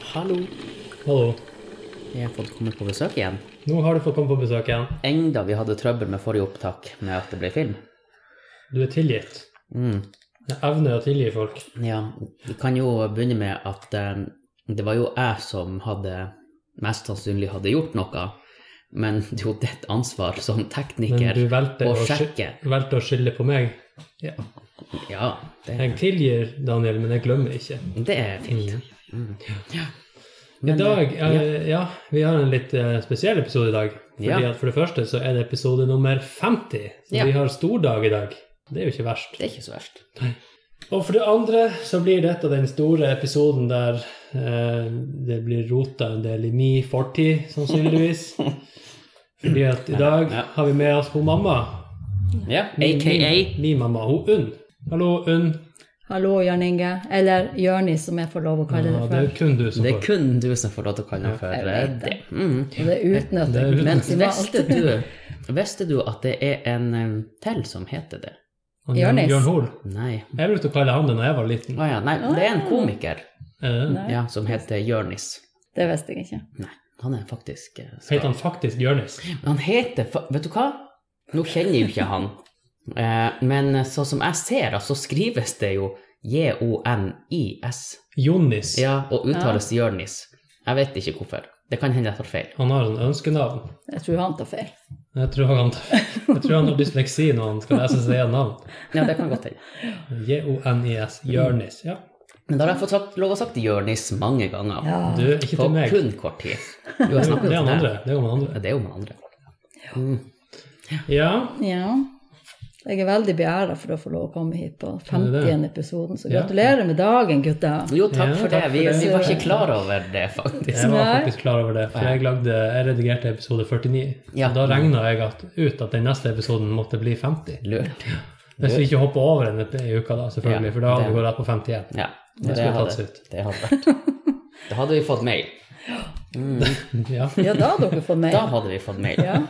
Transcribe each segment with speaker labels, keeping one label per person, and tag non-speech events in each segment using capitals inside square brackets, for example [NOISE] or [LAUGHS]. Speaker 1: Hallo.
Speaker 2: Hallo.
Speaker 1: Jeg har fått komme på besøk igjen.
Speaker 2: Nå har du fått komme på besøk igjen.
Speaker 1: Enda vi hadde trøbbel med forrige opptak med at det ble film.
Speaker 2: Du er tilgitt.
Speaker 1: Mm.
Speaker 2: Jeg evner å tilgi folk.
Speaker 1: Ja, vi kan jo begynne med at eh, det var jo jeg som hadde mest sannsynlig hadde gjort noe, men [LAUGHS] det er jo ditt ansvar som
Speaker 2: Men
Speaker 1: tekniker
Speaker 2: du valgte
Speaker 1: å
Speaker 2: å, sky-
Speaker 1: sjekke.
Speaker 2: valgte å skylde på meg.
Speaker 1: Ja, det,
Speaker 2: Jeg tilgir, Daniel, men jeg glemmer ikke.
Speaker 1: det er fint. Mm. Ja.
Speaker 2: I
Speaker 1: Men,
Speaker 2: dag,
Speaker 1: eh,
Speaker 2: eh, ja, vi har en litt eh, spesiell episode i dag. Fordi
Speaker 1: Ja.
Speaker 2: at For det første så er det episode nummer 50, så
Speaker 1: Ja.
Speaker 2: vi har stordag i dag. Det er jo ikke verst.
Speaker 1: Det er ikke så verst.
Speaker 2: Og for det andre så blir dette den store episoden der eh, det blir rota en del i min fortid,
Speaker 1: [LAUGHS]
Speaker 2: sannsynligvis. Fordi at i dag
Speaker 1: Ja.
Speaker 2: har vi med oss hun mamma.
Speaker 1: Ja,
Speaker 2: Min-
Speaker 1: aka
Speaker 2: Min, min mamma, hun Unn. Hallo, Unn.
Speaker 3: Hallo, Jørn Inge. Eller Jørnis, som jeg får lov å kalle
Speaker 2: Ja,
Speaker 3: det
Speaker 2: det
Speaker 3: for.
Speaker 2: er kun du som
Speaker 1: Det er
Speaker 2: får.
Speaker 1: kun du som får lov til å kalle meg for
Speaker 3: jeg
Speaker 1: eh,
Speaker 3: vet
Speaker 1: det.
Speaker 3: det.
Speaker 1: Mm.
Speaker 3: Og det er
Speaker 2: Det er
Speaker 3: utnyttet
Speaker 2: utnyttet.
Speaker 1: Men
Speaker 3: maksimalt.
Speaker 1: visste du, visste du at det er en um, til som heter det?
Speaker 2: Og Jørn,
Speaker 3: Jonis.
Speaker 2: Jørn Hoel.
Speaker 1: Nei.
Speaker 2: Jeg brukte å kalle han det når jeg var liten.
Speaker 1: Å ja, nei, det er en komiker
Speaker 2: Eh,
Speaker 3: Nei,
Speaker 1: ja, som heter Jørnis.
Speaker 3: det visste jeg ikke.
Speaker 1: Han er faktisk eh, skal-
Speaker 2: Heter han faktisk Jørnis?
Speaker 1: Men han heter fa- Vet du hva? Nå kjenner jeg jo ikke han. Eh, men sånn som jeg ser det, så skrives det jo J-O-N-I-S.
Speaker 2: Jonis.
Speaker 1: Ja, og uttales Jørnis. Jeg vet ikke hvorfor. Det kan hende jeg tar feil.
Speaker 2: Han har sånn ønskenavn.
Speaker 3: Jeg tror han tar feil.
Speaker 2: Jeg tror han, jeg tror han har dysleksi når han skal lese sitt eget navn.
Speaker 1: Ja, det kan godt hende.
Speaker 2: J-O-N-I-S. Jørnis. Ja.
Speaker 1: Men da har jeg fått sagt, lov å sagt Jørnis mange ganger.
Speaker 3: Ja.
Speaker 2: Du, ikke
Speaker 1: På
Speaker 2: til meg.
Speaker 1: kun kort tid. Jo, jeg
Speaker 2: Det
Speaker 1: snakker
Speaker 2: er
Speaker 1: jo
Speaker 2: han
Speaker 1: til
Speaker 2: andre.
Speaker 1: deg.
Speaker 2: Det er han andre.
Speaker 1: Ja, det er jo med andre. Mm.
Speaker 2: Ja,
Speaker 3: ja. Jeg er veldig beæra for å få lov å komme hit på
Speaker 2: du det?
Speaker 3: 50. episoden, så
Speaker 2: Ja.
Speaker 3: gratulerer med dagen, gutter.
Speaker 1: Jo, takk
Speaker 2: Ja,
Speaker 1: for
Speaker 2: takk
Speaker 1: det. Vi,
Speaker 2: for det.
Speaker 1: vi var ikke klar over det, faktisk.
Speaker 2: jeg var
Speaker 3: Nei.
Speaker 2: faktisk klar over det. For jeg, lagde, jeg redigerte episode 49.
Speaker 1: Ja.
Speaker 2: Og da regna jeg at, ut at den neste episoden måtte bli 50.
Speaker 1: Lurt.
Speaker 2: Hvis vi ikke hopper over den i uka, da, selvfølgelig.
Speaker 1: Ja,
Speaker 2: for da hadde
Speaker 1: det-
Speaker 2: vi gått rett på 51.
Speaker 1: Ja,
Speaker 2: Det
Speaker 1: det
Speaker 2: skulle tatt
Speaker 1: hadde,
Speaker 2: seg ut.
Speaker 1: det hadde vært. Da hadde vi fått mail.
Speaker 2: Ja.
Speaker 3: Ja, da har dere fått mail.
Speaker 1: Da hadde vi fått mail.
Speaker 3: Ja.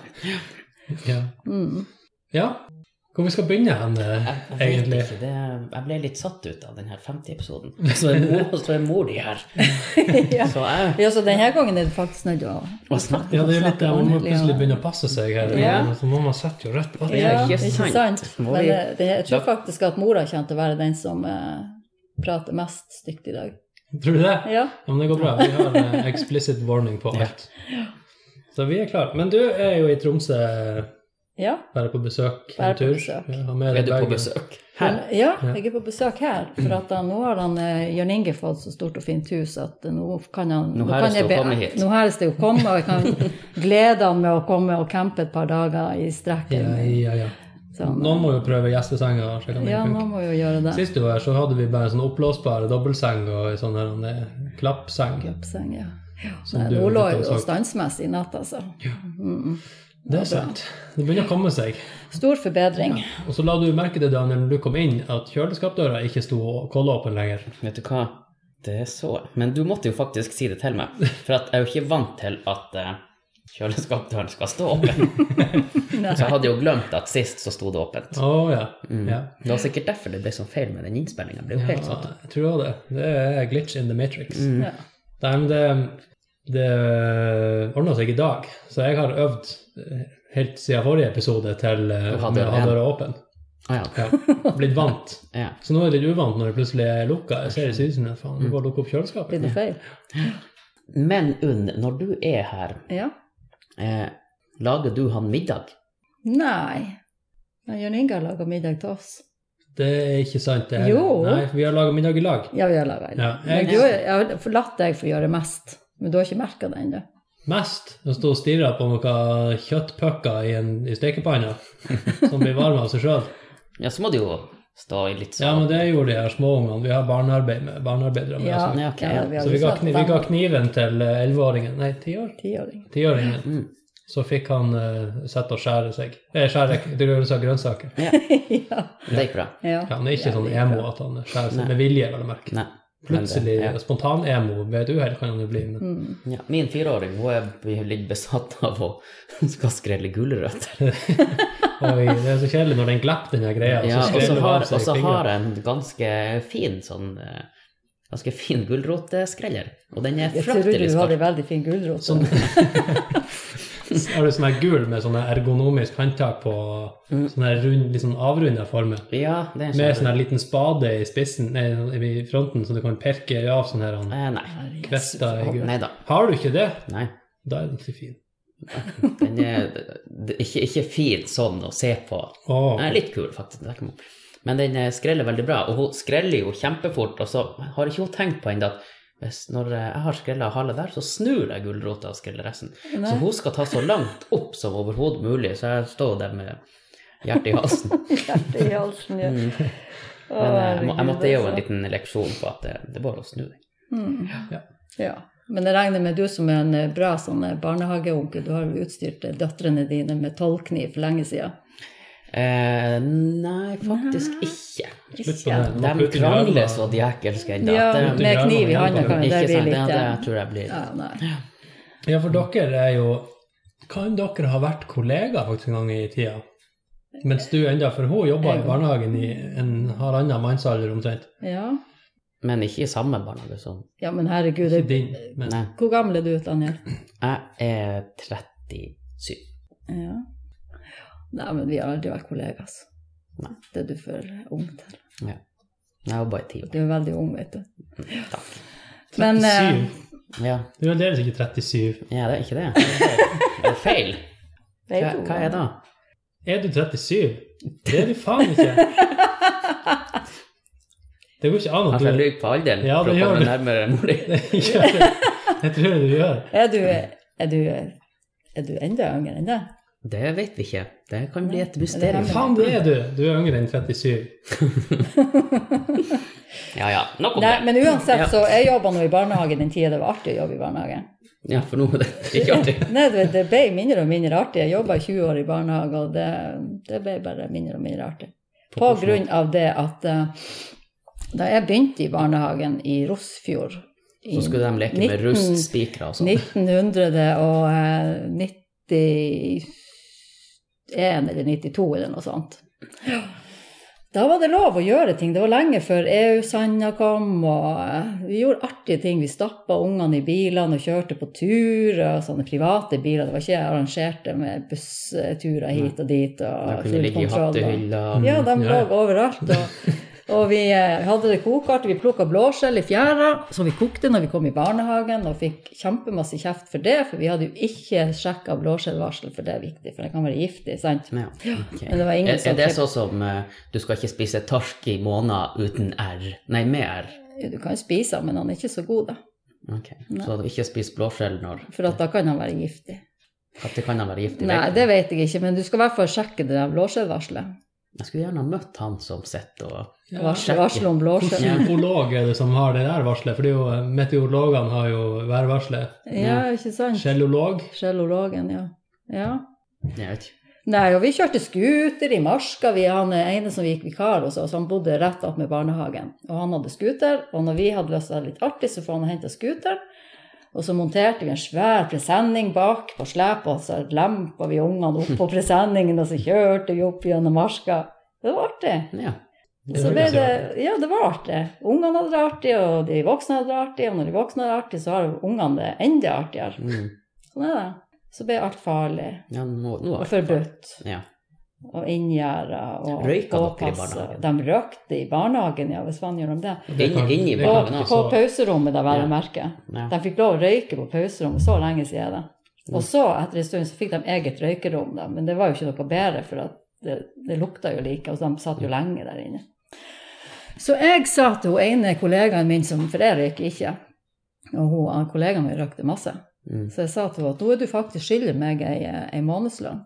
Speaker 2: Ja.
Speaker 3: Mm.
Speaker 2: ja. Hvor vi skal begynne hen, eh,
Speaker 1: Jeg, vet
Speaker 2: egentlig?
Speaker 1: ikke, det, jeg ble litt satt ut av den her
Speaker 2: [LAUGHS]
Speaker 1: 50-episoden. Så er mor, så er mor de her.
Speaker 3: ja.
Speaker 1: Så jeg
Speaker 3: ja, så denne gangen er det faktisk nødt til å
Speaker 1: og snakket.
Speaker 2: Ja, det er jo litt det, man må
Speaker 3: Ordentlig, ja.
Speaker 2: plutselig begynne å passe seg her.
Speaker 3: Ja.
Speaker 2: Så mamma setter jo rett på det.
Speaker 1: Ja,
Speaker 3: Ja,
Speaker 1: ikke
Speaker 3: ikke sant?
Speaker 1: sant. Må
Speaker 3: Men
Speaker 1: vi-
Speaker 3: eh, det, jeg tror faktisk at mora kommer til å være den som eh, prater mest stygt i dag.
Speaker 2: Tror du det?
Speaker 3: Ja.
Speaker 2: Ja, men det går bra. Vi har eh, explicit warning på alt. Så vi er klare. Men du er jo i Tromsø,
Speaker 3: ja.
Speaker 2: bare på besøk.
Speaker 3: Bare
Speaker 2: en
Speaker 3: på
Speaker 2: tur.
Speaker 3: besøk.
Speaker 2: Ja, har med
Speaker 1: Er
Speaker 2: deg
Speaker 1: du på
Speaker 2: Bergen.
Speaker 1: besøk?
Speaker 3: Men, ja,
Speaker 2: Ja.
Speaker 3: jeg er på besøk her. For at han, nå har han, eh, Jørn Inge fått så stort og fint hus at eh, nå kan han
Speaker 1: Nå
Speaker 3: kan
Speaker 1: helst
Speaker 3: jeg
Speaker 1: å
Speaker 3: be-
Speaker 1: komme hit.
Speaker 3: Nå helst det å komme, og jeg kan glede han med å komme og campe et par dager i
Speaker 2: Ja,
Speaker 3: strekken.
Speaker 2: ja, ja.
Speaker 3: Sånn.
Speaker 2: Noen må jo prøve gjestesenga. og sjekke om
Speaker 3: Ja,
Speaker 2: det
Speaker 3: nå
Speaker 2: funker.
Speaker 3: må vi jo gjøre det.
Speaker 2: Sist du var her, så hadde vi bare en sånn oppblåsbar dobbeltseng og en sånn her, en, eh, klappseng.
Speaker 3: Oppseng, ja.
Speaker 2: Som
Speaker 3: Nei,
Speaker 2: du
Speaker 3: nå
Speaker 2: har
Speaker 3: lå
Speaker 2: blitt
Speaker 3: jeg jo
Speaker 2: avsagt.
Speaker 3: standsmessig i natt, altså.
Speaker 2: Det er sant. Det begynner å komme seg.
Speaker 3: Stor forbedring.
Speaker 2: Og så la du merke til Daniel, når du kom inn, at kjøleskapdøra ikke sto kollåpen lenger.
Speaker 1: Vet du hva? Det er så Men du måtte jo faktisk si det til meg, for at jeg er jo ikke vant til at eh, kjøleskapdøren skal stå åpen.
Speaker 2: [LAUGHS]
Speaker 3: Nei.
Speaker 1: Så jeg hadde jo glemt at sist så sto det åpent.
Speaker 2: Å ja.
Speaker 3: Mm.
Speaker 2: ja.
Speaker 1: Det var sikkert derfor det ble sånn feil med den innspillinga. Det ble jo
Speaker 2: ja.
Speaker 1: helt satt ut.
Speaker 2: Jeg tror også det. Det er glitch in the matrix.
Speaker 3: Ja.
Speaker 2: Nei, men det, det ordna seg i dag, så jeg har øvd eh, helt siden forrige episode til eh, med å
Speaker 1: Du har
Speaker 2: ha
Speaker 1: døra igjen.
Speaker 2: døra åpen.
Speaker 1: Ah, ja.
Speaker 2: Ja. Blitt vant.
Speaker 1: Ja.
Speaker 2: Så nå er det litt uvant når det plutselig er lukka. Jeg ser det ser ut som en faen, du bare lukker opp
Speaker 3: Blir
Speaker 2: kjøleskapet.
Speaker 3: det feil?
Speaker 1: Men Unn, når du er her,
Speaker 3: Ja.
Speaker 1: eh, lager du han middag?
Speaker 3: Nei. Men Jørn Inge har laga middag til oss.
Speaker 2: Det er ikke sant, det.
Speaker 3: Jo.
Speaker 2: Nei, for vi har laga middag i lag.
Speaker 3: Ja, vi har laga
Speaker 2: Ja, jeg-
Speaker 3: en. Men du har- Jeg har forlatt deg for å gjøre mest, men du har ikke merka det ennå.
Speaker 2: Mest å stå og stirre på noen kjøttpucker i, en- i stekepanna som blir varme av seg sjøl.
Speaker 1: Ja, så må du jo stå i litt
Speaker 2: Ja,
Speaker 1: sånn
Speaker 2: men det gjorde de her småungene. Vi har barnearbeid med barnearbeidere. med oss.
Speaker 1: ja, ok, ja.
Speaker 3: har
Speaker 2: Så vi ga,
Speaker 3: utsatt
Speaker 2: kni, vi
Speaker 3: den
Speaker 2: ga kniven til eh, 11-åringen. Nei, 10 år.
Speaker 3: tiåringen.
Speaker 2: tiåringen,
Speaker 1: Mm.
Speaker 2: så fikk han uh, sette og skjære seg. Eh, skjære grønnsaker, grønnsaker.
Speaker 3: [LAUGHS] ja.
Speaker 1: Det gikk bra.
Speaker 2: Ja,
Speaker 3: ja.
Speaker 2: han er ikke sånn emo at han skjærer seg
Speaker 1: Nei.
Speaker 2: med vilje, vel å merke.
Speaker 1: Nei. men det-
Speaker 2: Plutselig altså.
Speaker 1: ja.
Speaker 2: spontan-emo ved et uhell kan han jo bli. Men
Speaker 3: Mm.
Speaker 1: Ja, min fireåring hun er litt besatt av å [LAUGHS] skal skrelle gulrøtter.
Speaker 2: oi, det er så kjedelig når den glipper den her greia.
Speaker 1: Ja, og
Speaker 2: skreller
Speaker 1: så
Speaker 2: den
Speaker 1: har,
Speaker 2: av seg
Speaker 1: og så
Speaker 2: fingrene.
Speaker 1: har jeg en ganske fin sånn eh, ganske fin gulrotskreller. Og den er
Speaker 3: Jeg trodde
Speaker 1: fryktelig
Speaker 3: du hadde
Speaker 1: skarp.
Speaker 3: veldig fin gulrot.
Speaker 2: Sånn. [LAUGHS] Har du sånn her gul med sånn her ergonomisk håndtak på
Speaker 1: Mm.
Speaker 2: sånn her rund, litt sånn avrunda former?
Speaker 1: Ja, det
Speaker 2: Med
Speaker 1: er en
Speaker 2: sånn
Speaker 1: sånn
Speaker 2: her liten spade i spissen, nei, i fronten, så du kan perke av sånn her han
Speaker 1: Eh, Nei.
Speaker 2: kvester i gul.
Speaker 1: Nei da.
Speaker 2: Har du ikke det,
Speaker 1: Nei.
Speaker 2: da er den ikke fin.
Speaker 1: Den er det er ikke, ikke fin sånn å se på.
Speaker 2: Åh,
Speaker 1: Den er litt kul, faktisk. det er ikke noe. Men den eh, skreller veldig bra, og hun skreller jo kjempefort. Og så har ikke hun tenkt på ennå at hvis når eh, jeg har skrella hale der, så snur jeg gulrota og skreller resten.
Speaker 3: Nei.
Speaker 1: Så hun skal ta så langt opp som overhodet mulig, så jeg står der med hjertet i
Speaker 3: [LAUGHS]
Speaker 1: halsen.
Speaker 3: Hjertet i halsen, ja. Å,
Speaker 1: Men eh, jeg, må, jeg
Speaker 3: herregud,
Speaker 1: måtte gi henne en
Speaker 3: altså.
Speaker 1: liten leksjon på at det, det er bare å snu den.
Speaker 3: Ja. Men jeg regner med du som er en eh, bra sånn eh, barnehageonkel, du har jo utstyrt eh, døtrene dine med tolvkniv for lenge siden.
Speaker 1: Eh, nei, faktisk ikke.
Speaker 2: slutt på det. Du må putte
Speaker 1: De
Speaker 2: den i
Speaker 1: krangler
Speaker 2: øynene.
Speaker 1: så djækelsk ennå.
Speaker 3: Ja,
Speaker 1: at det-
Speaker 2: det
Speaker 3: med
Speaker 2: er
Speaker 3: kniv i
Speaker 2: jo
Speaker 3: handa kan jo
Speaker 1: Ikke
Speaker 3: det bli
Speaker 1: sant, det,
Speaker 3: litt
Speaker 1: det
Speaker 3: eh,
Speaker 1: tror jeg blir
Speaker 3: ja, nei.
Speaker 2: Ja, for dere er jo Kan dere ha vært kollegaer faktisk en gang i tida? Mens du enda, for hun jobba i barnehagen i en halvannen mannsalder omtrent.
Speaker 3: Ja.
Speaker 1: Men ikke i samme barnehage som
Speaker 3: ja, men herregud,
Speaker 2: Ikke
Speaker 3: det...
Speaker 2: din, men
Speaker 1: Nei.
Speaker 3: hvor gammel er du, Tanja?
Speaker 1: Jeg er 37.
Speaker 3: Ja. Nei, men vi har aldri vært kollegaer, altså.
Speaker 1: Nei.
Speaker 3: Det er du for ung til.
Speaker 1: Ja. Jeg jobba i ti år.
Speaker 3: Du er veldig ung, vet du.
Speaker 1: Mm, Takk.
Speaker 3: [LAUGHS] Men,
Speaker 2: 37.
Speaker 3: eh,
Speaker 1: Ja.
Speaker 2: Du er aldeles ikke 37.
Speaker 1: ja, det er
Speaker 3: [LAUGHS]
Speaker 1: ikke det. Det er feil. Hva,
Speaker 3: Vet du
Speaker 1: hva er det da?
Speaker 2: Er du 37? Det er du faen
Speaker 3: [LAUGHS]
Speaker 2: ikke! Det går ikke an at
Speaker 1: Altså, jeg
Speaker 2: du [LAUGHS]
Speaker 1: lyver på alderen
Speaker 2: Ja,
Speaker 1: for å
Speaker 2: det gjør
Speaker 1: komme
Speaker 2: du.
Speaker 1: nærmere mor
Speaker 2: [LAUGHS]
Speaker 1: di.
Speaker 2: Gjør det. Jeg tror du gjør.
Speaker 3: Er du, er du, er du enda yngre enn det?
Speaker 1: Det vet vi ikke. Det kan bli et
Speaker 3: det er
Speaker 1: mysterium.
Speaker 3: hemmelig.
Speaker 2: Faen, det er du! Du er yngre enn 37.
Speaker 1: Ja ja, nok om
Speaker 3: Nei,
Speaker 1: det.
Speaker 3: men uansett
Speaker 1: Ja.
Speaker 3: så jeg jobba nå i barnehage den tida det var artig å jobbe i barnehage.
Speaker 1: Ja, for nå er det ikke artig.
Speaker 3: Nei, det, det ble mindre og mindre artig. Jeg jobba 20 år i barnehage, og det, det ble bare mindre og mindre artig. På grunn av det at eh, da jeg begynte i barnehagen i Rosfjord i
Speaker 1: Så skulle de leke med
Speaker 3: 19
Speaker 1: rustspikere og sånn.
Speaker 3: 1991 eh, eller 92 eller noe sånt. Da var det lov å gjøre ting. Det var lenge før EU-sanda kom. og eh, Vi gjorde artige ting. Vi stappa ungene i bilene og kjørte på turer. Sånne private biler. Det var ikke arrangerte med bussturer hit og dit.
Speaker 1: De
Speaker 3: og
Speaker 1: kunne ligge i
Speaker 3: og-
Speaker 1: hattehylla.
Speaker 3: ja, de
Speaker 2: Mm, Ja,
Speaker 3: lå
Speaker 2: ja.
Speaker 3: overalt. Og, og vi eh, hadde det kokart. Vi plukka blåskjell i fjæra, så vi kokte når vi kom i barnehagen, og fikk kjempemasse kjeft for det, for vi hadde jo ikke sjekka blåskjellvarsel, for det er viktig, for det kan være giftig, sant?
Speaker 1: Ja, ok.
Speaker 3: Men det var ingen
Speaker 1: er,
Speaker 3: som
Speaker 1: er det
Speaker 3: fikk-
Speaker 1: sånn som eh, du skal ikke spise torsk i måneder uten R? Nei, med R.
Speaker 3: Du kan jo spise den, men han er ikke så god, da.
Speaker 1: Ok, Så du ikke spiser blåskjell når
Speaker 3: For at da kan han være giftig.
Speaker 1: Når kan han være giftig?
Speaker 3: Nei, det vet jeg ikke, men du skal i hvert fall sjekke det der blåskjellvarselet.
Speaker 1: Jeg skulle gjerne ha møtt han som sitter og
Speaker 2: Ja.
Speaker 3: Varsel, varsel om blåskjell.
Speaker 2: Hvilken Meteorolog er det som har det der varselet? For det er jo, meteorologene har jo værvarselet.
Speaker 3: Ja, ikke sant?
Speaker 2: Skjellolog.
Speaker 3: Skjellologen, ja. ja.
Speaker 1: Jeg vet ikke.
Speaker 3: Nei, og vi kjørte scooter i marska. Vi han ene som gikk vikar hos oss, han bodde rett opp med barnehagen. Og han hadde scooter, og når vi hadde lyst til å ha det litt artig, så får han hente scooteren. Og så monterte vi en svær presenning bak på slep, og så lempa vi ungene opp på presenningen, og så kjørte vi opp gjennom marska. Det var artig.
Speaker 1: Ja.
Speaker 3: Og Så ble det, ja, det var artig. Ungene hadde det artig, og de voksne hadde det artig, og når de voksne hadde det artig, så har ungene det enda artigere.
Speaker 1: Mm.
Speaker 3: Sånn er det. Så ble alt farlig
Speaker 1: ja nå, nå
Speaker 3: og forbudt
Speaker 1: Ja.
Speaker 3: og inngjerda og
Speaker 1: Røyka dere i
Speaker 3: påpassa.
Speaker 1: barnehagen?
Speaker 3: De røkte i barnehagen, ja, hvis faen gjør de det.
Speaker 1: Inn, inn i
Speaker 2: Det kan
Speaker 3: Og
Speaker 1: barnehagen
Speaker 2: vi
Speaker 1: også.
Speaker 3: på
Speaker 2: så-
Speaker 3: pauserommet, da, vel
Speaker 1: Ja.
Speaker 3: å merke.
Speaker 1: Ja.
Speaker 3: De fikk lov å røyke på pauserommet, så lenge siden er det.
Speaker 1: Mm.
Speaker 3: Og så, etter en stund, så fikk de eget røykerom, da, men det var jo ikke noe bedre, for at det, det lukta jo like, og de satt jo lenge der inne. Så jeg sa til hun ene kollegaen min, som, for jeg røyker ikke, og hun, han kollegaen min røykte masse.
Speaker 1: Mm.
Speaker 3: Så jeg sa til henne at nå er du faktisk skyldig meg ei, ei månedslønn.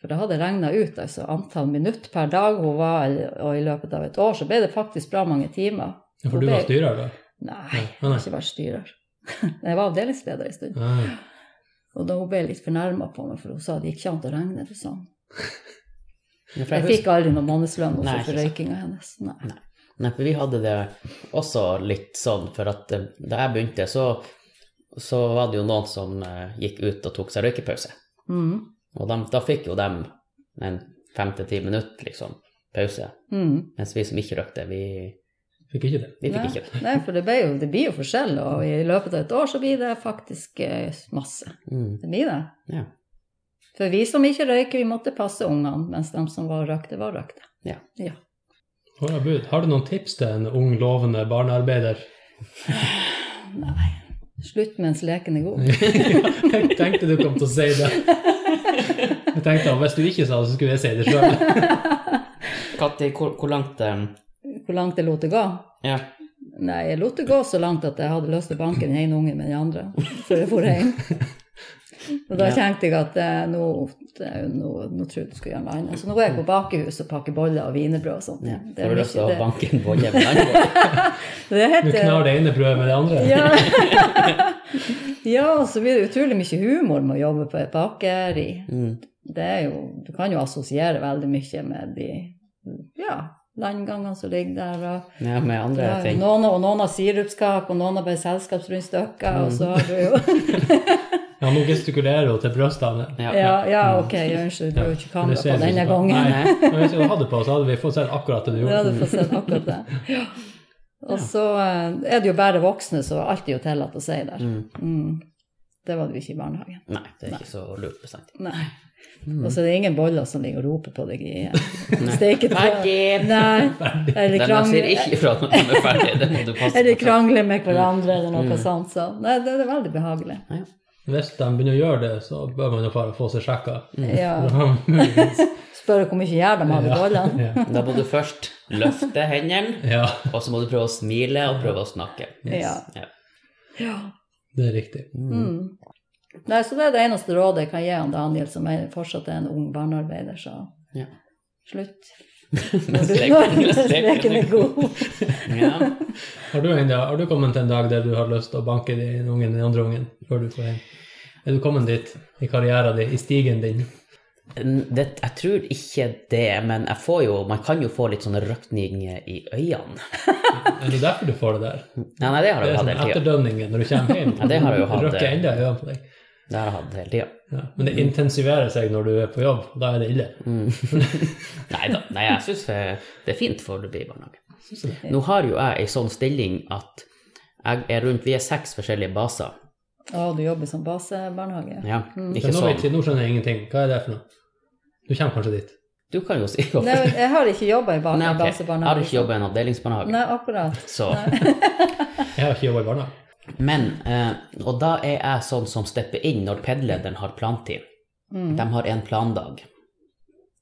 Speaker 3: For det hadde regna ut altså, antall minutt per dag hun var, og i løpet av et år så ble det faktisk bra mange timer.
Speaker 2: Ja, for du var styrer, da?
Speaker 3: Nei,
Speaker 2: Nei,
Speaker 3: jeg har
Speaker 2: nei.
Speaker 3: ikke vært styrer. [LAUGHS] Jeg var avdelingsleder en stund.
Speaker 2: Nei.
Speaker 3: Og da hun ble litt fornærma på meg, for hun sa det gikk ikke an å regne det sånn.
Speaker 1: Ja, for
Speaker 3: Jeg
Speaker 1: husker-
Speaker 3: fikk aldri noen månedslønn
Speaker 1: Nei,
Speaker 3: også
Speaker 1: ikke
Speaker 3: for røykinga hennes. Nei.
Speaker 1: Nei, for vi hadde det også litt sånn, for at eh, da jeg begynte, så, så var det jo noen som eh, gikk ut og tok seg røykepause.
Speaker 3: Mm.
Speaker 1: Og dem- da fikk jo dem en fem til ti minutter, liksom, pause.
Speaker 3: Mm.
Speaker 1: Mens vi som ikke røykte, vi
Speaker 2: Fikk ikke det.
Speaker 1: Vi fikk
Speaker 3: Nei.
Speaker 1: ikke det.
Speaker 3: Nei, for det, ble jo, det blir jo forskjell, og i løpet av et år så blir det faktisk eh, masse.
Speaker 1: Mm.
Speaker 3: Det blir det.
Speaker 1: Ja.
Speaker 3: For vi som ikke røyker, vi måtte passe ungene, mens de som var røykte, var røykte.
Speaker 2: Hvor er bud? Har du noen tips til en ung, lovende barnearbeider? [LAUGHS]
Speaker 3: Nei. Slutt mens leken er god.
Speaker 2: jeg tenkte du kom til å si det. Jeg tenkte at hvis du ikke sa det, så skulle jeg si det
Speaker 3: [LAUGHS]
Speaker 2: sjøl.
Speaker 1: Katti, hvor, hvor langt eh,
Speaker 3: Hvor langt jeg lot det gå?
Speaker 1: Ja.
Speaker 3: Nei, jeg lot det gå så langt at jeg hadde lyst til å banke den ene ungen med den andre før jeg
Speaker 1: [LAUGHS]
Speaker 3: for hjem. Og da
Speaker 1: Ja.
Speaker 3: tenkte jeg at eh, nå, det, er jo nå, nå tror jeg du skal gjøre noe annet. Så nå er jeg på bakehus og pakker boller og wienerbrød og sånt.
Speaker 1: ja.
Speaker 3: Det,
Speaker 1: Har
Speaker 3: er
Speaker 1: du lyst til
Speaker 3: Mm, mye-
Speaker 1: å banke en bolle med den?
Speaker 3: [LAUGHS] det, det
Speaker 2: Du
Speaker 3: heter
Speaker 2: knar det ene brødet med det andre.
Speaker 3: Ja. [LAUGHS] ja, og så blir det utrolig mye humor med å jobbe på et bakeri.
Speaker 1: Mm.
Speaker 3: Det er jo, du kan jo assosiere veldig mye med de ja, landgangene som ligger der. Og,
Speaker 1: Ja, med andre
Speaker 3: ja,
Speaker 1: ting.
Speaker 3: noen, og noen har sirupskake, og noen har bare selskapsrundstykker. Og så har du jo
Speaker 2: Ja, nå gestikulerer hun til brystene.
Speaker 1: Ja, ja.
Speaker 3: [LAUGHS] Ja, ja ok, unnskyld, du har jo ikke
Speaker 2: Men det
Speaker 3: kamera
Speaker 2: ser
Speaker 3: på
Speaker 2: vi
Speaker 3: denne
Speaker 2: ikke.
Speaker 3: gangen.
Speaker 2: Nei, men hvis du hadde det på, så hadde vi fått sett akkurat det du
Speaker 3: [LAUGHS] Ja,
Speaker 2: gjorde.
Speaker 3: du får se akkurat det. Ja. Og så eh, er det jo bare voksne, så alt er jo tillatt å si der.
Speaker 1: Mm.
Speaker 3: Mm. Det var det jo ikke i barnehagen.
Speaker 1: Nei, det er ikke så lurt bestemt.
Speaker 3: Nei.
Speaker 1: Mm.
Speaker 3: Og så er det ingen boller som ligger og roper på deg i steketrøya.
Speaker 1: Ferdig!
Speaker 3: Nei. Eller
Speaker 1: Den der sier
Speaker 3: krangle,
Speaker 1: ikke fra når den er ferdig. Det må du passe
Speaker 3: eller
Speaker 1: på.
Speaker 3: krangle med hverandre eller noe
Speaker 1: Mm.
Speaker 3: sånt. Så. Nei, det er veldig behagelig.
Speaker 2: Hvis de begynner å gjøre det, så bør man jo bare få seg sjekka.
Speaker 3: Ja.
Speaker 2: Ja.
Speaker 3: Spørre hvor mye gjær de har i bollene.
Speaker 1: Da må du først løfte hendene,
Speaker 2: [LAUGHS] ja,
Speaker 1: og så må du prøve å smile og prøve å snakke.
Speaker 3: Ja.
Speaker 1: Ja.
Speaker 3: Ja.
Speaker 2: det er riktig.
Speaker 1: Mm.
Speaker 3: Mm. Nei, så det er det eneste rådet jeg kan gi han Daniel, som er fortsatt er en ung barnearbeider. Så
Speaker 1: Ja.
Speaker 3: slutt. [LAUGHS]
Speaker 1: Mens leken-
Speaker 3: Mens
Speaker 1: mens
Speaker 3: leken er god.
Speaker 1: Ja.
Speaker 2: Har du, en dag, har du kommet til en dag der du har lyst til å banke den ene ungen den andre ungen før du får hjem? Er du kommet dit i karrieren din, i stigen din?
Speaker 1: Det, jeg tror ikke det, men jeg får jo, man kan jo få litt sånne røkninger i øynene.
Speaker 2: Er det derfor du får det der?
Speaker 1: Nei, nei, det har
Speaker 2: Det
Speaker 1: jeg jo
Speaker 2: er
Speaker 1: hatt
Speaker 2: sånn
Speaker 1: hele tida.
Speaker 2: etterdønninger når du kommer hjem.
Speaker 1: Ja, det har jeg jo hatt, eh,
Speaker 2: Røkker
Speaker 1: det.
Speaker 2: enda i øynene på deg.
Speaker 1: Det har jeg hatt hele tida.
Speaker 2: Ja. Men det intensiverer seg når du er på jobb, og da er det ille.
Speaker 1: Nei da, nei, jeg syns det er fint for det blir barnehage.
Speaker 2: Synes du det?
Speaker 1: Nå har jo jeg ei sånn stilling at jeg er rundt, vi er seks forskjellige baser.
Speaker 3: Å, du jobber som basebarnehage?
Speaker 1: Ja, ikke
Speaker 2: Men nå, vet
Speaker 1: sånn.
Speaker 2: jeg, nå skjønner jeg ingenting. Hva er det for noe? Du kommer kanskje dit.
Speaker 1: Du kan jo si
Speaker 3: Nei,
Speaker 1: hvorfor.
Speaker 3: jeg har ikke jobba i ba-
Speaker 1: Nei, ok. Jeg har
Speaker 3: basebarnehage.
Speaker 1: ikke jobba i en avdelingsbarnehage,
Speaker 3: Nei, akkurat.
Speaker 1: så
Speaker 2: [LAUGHS] Jeg har ikke jobba i barnehage.
Speaker 1: Men, eh, og da er jeg sånn som stepper inn når pedlederen har plantid.
Speaker 3: Mm.
Speaker 1: De har en plandag.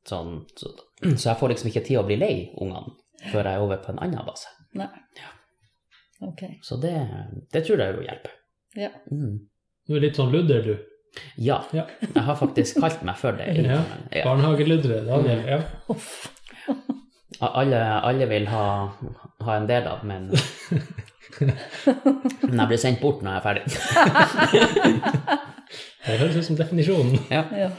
Speaker 1: Sånn, så, så jeg får liksom ikke tid å bli lei ungene før jeg er over på en annen base.
Speaker 3: Nei. Ok.
Speaker 1: Så det, det tror jeg jo hjelper.
Speaker 3: Ja.
Speaker 1: Mm.
Speaker 2: Du er litt sånn ludder, du.
Speaker 1: Ja,
Speaker 2: Ja.
Speaker 1: jeg har faktisk kalt meg for det. i-
Speaker 2: Ja.
Speaker 1: Ja. Mm.
Speaker 2: Barnehageludder, Daniel. Ja.
Speaker 1: Alle, alle vil ha, ha en del av,
Speaker 2: [LAUGHS]
Speaker 1: men Men jeg blir sendt bort når jeg er ferdig.
Speaker 2: Det høres ut som definisjonen.
Speaker 3: Ja.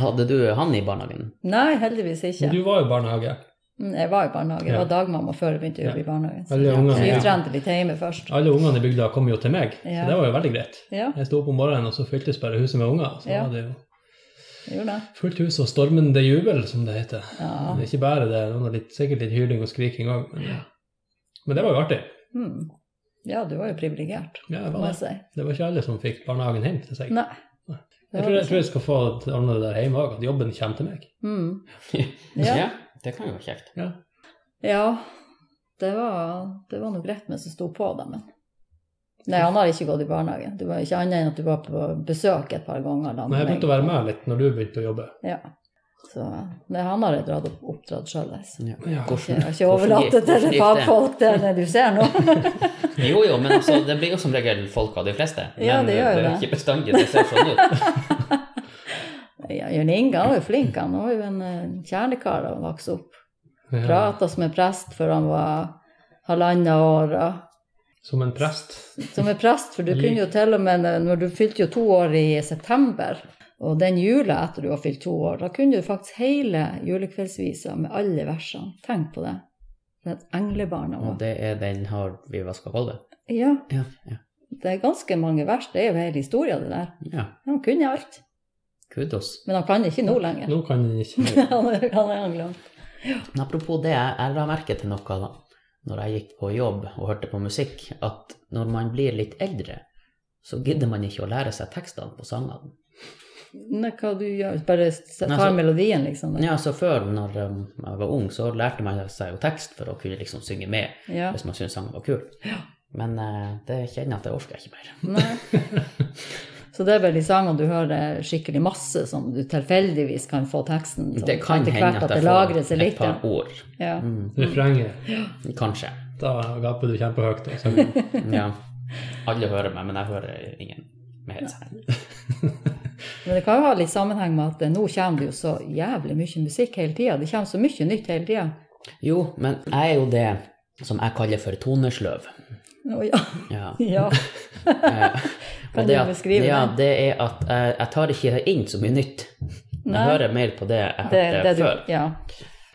Speaker 1: Hadde du han i barnehagen?
Speaker 3: Nei, heldigvis ikke.
Speaker 2: Men du var jo i barnehage.
Speaker 3: Mm, Jeg var i barnehage. Jeg var dagmamma før jeg begynte å jobbe i barnehagen. Så
Speaker 2: Alle ungene,
Speaker 3: vi
Speaker 1: Ja.
Speaker 3: trente litt hjemme først.
Speaker 2: alle ungene i bygda kom jo til meg,
Speaker 3: Ja.
Speaker 2: så det var jo veldig greit.
Speaker 3: Ja,
Speaker 2: Jeg sto opp om morgenen, og så fyltes bare huset med unger. Så
Speaker 3: Ja.
Speaker 2: var det jo
Speaker 3: jeg gjorde det.
Speaker 2: fullt hus og stormende jubel, som det heter.
Speaker 3: Ja.
Speaker 2: Men Ikke bare det, det var litt, sikkert litt hyling og skriking òg. Men, men det var jo artig.
Speaker 3: Mm. ja, du var jo privilegert,
Speaker 2: Ja, det,
Speaker 3: må
Speaker 2: var
Speaker 3: jeg
Speaker 2: det.
Speaker 3: si.
Speaker 2: det var ikke alle som fikk barnehagen hjem til seg.
Speaker 3: Nei.
Speaker 2: Nei.
Speaker 3: Det
Speaker 2: Jeg
Speaker 3: var liksom-
Speaker 2: tror jeg,
Speaker 3: det
Speaker 2: tror jeg skal få ordne det der hjemme òg, at jobben kommer til meg.
Speaker 3: ikke. Mm.
Speaker 1: Ja.
Speaker 3: Ja.
Speaker 1: det kan jo være kjekt.
Speaker 2: Ja.
Speaker 3: Ja, det var, det var noe greit med som sto på dem, men Nei, han har ikke gått i barnehagen. Det var ikke annet enn at du var på besøk et par ganger. da
Speaker 2: Men jeg begynte å være med litt når du begynte å jobbe.
Speaker 3: Ja. Så nei, han har jeg dratt opp, oppdratt sjøl. Jeg
Speaker 1: Ja.
Speaker 2: Ja.
Speaker 1: Hvordan-
Speaker 3: har ikke
Speaker 1: hvordan
Speaker 3: overlatt det
Speaker 1: gikk-
Speaker 3: til
Speaker 1: hvordan gikk det?
Speaker 3: fagfolk, det er det du ser nå.
Speaker 1: Jo, jo, men altså, det blir jo som regel folk av de fleste. Men
Speaker 3: Ja, det
Speaker 1: det,
Speaker 3: gjør jo
Speaker 1: er
Speaker 3: det.
Speaker 1: ikke bestandig det ser sånn ut.
Speaker 3: Ja, Jørn Inge han var jo flink, han var jo en eh, kjernekar da han vokste opp.
Speaker 2: Ja.
Speaker 3: Prata som en prest før han var halvannet år. Og.
Speaker 2: Som en prest.
Speaker 3: Som en prest, for du
Speaker 1: Mm.
Speaker 3: kunne jo til og med eh, når du fylte jo to år i september, og den jula etter du har fylt to år, da kunne du faktisk hele julekveldsvisa med alle versene. Tenk på det. Det englebarna
Speaker 1: Og
Speaker 3: var.
Speaker 1: det er den har vi vaska gulvet.
Speaker 3: Ja,
Speaker 1: Ja, ja.
Speaker 3: det er ganske mange vers. Det er jo hele historia, det der.
Speaker 1: ja.
Speaker 3: Han kunne alt.
Speaker 1: Kudos.
Speaker 3: Men han kan ikke nå lenger. [LAUGHS]
Speaker 2: Nå kan jeg ikke
Speaker 3: han er- han er anglant.
Speaker 1: Men apropos det, jeg, jeg la merke til noe da når jeg gikk på jobb og hørte på musikk, at når man blir litt eldre, så gidder man ikke å lære seg tekstene på sangene.
Speaker 3: Nei, hva du gjør? Bare s- tar
Speaker 1: Nei, altså-
Speaker 3: melodien, liksom?
Speaker 1: Ja, så før, når um, jeg var ung, så lærte man seg jo tekst for å kunne liksom synge med
Speaker 3: Ja.
Speaker 1: hvis man syntes sangen var kul. Men eh, det kjenner jeg at det orker jeg ikke mer.
Speaker 3: Nei. Så det er vel de sangene du hører skikkelig masse, som du tilfeldigvis kan få teksten sånn
Speaker 1: Det kan
Speaker 3: etter
Speaker 1: hende
Speaker 3: hvert
Speaker 1: at
Speaker 3: det
Speaker 1: jeg
Speaker 3: lagrer
Speaker 1: får
Speaker 3: seg
Speaker 1: et
Speaker 3: litt.
Speaker 1: par
Speaker 3: Ja.
Speaker 1: ord.
Speaker 3: Ja.
Speaker 1: Mm,
Speaker 2: Refrenget.
Speaker 1: kanskje.
Speaker 2: Da gaper du kjempehøyt. Altså.
Speaker 1: Ja. Alle hører meg, men jeg hører ingen med headset.
Speaker 3: Men det kan jo ha litt sammenheng med at eh, nå kommer det jo så jævlig mye musikk hele tida. Det kommer så mye nytt hele tida.
Speaker 1: Jo, men jeg er jo det som jeg kaller for tonesløv.
Speaker 3: Å ja. [LAUGHS]
Speaker 1: Ja.
Speaker 3: ja. Kan
Speaker 1: Og det
Speaker 3: du
Speaker 1: at-
Speaker 3: beskrive
Speaker 1: Ja,
Speaker 3: det?
Speaker 1: det er at jeg, jeg tar ikke inn så mye nytt. Jeg
Speaker 3: Nei.
Speaker 1: hører mer på det jeg
Speaker 3: Det,
Speaker 1: hørte
Speaker 3: det du,
Speaker 1: før.
Speaker 3: ja.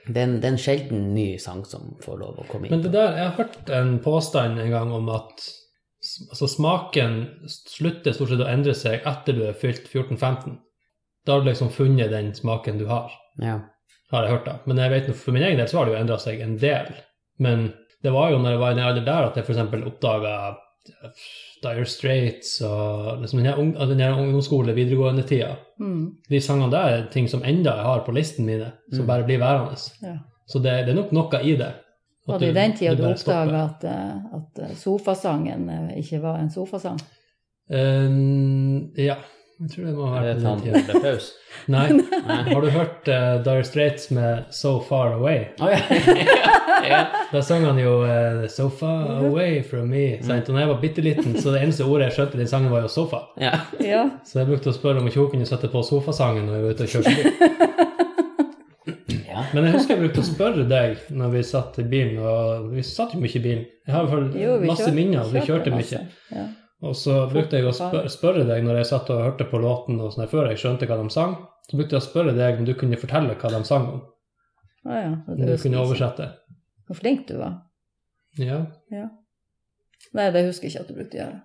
Speaker 1: Det er en- det er en sjelden ny sang som får lov å komme
Speaker 2: Men
Speaker 1: inn.
Speaker 2: det der, jeg har hørt en påstand en gang om at s- altså, smaken slutter stort sett å endre seg etter du er fylt 14-15. Da har du liksom funnet den smaken du har,
Speaker 1: Ja.
Speaker 2: har jeg hørt da. Men jeg vet, nå, for min egen del så har det jo endra seg en del. Men det var jo når jeg var i den alderen der at jeg f.eks. oppdaga eh, Dire Straits og liksom den her ung- altså, den her ungdomsskole, videregående-tida.
Speaker 3: Mm,
Speaker 2: De sangene der er ting som enda jeg har på listen mine, som
Speaker 1: Mm.
Speaker 2: bare blir værende.
Speaker 3: ja.
Speaker 2: Så det, det er nok noe i det. At
Speaker 3: Var det i den tida du
Speaker 2: bare stopper.
Speaker 3: oppdaga at, eh, at eh, sofasangen eh, ikke var en sofasang?
Speaker 2: Eh, ja, jeg tror det må
Speaker 1: Er
Speaker 2: være på
Speaker 1: det
Speaker 2: den
Speaker 1: et sånt
Speaker 2: tida.
Speaker 1: julepaus?
Speaker 3: [LAUGHS]
Speaker 2: Nei.
Speaker 1: Nei.
Speaker 2: Har du hørt eh, Dire Straits med So Far Away?
Speaker 1: [LAUGHS] Å ja. [LAUGHS] ja.
Speaker 2: Da sang han jo eh, So far away from
Speaker 1: Mm.
Speaker 2: me. Sant? Og da jeg var bitte liten, så det eneste ordet jeg skjønte i den sangen, var jo sofa.
Speaker 1: ja.
Speaker 3: Ja.
Speaker 2: Så jeg brukte å spørre om ikke hun kunne sette på sofasangen når jeg var ute og kjørte bil.
Speaker 1: Ja.
Speaker 2: Men jeg husker jeg brukte å spørre deg når vi satt i bilen, og vi satt jo mye i bilen. Jeg har i hvert
Speaker 3: Jo,
Speaker 2: fall
Speaker 3: vi
Speaker 2: masse
Speaker 3: kjørte-
Speaker 2: minner, og vi kjørte mye.
Speaker 3: masse. Ja.
Speaker 2: Og så brukte jeg å spør spørre deg når jeg satt og hørte på låten og sånn her før jeg skjønte hva de sang, så brukte jeg å spørre deg om du kunne fortelle hva de sang om.
Speaker 3: Å ja.
Speaker 2: Om du kunne oversette.
Speaker 3: Hvor flink du var.
Speaker 2: Ja.
Speaker 3: Nei, det husker jeg ikke at du brukte å gjøre.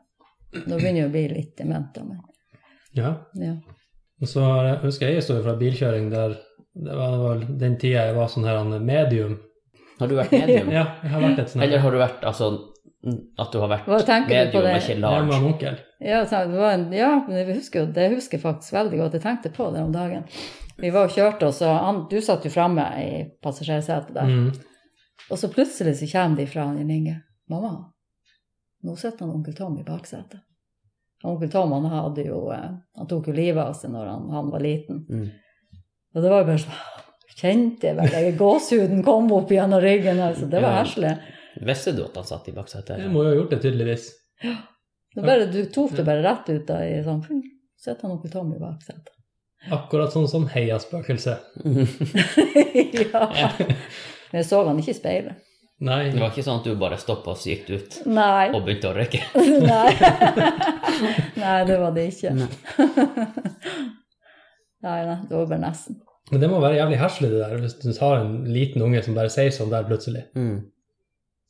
Speaker 3: Nå begynner jeg å bli litt dement av meg.
Speaker 2: ja.
Speaker 3: Ja.
Speaker 2: Og så har jeg- husker jeg en historie fra bilkjøring der det var vel den tida jeg var sånn her en medium.
Speaker 1: Har du vært medium?
Speaker 2: Ja, jeg har vært et sånn her-
Speaker 1: Eller har du vært altså at du har vært
Speaker 3: Hva tenker du
Speaker 1: medium,
Speaker 3: på det?
Speaker 1: ikke
Speaker 2: Jeg var
Speaker 1: large?
Speaker 2: en onkel.
Speaker 3: Ja, så det, var en, ja men jeg husker, jo- det husker jeg faktisk veldig godt. Jeg tenkte på det om dagen. Vi var og kjørte, og så han, du satt jo framme i passasjersetet der.
Speaker 2: Mm.
Speaker 3: Og så plutselig så kommer de fra Jan Inge. 'Mamma, nå sitter han onkel Tom i baksetet.' Han Onkel Tom han hadde jo, eh, han tok jo livet av seg når han, han var liten.
Speaker 1: Mm.
Speaker 3: Og det var jo bare sånn [LAUGHS] Kjente jeg vel jeg- Gåsehuden kom opp gjennom ryggen. altså, Det var
Speaker 1: Ja.
Speaker 3: heslig.
Speaker 1: Visste du at han satt i baksetet?
Speaker 2: Jeg må jo ha gjort det, tydeligvis.
Speaker 3: Det bare, du tok det bare rett ut av i sånn «Hm, Sitter han onkel Tom i baksetet? [LAUGHS]
Speaker 2: Akkurat sånn som heiaspøkelse.
Speaker 3: ja. Men jeg så han ikke i speilet.
Speaker 2: Nei,
Speaker 1: Det var ikke sånn at du bare stoppa og så gikk du ut
Speaker 3: Nei.
Speaker 1: og begynte å røyke?
Speaker 3: [LAUGHS] Nei. nei, det var det ikke.
Speaker 1: Nei.
Speaker 3: [LAUGHS] nei, nei, det var bare nesten.
Speaker 2: men det må være jævlig heslig det der, hvis du har en liten unge som bare sier sånn der plutselig.
Speaker 1: Mm.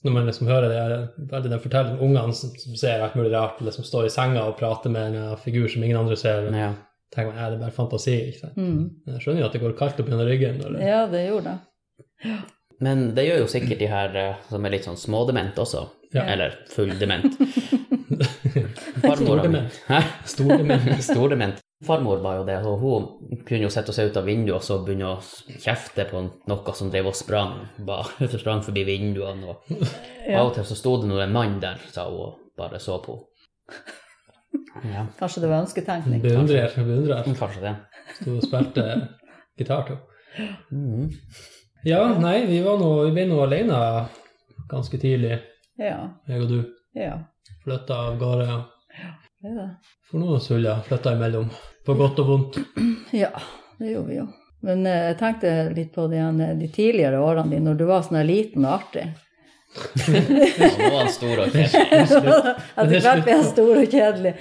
Speaker 2: når man liksom hører det, eller de forteller om ungene som, som ser alt mulig rart, eller som står i senga og prater med en eh, figur som ingen andre ser, og
Speaker 1: Ja.
Speaker 2: tenker man, ja, det er bare fantasi, ikke sant?
Speaker 3: Mm.
Speaker 2: Men Jeg skjønner jo at det går kaldt opp gjennom ryggen. Når det...
Speaker 3: Ja, det gjorde det.
Speaker 1: Men det gjør jo sikkert de her eh, som er litt sånn smådement også.
Speaker 2: Ja.
Speaker 1: Eller
Speaker 2: [LAUGHS]
Speaker 1: fulldement. Farmora mi
Speaker 2: Stordement.
Speaker 1: Hæ?
Speaker 2: Store
Speaker 1: [LAUGHS]
Speaker 2: menn.
Speaker 1: Stordement. Farmor var jo det, og hun kunne jo sette seg ut av vinduet og så begynne å kjefte på noe som drev og sprang, bare sprang forbi vinduene. Og av
Speaker 3: Ja.
Speaker 1: og til så sto det nå en mann der, sa hun, og bare så på henne. Ja,
Speaker 3: Kanskje det var ønsketenkning.
Speaker 2: Beundrer, beundrer.
Speaker 1: kanskje det.
Speaker 2: Sto og spilte gitar til.
Speaker 1: Mhm.
Speaker 2: Ja, nei, vi, var nå, vi ble nå alene ganske tidlig,
Speaker 3: Ja,
Speaker 2: jeg og du.
Speaker 3: ja.
Speaker 2: Flytta av gårde.
Speaker 3: Det er det.
Speaker 2: For noen suller flytta imellom. På godt og vondt.
Speaker 3: Ja, det gjorde vi jo. Men eh, jeg tenkte litt på de, an- de tidligere årene dine, når du var sånn her liten og artig.
Speaker 1: Og nå er han stor og kjent.
Speaker 3: Etter hvert ble jeg stor og kjedelig.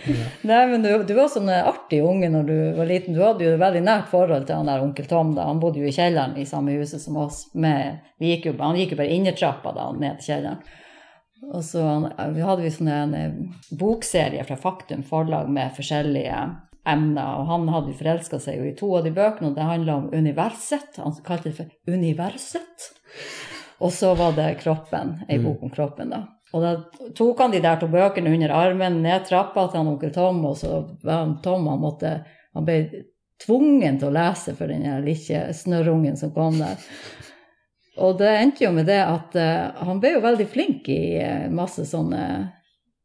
Speaker 3: Nei, men du, du var sånn eh, artig unge når du var liten. Du hadde jo et veldig nært forhold til han der onkel Tom. da. Han bodde jo i kjelleren i samme huset som oss. Med, vi gikk jo, han gikk jo bare innertrappa da, ned til kjelleren. Og så han- vi hadde vi sånn en eh, bokserie fra Faktum forlag med forskjellige emner, og han hadde jo forelska seg jo i to av de bøkene, og det handla om universet. Han kalte det for universet. Og så var det kroppen, ei bok om kroppen, da. Og da tok han de der to bøkene under armen, ned trappa til han onkel Tom, og så var han Tom han måtte Han ble tvungen til å lese for den der lille snørrungen som kom der. Og det endte jo med det at eh, han ble jo veldig flink i eh, masse sånne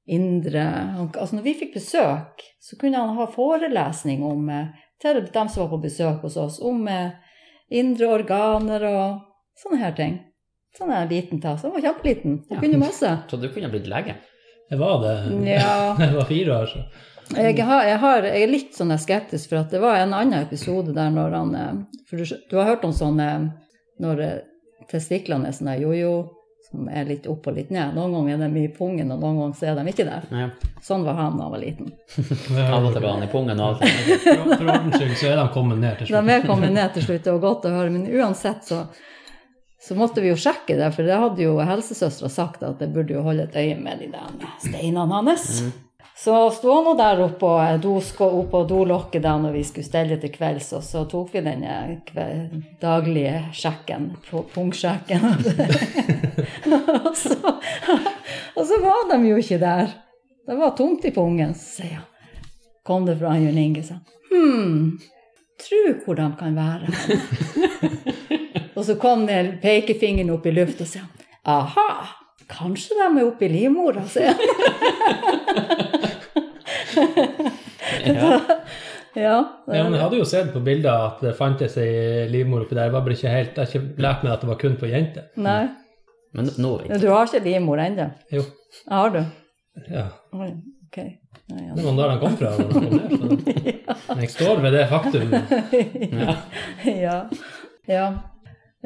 Speaker 3: indre han, Altså når vi fikk besøk, så kunne han ha forelesning om, eh, til dem som var på besøk hos oss, om eh, indre organer og sånne her ting. Sånn er en liten tass. Han var kjempeliten. Han
Speaker 1: Ja.
Speaker 3: kunne masse.
Speaker 1: [LAUGHS] Så du kunne blitt lege.
Speaker 2: Jeg var det.
Speaker 3: Ja.
Speaker 2: [LAUGHS] Jeg var fire år, så.
Speaker 3: Jeg, har, jeg, har, jeg er litt sånn skeptisk, for at det var en annen episode der når han eh, For du, skj- du har hørt om sånn eh, når eh, testiklene er sånn der jojo, som er litt opp og litt ned. Noen ganger er de i pungen, og noen ganger så er de ikke der.
Speaker 1: Ja.
Speaker 3: Sånn var han da han var liten.
Speaker 1: Av og til var han i pungen og alt.
Speaker 2: For for ordens skyld så er de kommet ned til
Speaker 3: De
Speaker 2: slutt.
Speaker 3: er kommet ned til slutt, det var godt å høre. Men uansett så, så måtte vi jo sjekke det, for det hadde jo helsesøstera sagt at jeg burde jo holde et øye med de der steinene hans.
Speaker 2: Mm.
Speaker 3: Så sto han nå der eh, oppe på dosko, opp på dolokket da når vi skulle stelle til kvelds, og så tok vi den eh, kve- daglige sjekken, pu- pungsjekken. [LAUGHS] og, så, og så var de jo ikke der. Det var tomt i pungen, så sier han. Kom det fra Jørn Inge, sa han. Hm, tru hvor de kan være. og så kom det pekefingeren opp i lufta og sa aha, kanskje de er oppe i livmora, sier han.
Speaker 1: Ja.
Speaker 3: [LAUGHS] Ja,
Speaker 2: Ja, men jeg hadde jo sett på bilder at det fantes ei livmor oppi der. Jeg var bare ikke helt, jeg har ikke lært meg at det var kun for jenter.
Speaker 3: Nei,
Speaker 1: Men nå vet
Speaker 3: du har ikke livmor ennå?
Speaker 2: Jo,
Speaker 3: Har du?
Speaker 2: ja.
Speaker 3: Oi, Ok. Nei, ja.
Speaker 2: Det var der han kom fra. når han kom ned, så. Men jeg står ved det faktum.
Speaker 3: [LAUGHS] ja. ja.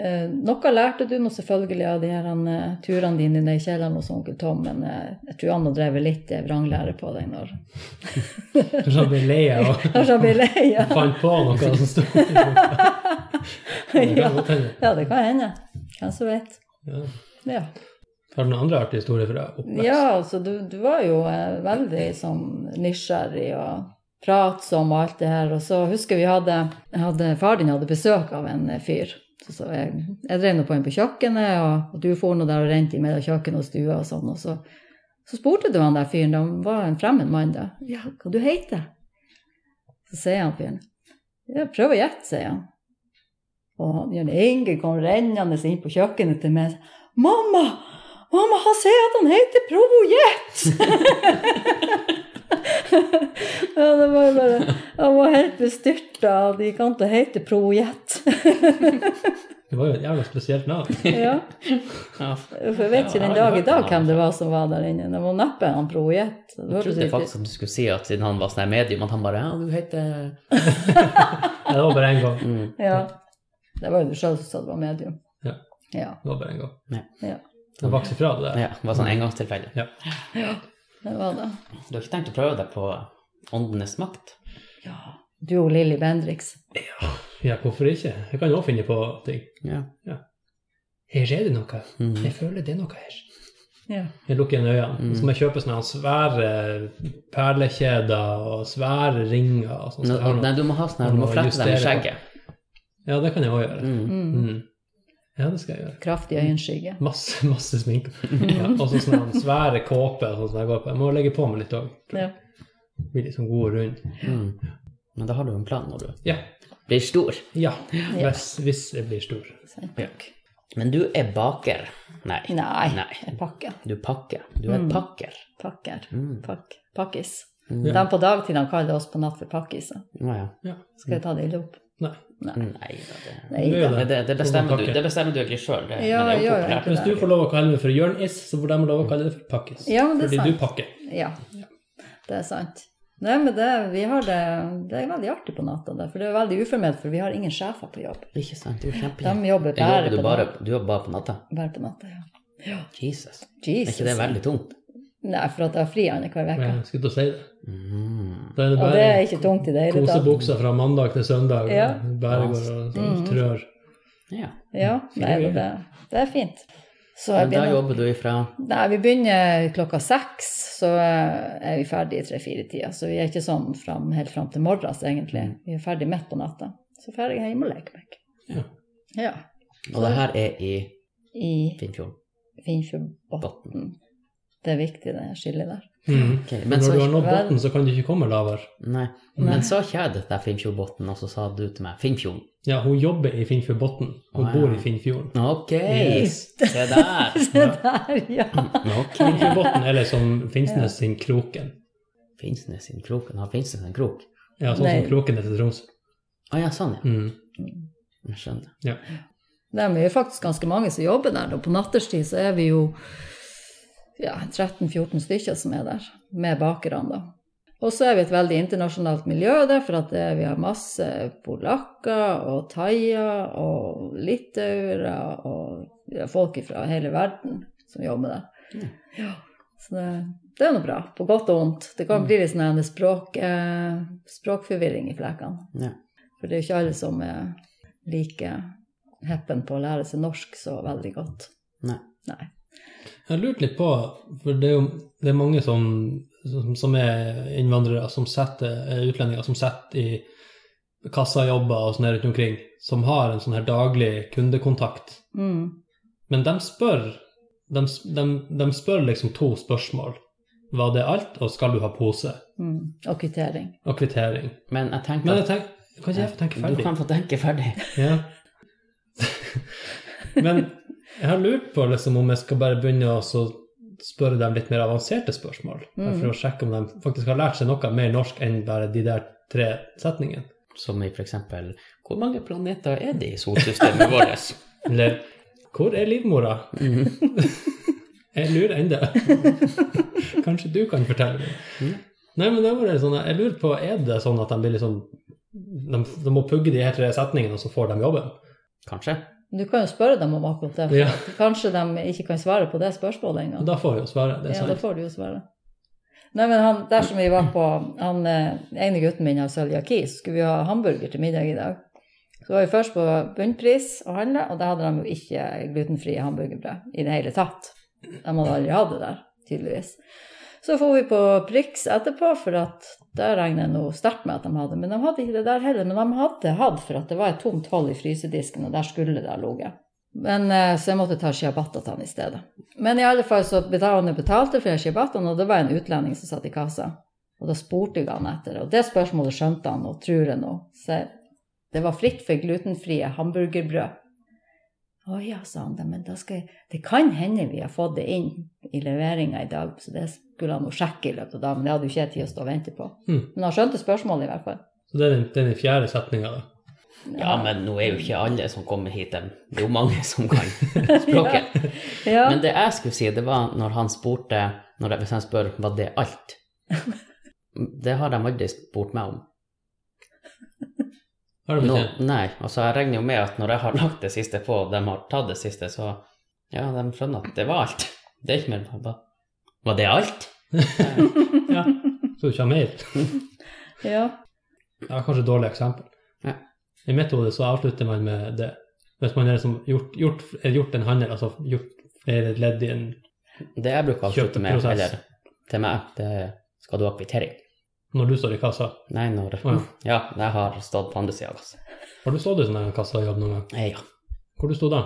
Speaker 3: Eh, noe lærte du nå selvfølgelig av de her eh, turene dine ned i kjelleren hos onkel Tom, men eh, jeg tror han har drevet litt eh, vranglære på deg når [LAUGHS]
Speaker 2: Kanskje han ble lei av og
Speaker 3: Kanskje han blir lei? [LAUGHS] Ja.
Speaker 2: fant på noe som sto i boka. Det kan godt hende.
Speaker 3: ja, det kan hende. Hvem som vet.
Speaker 2: Ja.
Speaker 3: Ja,
Speaker 2: Har du noen andre artige historier fra oppvekst?
Speaker 3: ja altså du, du var jo eh, veldig sånn nysgjerrig og pratsom og alt det her. Og så husker vi hadde, hadde Far din hadde besøk av en eh, fyr. Så, så jeg, jeg drev nå på inn på kjøkkenet, og, og du for nå der og rente mellom kjøkkenet og stua og sånn. Og så, så spurte du han der fyren, han var en fremmed mann da, ja, hva du heter? Så sier han fyren, ja, prøv å gjette, sier han. Og han, Jørn Inge kom rennende inn på kjøkkenet til meg. Mamma! Mamma, han sier at han heter Provojett! ja, det var jo bare Han var helt bestyrta av at de kan ikke hete Provojett.
Speaker 2: Det var jo et jævla spesielt navn.
Speaker 3: ja.
Speaker 1: Ja.
Speaker 3: For jeg vet ikke den dag i dag hvem det var som var der inne. Det var neppe han Provojett.
Speaker 1: Jeg trodde faktisk at du skulle si at siden han var sånn her medium, at han bare Ja, du heter
Speaker 2: Nei, Det var bare en gang.
Speaker 1: mm.
Speaker 3: Ja. Det var jo du sjøl som sa det var medium.
Speaker 2: Ja.
Speaker 3: ja.
Speaker 2: Det var bare en gang.
Speaker 3: Ja,
Speaker 2: Det vokste fra det der.
Speaker 1: Ja, det var sånn engangstilfelle.
Speaker 3: det var det.
Speaker 1: Du har ikke tenkt å prøve deg på Åndenes makt?
Speaker 3: Ja. Du og Lilly Bendriks.
Speaker 2: Ja, hvorfor ikke? Jeg kan jo også finne på ting.
Speaker 1: Ja.
Speaker 2: Her er det noe.
Speaker 1: Mhm.
Speaker 2: Jeg føler det er noe her.
Speaker 3: Ja.
Speaker 2: Jeg lukker igjen øynene. Så må jeg kjøpe sånne her svære perlekjeder og svære ringer. og sånt. Så jeg har
Speaker 1: Nei,
Speaker 2: noe-
Speaker 1: du må ha sånn her, du må flette deg med skjegget.
Speaker 2: Ja, det kan jeg òg gjøre.
Speaker 1: Mm.
Speaker 3: Mm.
Speaker 2: Mm. Ja, det skal jeg gjøre.
Speaker 3: Kraftig øyenskygge.
Speaker 2: Masse [LAUGHS] masse sminke. Ja, og så sånne her svære kåper. Sånn som jeg går på. Jeg må legge på meg litt òg.
Speaker 3: Ja.
Speaker 2: Bli litt sånn god og rund.
Speaker 1: Mm. Men da har du en plan når du
Speaker 2: Ja.
Speaker 1: blir stor.
Speaker 2: ja. Hvis, hvis jeg blir stor.
Speaker 1: Men du er baker. Nei.
Speaker 3: Nei, Mm.
Speaker 1: Nei.
Speaker 3: jeg pakker.
Speaker 1: Du pakker. Du er pakker.
Speaker 3: Pakker.
Speaker 1: Mm.
Speaker 3: Pakk. Pakkis.
Speaker 1: Mm.
Speaker 3: De på dagtid han kaller oss på natt for pakkiser.
Speaker 1: Å, ja.
Speaker 2: Ja.
Speaker 3: Skal jeg ta det i dop?
Speaker 2: Nei.
Speaker 1: Nei da, det
Speaker 3: Nei
Speaker 2: Du er
Speaker 3: da.
Speaker 2: jo
Speaker 1: Men det, det, bestemmer
Speaker 2: Sånn
Speaker 1: du,
Speaker 2: pakke.
Speaker 1: det bestemmer du egentlig sjøl. Det,
Speaker 3: Ja,
Speaker 1: men det er jo
Speaker 3: jeg gjør
Speaker 1: populært.
Speaker 2: Hvis du får lov å kalle meg for Jørn-Is, så får de lov å kalle det for Pakkis.
Speaker 3: Ja, men det er
Speaker 2: Fordi
Speaker 3: sant.
Speaker 2: du pakker.
Speaker 3: Ja, det er sant. Nei, men det, vi har det, det er veldig artig på natta, det, for det er veldig uformelt, for vi har ingen sjefer på jobb.
Speaker 1: Ikke sant? Du er
Speaker 3: De
Speaker 1: kjempejobb.
Speaker 3: jobber bare
Speaker 1: du
Speaker 3: på,
Speaker 1: bare,
Speaker 3: natta.
Speaker 1: du jobber bare på natta?
Speaker 3: bare på natta. Ja.
Speaker 1: Jesus. Er
Speaker 3: Jesus.
Speaker 1: ikke det veldig tungt?
Speaker 3: Nei, for at jeg har fri annenhver uke.
Speaker 2: Jeg skulle til å si det.
Speaker 1: Mm.
Speaker 2: Da er det
Speaker 3: Og
Speaker 2: bare
Speaker 3: det er ikke tungt i det hele tatt.
Speaker 2: Kosebuksa fra mandag til søndag.
Speaker 3: Ja. Mm.
Speaker 2: Bare går og sånn, trør.
Speaker 1: Ja.
Speaker 3: Ja,
Speaker 2: Fine
Speaker 3: nei,
Speaker 2: greier.
Speaker 3: det, det er fint. Så jeg
Speaker 1: Men da
Speaker 3: begynner
Speaker 1: jobber du ifra
Speaker 3: Nei, vi begynner klokka seks, så eh, er vi ferdig i tre-fire-tida. Så vi er ikke sånn fram, helt fram til morgens, egentlig. Vi er ferdig midt på natta. Så drar jeg hjem og legger meg.
Speaker 2: Ja.
Speaker 3: Ja.
Speaker 1: Og det her er i
Speaker 3: I
Speaker 1: Finnfjorden.
Speaker 3: Finnfjordbotn. Det er viktig, det skillet der.
Speaker 2: Mhm.
Speaker 1: Ok,
Speaker 2: Når
Speaker 1: men,
Speaker 2: du
Speaker 1: så,
Speaker 2: har nådd
Speaker 3: vel-
Speaker 2: bunnen, så kan du ikke komme lavere.
Speaker 1: nei, men så sa jeg det til Finnfjordbotn, og så sa du til meg Finnfjorden.
Speaker 2: Ja, hun jobber i Finnfjordbotn. Hun
Speaker 1: Wow.
Speaker 2: bor i Finnfjorden.
Speaker 1: Ok,
Speaker 2: Yes.
Speaker 1: se der.
Speaker 3: Se der, [LAUGHS] ja!
Speaker 1: Ok.
Speaker 2: Finnfjordbotn, eller som liksom Finnsnes sin Kroken.
Speaker 1: Finnsnes sin krok. Han har Finnsnes en krok.
Speaker 2: Ja, sånn
Speaker 3: Nei.
Speaker 2: som Kroken er til Troms.
Speaker 1: Å ja, sånn, ja.
Speaker 2: Mm.
Speaker 1: Jeg skjønner.
Speaker 2: Ja.
Speaker 3: Det er jo faktisk ganske mange som jobber der. Og på natterstid så er vi jo ja, 13-14 stykker som er der, med bakerne, da. Og så er vi et veldig internasjonalt miljø der, for at det, vi har masse polakker og thaier og litauere og ja, folk fra hele verden som jobber der. Ja. Så det, det er nå bra, på godt og vondt. Det kan bli litt sånn her språk, eh, språkforvirring i flekene.
Speaker 1: Ja.
Speaker 3: For det er jo ikke alle som eh, er like heppen på å lære seg norsk så veldig godt.
Speaker 1: Nei.
Speaker 3: Nei.
Speaker 2: Jeg lurte litt på, for det er jo det er mange som, som, som er innvandrere, som setter, er utlendinger, som setter i kassajobber og sånn her rundt omkring, som har en sånn her daglig kundekontakt.
Speaker 3: Mm.
Speaker 2: Men de spør, de, s- de, de spør liksom to spørsmål. Var det alt, og skal du ha pose?
Speaker 3: Mm. Og kvittering.
Speaker 2: Og kvittering.
Speaker 1: Men jeg
Speaker 2: Men
Speaker 1: tenker
Speaker 2: jeg tenker, kan ikke jeg få tenke
Speaker 1: at du
Speaker 2: ferdig?
Speaker 1: kan få tenke ferdig.
Speaker 2: Ja. [LAUGHS] Men jeg har lurt på liksom, om jeg skal bare begynne å så spørre dem litt mer avanserte spørsmål.
Speaker 3: Mm.
Speaker 2: For å sjekke om de faktisk har lært seg noe mer norsk enn bare de der tre setningene.
Speaker 1: Som i for eksempel Hvor mange planeter er det i solsystemet
Speaker 2: [LAUGHS]
Speaker 1: vårt?
Speaker 2: Eller hvor er livmora? Mm. [LAUGHS] jeg lurer ennå. [LAUGHS] Kanskje du kan fortelle meg.
Speaker 1: Mm.
Speaker 2: Nei, men det var det sånn, jeg lurer på, er det sånn at de blir liksom de, de må pugge de her tre setningene, og så får de jobben?
Speaker 1: Kanskje.
Speaker 3: Du kan jo spørre dem om akkurat det. for
Speaker 2: Ja.
Speaker 3: at Kanskje de ikke kan svare på det spørsmålet engang.
Speaker 2: Da får vi jo svaret. Det er
Speaker 3: Ja, da
Speaker 2: sant.
Speaker 3: får du jo svare. Nei, men han, dersom vi var på han eh, ene gutten min har cøliaki, så skulle vi ha hamburger til middag i dag. Så var vi først på Bunnpris og handla, og da hadde de jo ikke glutenfrie hamburgerbrød i det hele tatt. De hadde aldri hatt det der, tydeligvis. Så for vi på Prix etterpå, for at der regner jeg nå sterkt med at de hadde. Men de hadde ikke det der heller, men de hadde hatt, for at det var et tomt hull i frysedisken, og der skulle det ha ligget. Men, eh, Så jeg måtte ta ciabatta til han i stedet. Men i alle fall så betalte han betalte for shibatten, og det var en utlending som satt i kassa. Og da spurte jeg han etter, og det spørsmålet skjønte han, og tror jeg nå. Så jeg- det var fritt for glutenfrie hamburgerbrød. Å ja, sa han, «da, men da skal jeg Det kan hende vi har fått det inn i leveringa i dag, så det skulle han jo sjekke i løpet av dagen, men det hadde jo ikke jeg tid å stå og vente på.
Speaker 2: Mm.
Speaker 3: Men han skjønte spørsmålet i hvert fall.
Speaker 2: Så det er den, det er den fjerde setninga, da.
Speaker 1: Ja, men nå er jo ikke alle som kommer hit, dem. Det er jo mange som kan [LAUGHS] språket.
Speaker 3: Ja.
Speaker 1: Men det jeg skulle si, det var når han spurte når jeg, Hvis han spør var det alt Det har de aldri spurt meg om.
Speaker 2: Har du
Speaker 1: Nå,
Speaker 2: bestemt?
Speaker 1: nei, altså jeg regner jo med at når jeg har lagt det siste på, og de har tatt det siste, så ja, de skjønner at det var alt. Det er ikke mer pappa. Var det alt?
Speaker 2: Ja. Så du ikke har mer?
Speaker 3: ja.
Speaker 2: Det var kanskje et dårlig eksempel.
Speaker 1: Ja.
Speaker 2: I mitt hode så avslutter man med det. Hvis man har liksom gjort, gjort, gjort en handel, altså gjort flere ledd i en
Speaker 1: Det jeg bruker å avslutte med,
Speaker 2: Kjøpeprosess.
Speaker 1: eller til meg, det er skal du ha kvittering?
Speaker 2: Når du står i kassa
Speaker 1: Nei, når
Speaker 2: Å
Speaker 1: Ja, jeg har stått på andre sida av oss.
Speaker 2: Har du stått i sånn her kassajobb noen gang?
Speaker 1: Eh, Ja.
Speaker 2: Hvor du stod da?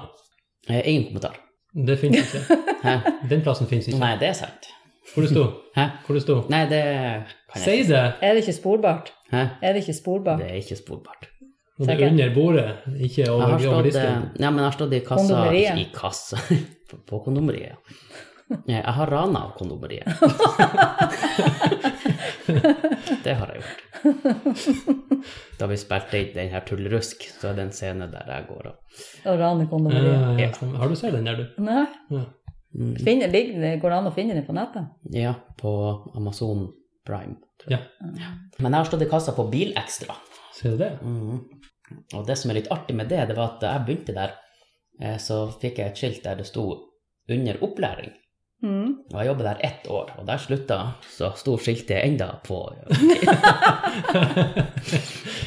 Speaker 1: Eh, Ingen kommentar.
Speaker 2: Det finnes
Speaker 3: [LAUGHS]
Speaker 2: ikke.
Speaker 1: Hæ?
Speaker 2: Den plassen finnes ikke.
Speaker 1: Nei, det er sant.
Speaker 2: Hvor du stod?
Speaker 1: Hæ?
Speaker 2: Hvor du stod?
Speaker 1: Nei, det kan jeg
Speaker 2: Si det!
Speaker 3: Er det ikke sporbart?
Speaker 1: Hæ?
Speaker 3: Er det ikke sporbart?
Speaker 1: Det er ikke sporbart.
Speaker 2: Når det
Speaker 3: Sikkert.
Speaker 2: er under bordet, ikke
Speaker 1: Jeg
Speaker 2: over,
Speaker 1: har
Speaker 2: over
Speaker 1: stått, eh,
Speaker 2: disken.
Speaker 1: ja, men jeg har stått i kassa
Speaker 3: Kondomeriet.
Speaker 1: I kassa. [LAUGHS] På, på kondomeriet. ja. Eh, Jeg har rana av kondomeriet. det har jeg gjort. Da vi spilte inn den her Tullerusk, så er det en scene der jeg går og
Speaker 3: Og ranekondomeriet?
Speaker 2: Eh,
Speaker 1: Ja.
Speaker 2: ja, stemmer. har du sett den der, du?
Speaker 3: Nei.
Speaker 2: Ja.
Speaker 1: Mm,
Speaker 3: Finner, ligger, det- går det an å finne den på nettet?
Speaker 1: Ja, på Amazon Prime. tror jeg.
Speaker 2: Ja.
Speaker 1: Men jeg har stått i kassa på Bilextra.
Speaker 2: Ser du det?
Speaker 1: Mhm. Og det som er litt artig med det, det var at da jeg begynte der, eh, så fikk jeg et skilt der det sto 'under opplæring'.
Speaker 3: Mm.
Speaker 1: Og jeg jobbet der ett år, og der slutta så sto skiltet enda på [LAUGHS]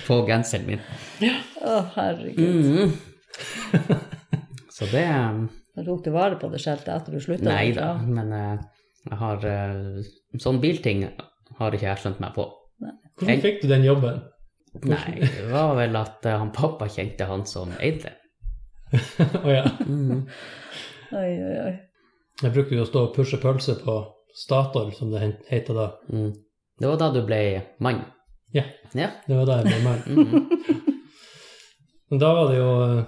Speaker 1: På genseren min.
Speaker 2: Mm.
Speaker 3: Å, herregud.
Speaker 1: Mhm. Så det ehm,
Speaker 3: Da tok du vare på det skjeltet etter du slutta?
Speaker 1: Nei da, men eh, jeg har eh, Sånn bilting har ikke jeg skjønt meg [LAUGHS] på.
Speaker 2: Hvordan fikk du den jobben? [LAUGHS]
Speaker 1: Nei, det var vel at eh, han pappa kjente han som eide det.
Speaker 2: Å ja.
Speaker 1: Mhm.
Speaker 3: Oi, oi, oi.
Speaker 2: Jeg bruker jo å stå og pushe pølse på Statoil, som det het- heter da.
Speaker 1: Mm. Det var da du ble mann.
Speaker 2: Ja.
Speaker 1: Ja.
Speaker 2: Det var da jeg ble mann.
Speaker 1: Mhm.
Speaker 2: Men da var det jo eh,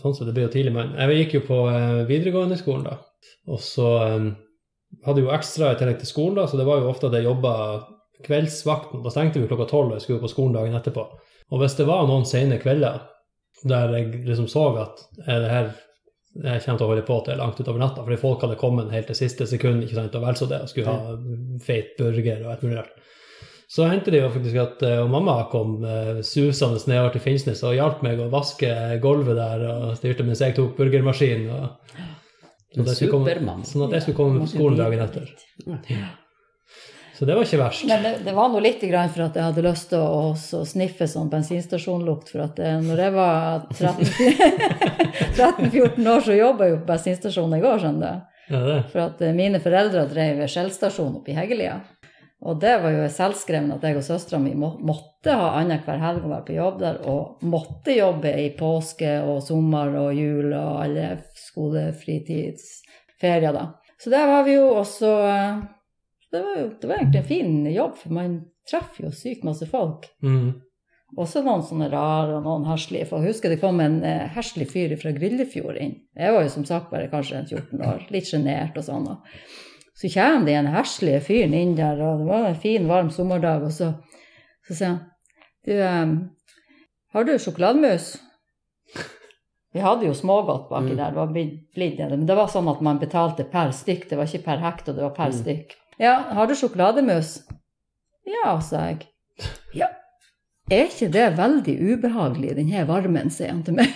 Speaker 2: sånn som det ble jo tidlig mann. Jeg gikk jo på eh, videregående skolen da, og så eh, hadde jeg jo ekstra i tillegg til skolen da, så det var jo ofte at jeg jobba kveldsvakten. Da stengte vi klokka tolv og jeg skulle på skolen dagen etterpå. Og hvis det var noen sene kvelder der jeg liksom så at eh, det her det her kommer til å holde på til langt utover natta, fordi folk hadde kommet helt til siste sekund ikke sant, og vel så det, og skulle ha feit burger og alt mulig rart. Så hendte det jo faktisk at eh, og mamma kom eh, susende nedover til Finnsnes og hjalp meg å vaske gulvet der og styrte mens jeg tok burgermaskinen. Og, sånn
Speaker 1: En
Speaker 2: at jeg skulle komme-
Speaker 1: supermann.
Speaker 2: Sånn at jeg skulle komme på skolen dagen etter. Så det var ikke verst.
Speaker 3: Men det, det var nå litt grann for at jeg hadde lyst til å også sniffe sånn bensinstasjonlukt. For at eh, når jeg var [LAUGHS] 13-14 år, så jobba jeg jo på bensinstasjonen jeg òg, skjønner du.
Speaker 2: Ja, det.
Speaker 3: For at eh, mine foreldre drev en Skjellstasjon oppe i Heggelia. Og det var jo selvskreven at jeg og søstera mi må, måtte ha annenhver helg å være på jobb der, og måtte jobbe i påske og sommer og jul og alle skolefritidsferier, da. Så der var vi jo også eh, Det var jo det var egentlig en fin jobb, for man traff jo sykt masse folk.
Speaker 2: Mm.
Speaker 3: Også noen sånne rare og noen herslige. For jeg husker det kom en eh, herslig fyr fra Gryllefjord inn. Jeg var jo som sagt bare kanskje en 14 år, litt sjenert og sånn. Og. Så kommer det en herslig fyr inn der, og det var en fin, varm sommerdag, og så, så sier han Du, em, har du sjokolademus? Vi hadde jo smågodt baki
Speaker 1: Mm.
Speaker 3: der, det var blitt- blitt det, men det var sånn at man betalte per stykk, det var ikke per hekt, og det var per
Speaker 1: Mm.
Speaker 3: stykk. Ja, har du sjokolademus? Ja, sa jeg. Ja, er ikke det veldig ubehagelig, den her varmen, sier han til meg.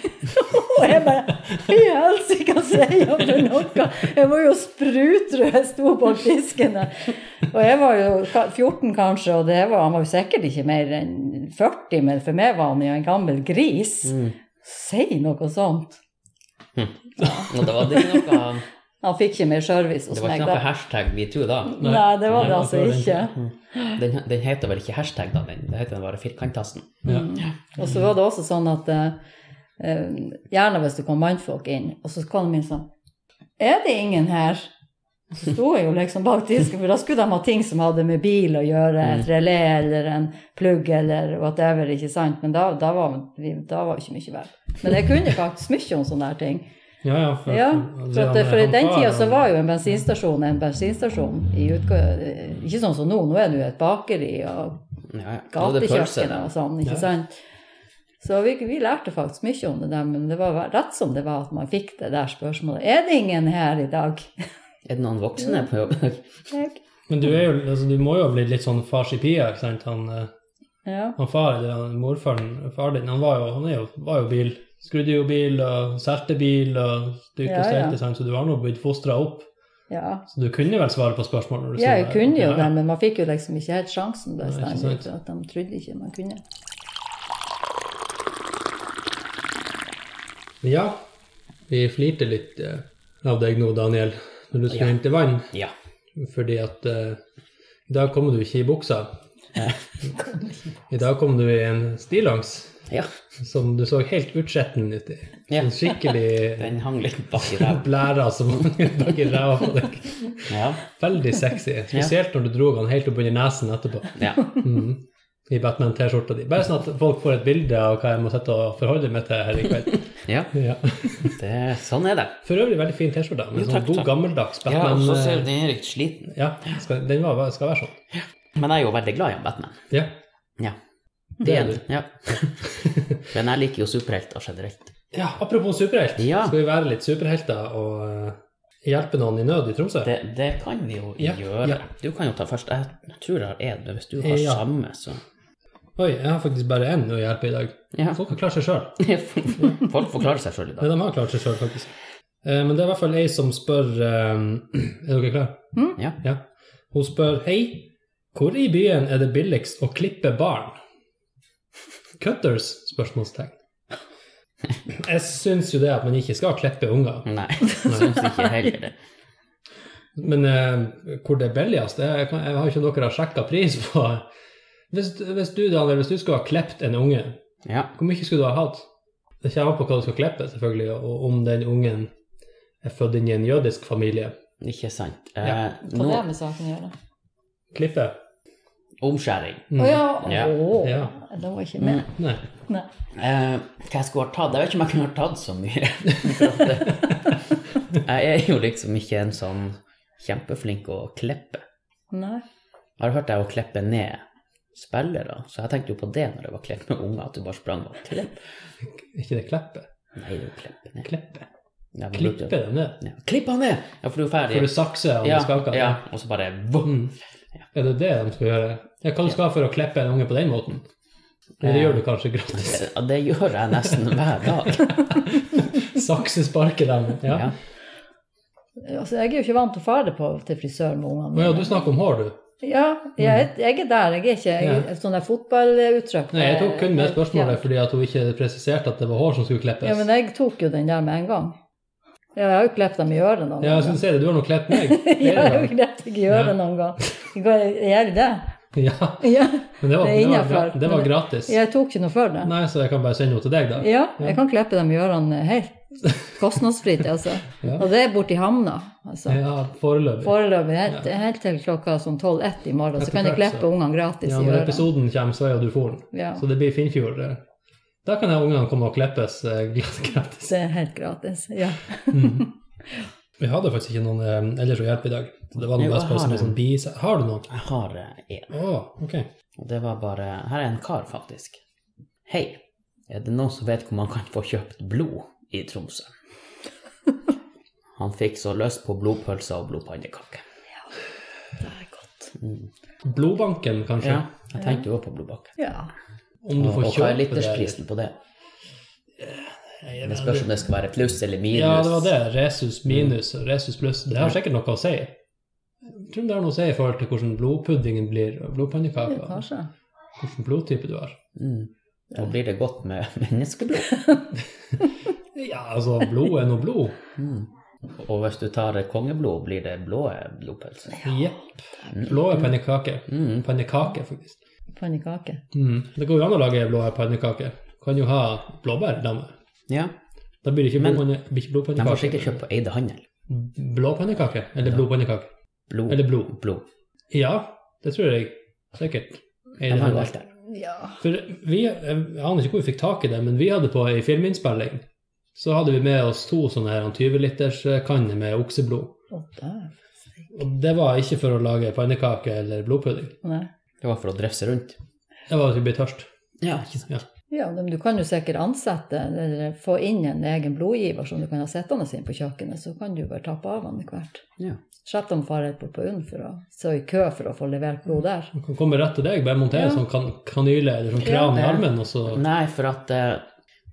Speaker 3: Og jeg bare Fy helsike, hva sier han for noe? Jeg var jo sprutrød, jeg sto bak disken der. Og jeg var jo ka- 14 kanskje, og det var, han var jo sikkert ikke mer enn 40, men for meg var han jo en gammel gris.
Speaker 1: Mm.
Speaker 3: Si noe sånt.
Speaker 1: Og da var det ikke noe
Speaker 3: Han fikk ikke mer service
Speaker 1: Det
Speaker 3: hos
Speaker 1: var
Speaker 3: meg
Speaker 1: ikke
Speaker 3: da.
Speaker 1: noe hashtag metoo da.
Speaker 2: Nei.
Speaker 3: Nei, det
Speaker 2: Nei,
Speaker 3: var det
Speaker 2: det
Speaker 3: altså
Speaker 2: var det
Speaker 3: ikke.
Speaker 1: Den, den heter vel ikke hashtag, da? Den, det heter den bare firkanttasten.
Speaker 2: Ja.
Speaker 3: Mm. Og så var det også sånn at eh, eh, gjerne hvis det kom mannfolk inn, og så kom de inn sånn Er det ingen her? Og så sto jeg jo liksom bak disken, for da skulle de ha ting som hadde med bil å gjøre,
Speaker 2: Mm.
Speaker 3: et relé eller en plugg eller whatever, ikke sant? Men da, da var vi da var vi ikke mye vel. Men jeg kunne faktisk mye om sånne her ting.
Speaker 2: Ja, ja, for,
Speaker 3: Ja, for, at, for i
Speaker 2: han
Speaker 3: den
Speaker 2: far,
Speaker 3: tida så
Speaker 2: han-
Speaker 3: var jo en bensinstasjon en bensinstasjon. I utgå ikke sånn som nå, nå er det jo et bakeri og
Speaker 1: Ja, ja. Nå er det pølse,
Speaker 3: gatekjøkken
Speaker 1: da.
Speaker 3: og sånn, ikke
Speaker 2: Ja.
Speaker 3: sant? Så vi, vi lærte faktisk mye om det der, men det var rett som det var at man fikk det der spørsmålet. Er det ingen her i dag? [LAUGHS]
Speaker 1: Er det noen voksne på jobb?
Speaker 3: Jeg-
Speaker 2: Men du, er jo, altså, du må jo ha blitt litt sånn fars i pia, ikke sant? Han, eh,
Speaker 3: Ja.
Speaker 2: han far, eller han, morfaren, far din, han var jo, han er jo, var jo bil. Skrudde jo bil og solgte bil og styrte
Speaker 3: Ja,
Speaker 2: og
Speaker 3: ja.
Speaker 2: stelte, sant? så du har nå blitt fostra opp.
Speaker 3: ja.
Speaker 2: Så du kunne vel svare på spørsmål? når du sto
Speaker 3: Ja, jeg
Speaker 2: der.
Speaker 3: kunne jo
Speaker 2: Ja, ja.
Speaker 3: det, men man fikk jo liksom ikke helt sjansen
Speaker 2: Nei, ikke sant.
Speaker 3: bestandig. for At de trodde ikke man kunne.
Speaker 2: Ja, vi flirte litt eh, av deg nå, Daniel, når du skulle hente vann,
Speaker 1: Ja.
Speaker 2: fordi at eh, i dag kom du ikke i buksa. I dag kom du i en stillongs
Speaker 1: ja.
Speaker 2: som du så helt utskjetten ut i.
Speaker 1: Ja.
Speaker 2: En
Speaker 1: [LAUGHS]
Speaker 2: skikkelig
Speaker 1: Den hang litt bak i ræva.
Speaker 2: blæra som [LAUGHS] hang bak i ræva på deg.
Speaker 1: Ja.
Speaker 2: Veldig sexy, spesielt når du dro han helt opp under nesen etterpå.
Speaker 1: ja.
Speaker 2: Mhm. I Batman-T-skjorta di. Bare sånn at folk får et bilde av hva jeg må sette og forholde meg til her i kveld.
Speaker 1: ja.
Speaker 2: Ja.
Speaker 1: Det, sånn er det.
Speaker 2: For øvrig veldig fin T-skjorte, med
Speaker 1: Jo,
Speaker 2: sånn
Speaker 1: takk,
Speaker 2: god
Speaker 1: takk.
Speaker 2: gammeldags
Speaker 1: Ja, og
Speaker 2: Batman.
Speaker 1: så
Speaker 2: eh,
Speaker 1: ser den er litt sliten.
Speaker 2: Ja, skal, den var, skal være sånn.
Speaker 1: Men jeg er jo veldig glad i Batman.
Speaker 2: Ja.
Speaker 1: Ja.
Speaker 2: Det er
Speaker 1: Igjen. Ja.
Speaker 2: [LAUGHS]
Speaker 1: Men jeg liker jo superhelter generelt.
Speaker 2: ja apropos superhelt,
Speaker 1: Ja.
Speaker 2: skal vi være litt superhelter og eh, hjelpe noen i nød i Tromsø?
Speaker 1: Det, det kan vi jo
Speaker 2: Ja,
Speaker 1: gjøre.
Speaker 2: ja.
Speaker 1: Du kan jo ta først. Jeg tror jeg har én, men hvis du har
Speaker 2: Ja.
Speaker 1: samme, så
Speaker 2: Oi, jeg har faktisk bare én å hjelpe i dag.
Speaker 1: [LAUGHS] ja.
Speaker 2: Folk har klart seg sjøl.
Speaker 1: Folk forklarer seg sjøl i
Speaker 2: Ja,
Speaker 1: dag.
Speaker 2: de har klart seg sjøl, faktisk. Eh, men det er i hvert fall ei som spør eh, [CLEARS THROAT] Er dere klare?
Speaker 1: Mm. Ja.
Speaker 2: ja. Hun spør Hei, hvor i byen er det
Speaker 1: [LAUGHS]
Speaker 2: billigst å klippe barn? Cutters? spørsmålstegn. Jeg syns jo det at man ikke skal klippe unger.
Speaker 1: Nei, [LAUGHS] jeg syns ikke heller det.
Speaker 2: Men eh, hvor det er billigst jeg, kan- jeg har ikke noe dere har sjekka pris på. [LAUGHS] Hvis, hvis du Daniel, hvis du skulle ha klippet en unge,
Speaker 1: Ja.
Speaker 2: hvor mye skulle du ha hatt? Det kommer an på hva du skal klippe, selvfølgelig, og om den ungen er født inn i en jødisk familie.
Speaker 1: Ikke sant.
Speaker 2: Ja.
Speaker 1: Eh,
Speaker 3: Hva
Speaker 1: nå,
Speaker 3: det med saken å gjøre?
Speaker 2: Klippe?
Speaker 1: omskjæring.
Speaker 3: Å
Speaker 2: Mm.
Speaker 3: ja.
Speaker 1: Ja.
Speaker 3: Å,
Speaker 2: Ja.
Speaker 3: Det var ikke med.
Speaker 2: Nei.
Speaker 3: Nei.
Speaker 1: Eh, hva jeg skulle ha tatt? Jeg vet ikke om jeg kunne ha tatt så mye. [LAUGHS] For at, eh, jeg er jo liksom ikke en sånn kjempeflink å klippe.
Speaker 3: Nei.
Speaker 1: Jeg har hørt deg å klippe ned spillere, så jeg tenkte jo på det når det var klipp med unger, at du bare sprang og klipp.
Speaker 2: Er ikke det kleppe?
Speaker 1: Nei, det er jo klippe ned.
Speaker 2: Kleppe?
Speaker 1: Ja, men brukte-
Speaker 2: Klippe dem ned?
Speaker 1: Ja. Klipp han ned! Ja, for du er ferdig.
Speaker 2: Får du sakse og
Speaker 1: ja,
Speaker 2: skake?
Speaker 1: ja, og så bare vum.
Speaker 2: Mm. Er det det de skal gjøre? Ja, hva du skal ha for å klippe en unge på den måten? Men det
Speaker 1: Eh.
Speaker 2: gjør du kanskje gratis. [LAUGHS]
Speaker 1: Ja, det gjør jeg nesten hver dag.
Speaker 2: Saksesparke dem. [LAUGHS] Ja.
Speaker 1: Ja.
Speaker 3: Altså, jeg er jo ikke vant til å fare på, til frisør med ungene
Speaker 2: Men ja, du
Speaker 3: mine.
Speaker 2: snakker om hår, du.
Speaker 3: Ja, jeg, jeg er der. Jeg er ikke jeg, er sånn der fotballuttrykk.
Speaker 2: Nei, jeg tok kun med spørsmålet fordi at hun ikke presiserte at det var hår som skulle klippes.
Speaker 3: Ja, men jeg tok jo den der med en gang. Ja, jeg har jo klippet dem i øret noen
Speaker 2: Ja, jeg
Speaker 3: gang.
Speaker 2: skulle si det, du har nå klippet
Speaker 3: [LAUGHS]
Speaker 2: meg.
Speaker 3: jeg
Speaker 2: flere
Speaker 3: har jo
Speaker 2: ganger.
Speaker 3: klippet deg i øret
Speaker 2: Ja.
Speaker 3: noen gang. Gjør det?
Speaker 2: Ja,
Speaker 3: Ja.
Speaker 2: men det var,
Speaker 3: Det er
Speaker 2: det var,
Speaker 3: innenfor,
Speaker 2: gra- det
Speaker 3: men
Speaker 2: var
Speaker 3: det-
Speaker 2: gratis.
Speaker 3: Jeg tok ikke noe for det.
Speaker 2: Nei, så jeg kan bare sende henne til deg, da.
Speaker 3: Ja, jeg kan klippe dem i ørene helt kostnadsfritt, altså.
Speaker 2: [LAUGHS] Ja.
Speaker 3: Og det er borti hamna, altså.
Speaker 2: Ja, foreløpig.
Speaker 3: Foreløpig helt, helt til klokka sånn 12-1 i morgen, så
Speaker 2: Etter
Speaker 3: kan jeg
Speaker 2: hvert,
Speaker 3: klippe
Speaker 2: så.
Speaker 3: ungene gratis
Speaker 2: Ja,
Speaker 3: i
Speaker 2: når
Speaker 3: øret.
Speaker 2: episoden kommer, så er jo du foren.
Speaker 3: Ja,
Speaker 2: Så det blir Finnfjord. det. Da kan jeg ungene komme og klippes eh, [LAUGHS] gratis.
Speaker 3: det er helt gratis. Ja.
Speaker 2: Mhm. Vi hadde faktisk ikke noen eh, ellers å hjelpe i dag. Så det var
Speaker 1: Jo,
Speaker 2: noe
Speaker 1: jeg
Speaker 2: best på
Speaker 1: har
Speaker 2: som en
Speaker 1: en.
Speaker 2: sånn bise. Har du noen?
Speaker 1: Jeg har eh, en.
Speaker 2: Å, ok.
Speaker 1: Og det var bare Her er en kar, faktisk. Hei. Er det noen som vet hvor man kan få kjøpt blod i Tromsø? Han fikk så lyst på blodpølser og blodpannekaker.
Speaker 3: Det er godt.
Speaker 2: Blodbanken, kanskje?
Speaker 1: Ja, jeg tenkte jo også på blodbakke.
Speaker 3: Ja.
Speaker 2: Om du
Speaker 1: Og,
Speaker 2: får
Speaker 1: og hva
Speaker 2: kjøpe
Speaker 1: er litersprisen på det?
Speaker 2: Jeg
Speaker 1: Det
Speaker 2: vet
Speaker 1: spørs om det skal være pluss eller minus.
Speaker 2: Ja, det var det. Resus minus og resus pluss. Det har sikkert noe å si. Jeg tror det har noe å si i forhold til hvordan blodpuddingen blir, og
Speaker 3: ja,
Speaker 2: blodpannekaker,
Speaker 3: kanskje.
Speaker 2: hvilken blodtype du har.
Speaker 1: Mm. Da blir det godt med menneskeblod.
Speaker 2: Ja, altså, blod er nå blod.
Speaker 1: Mm. Og hvis du tar kongeblod, blir det blå blodpølser.
Speaker 2: Jepp. Blå er pannekaker.
Speaker 1: Mm.
Speaker 2: Pannekaker, faktisk.
Speaker 3: Pannekake.
Speaker 2: Mm. Det går jo an å lage blå pannekaker. Kan jo ha blåbær i dem.
Speaker 1: Ja.
Speaker 2: Da blir det ikke
Speaker 1: Men-
Speaker 2: blodpanne- blir ikke
Speaker 1: De får sikkert
Speaker 2: blodpannekaker.
Speaker 1: kjøpt på Eide handel.
Speaker 2: Blå pannekaker, eller blodpannekaker.
Speaker 1: Blod.
Speaker 2: Eller blod.
Speaker 1: blod.
Speaker 2: Ja, det tror jeg sikkert.
Speaker 1: De har jo alt der.
Speaker 3: Ja.
Speaker 2: For vi, jeg aner ikke hvor vi fikk tak i det, men vi hadde på ei filminnspilling, så hadde vi med oss to sånne her 20-literskanner med okseblod.
Speaker 3: Å, der.
Speaker 2: Og det var ikke for å lage pannekaker eller blodpudding.
Speaker 3: Nei.
Speaker 1: Det var for å drefse rundt.
Speaker 2: Det var at vi ble tørst.
Speaker 1: Ja, ikke sant.
Speaker 3: Ja, men du kan jo sikkert ansette eller få inn en egen blodgiver som du kan ha sittende inn på kjøkkenet, så kan du bare tappe av han etter hvert.
Speaker 1: Ja.
Speaker 3: Slipp dem fare på, på UNN for å stå i kø for å få levert blod der.
Speaker 2: Man kan komme rett til deg, bare montere
Speaker 3: Ja.
Speaker 2: en sånn kan kanyle eller sånn
Speaker 3: Ja,
Speaker 2: kran i
Speaker 1: det-
Speaker 2: armen, og så
Speaker 1: Nei, for at eh,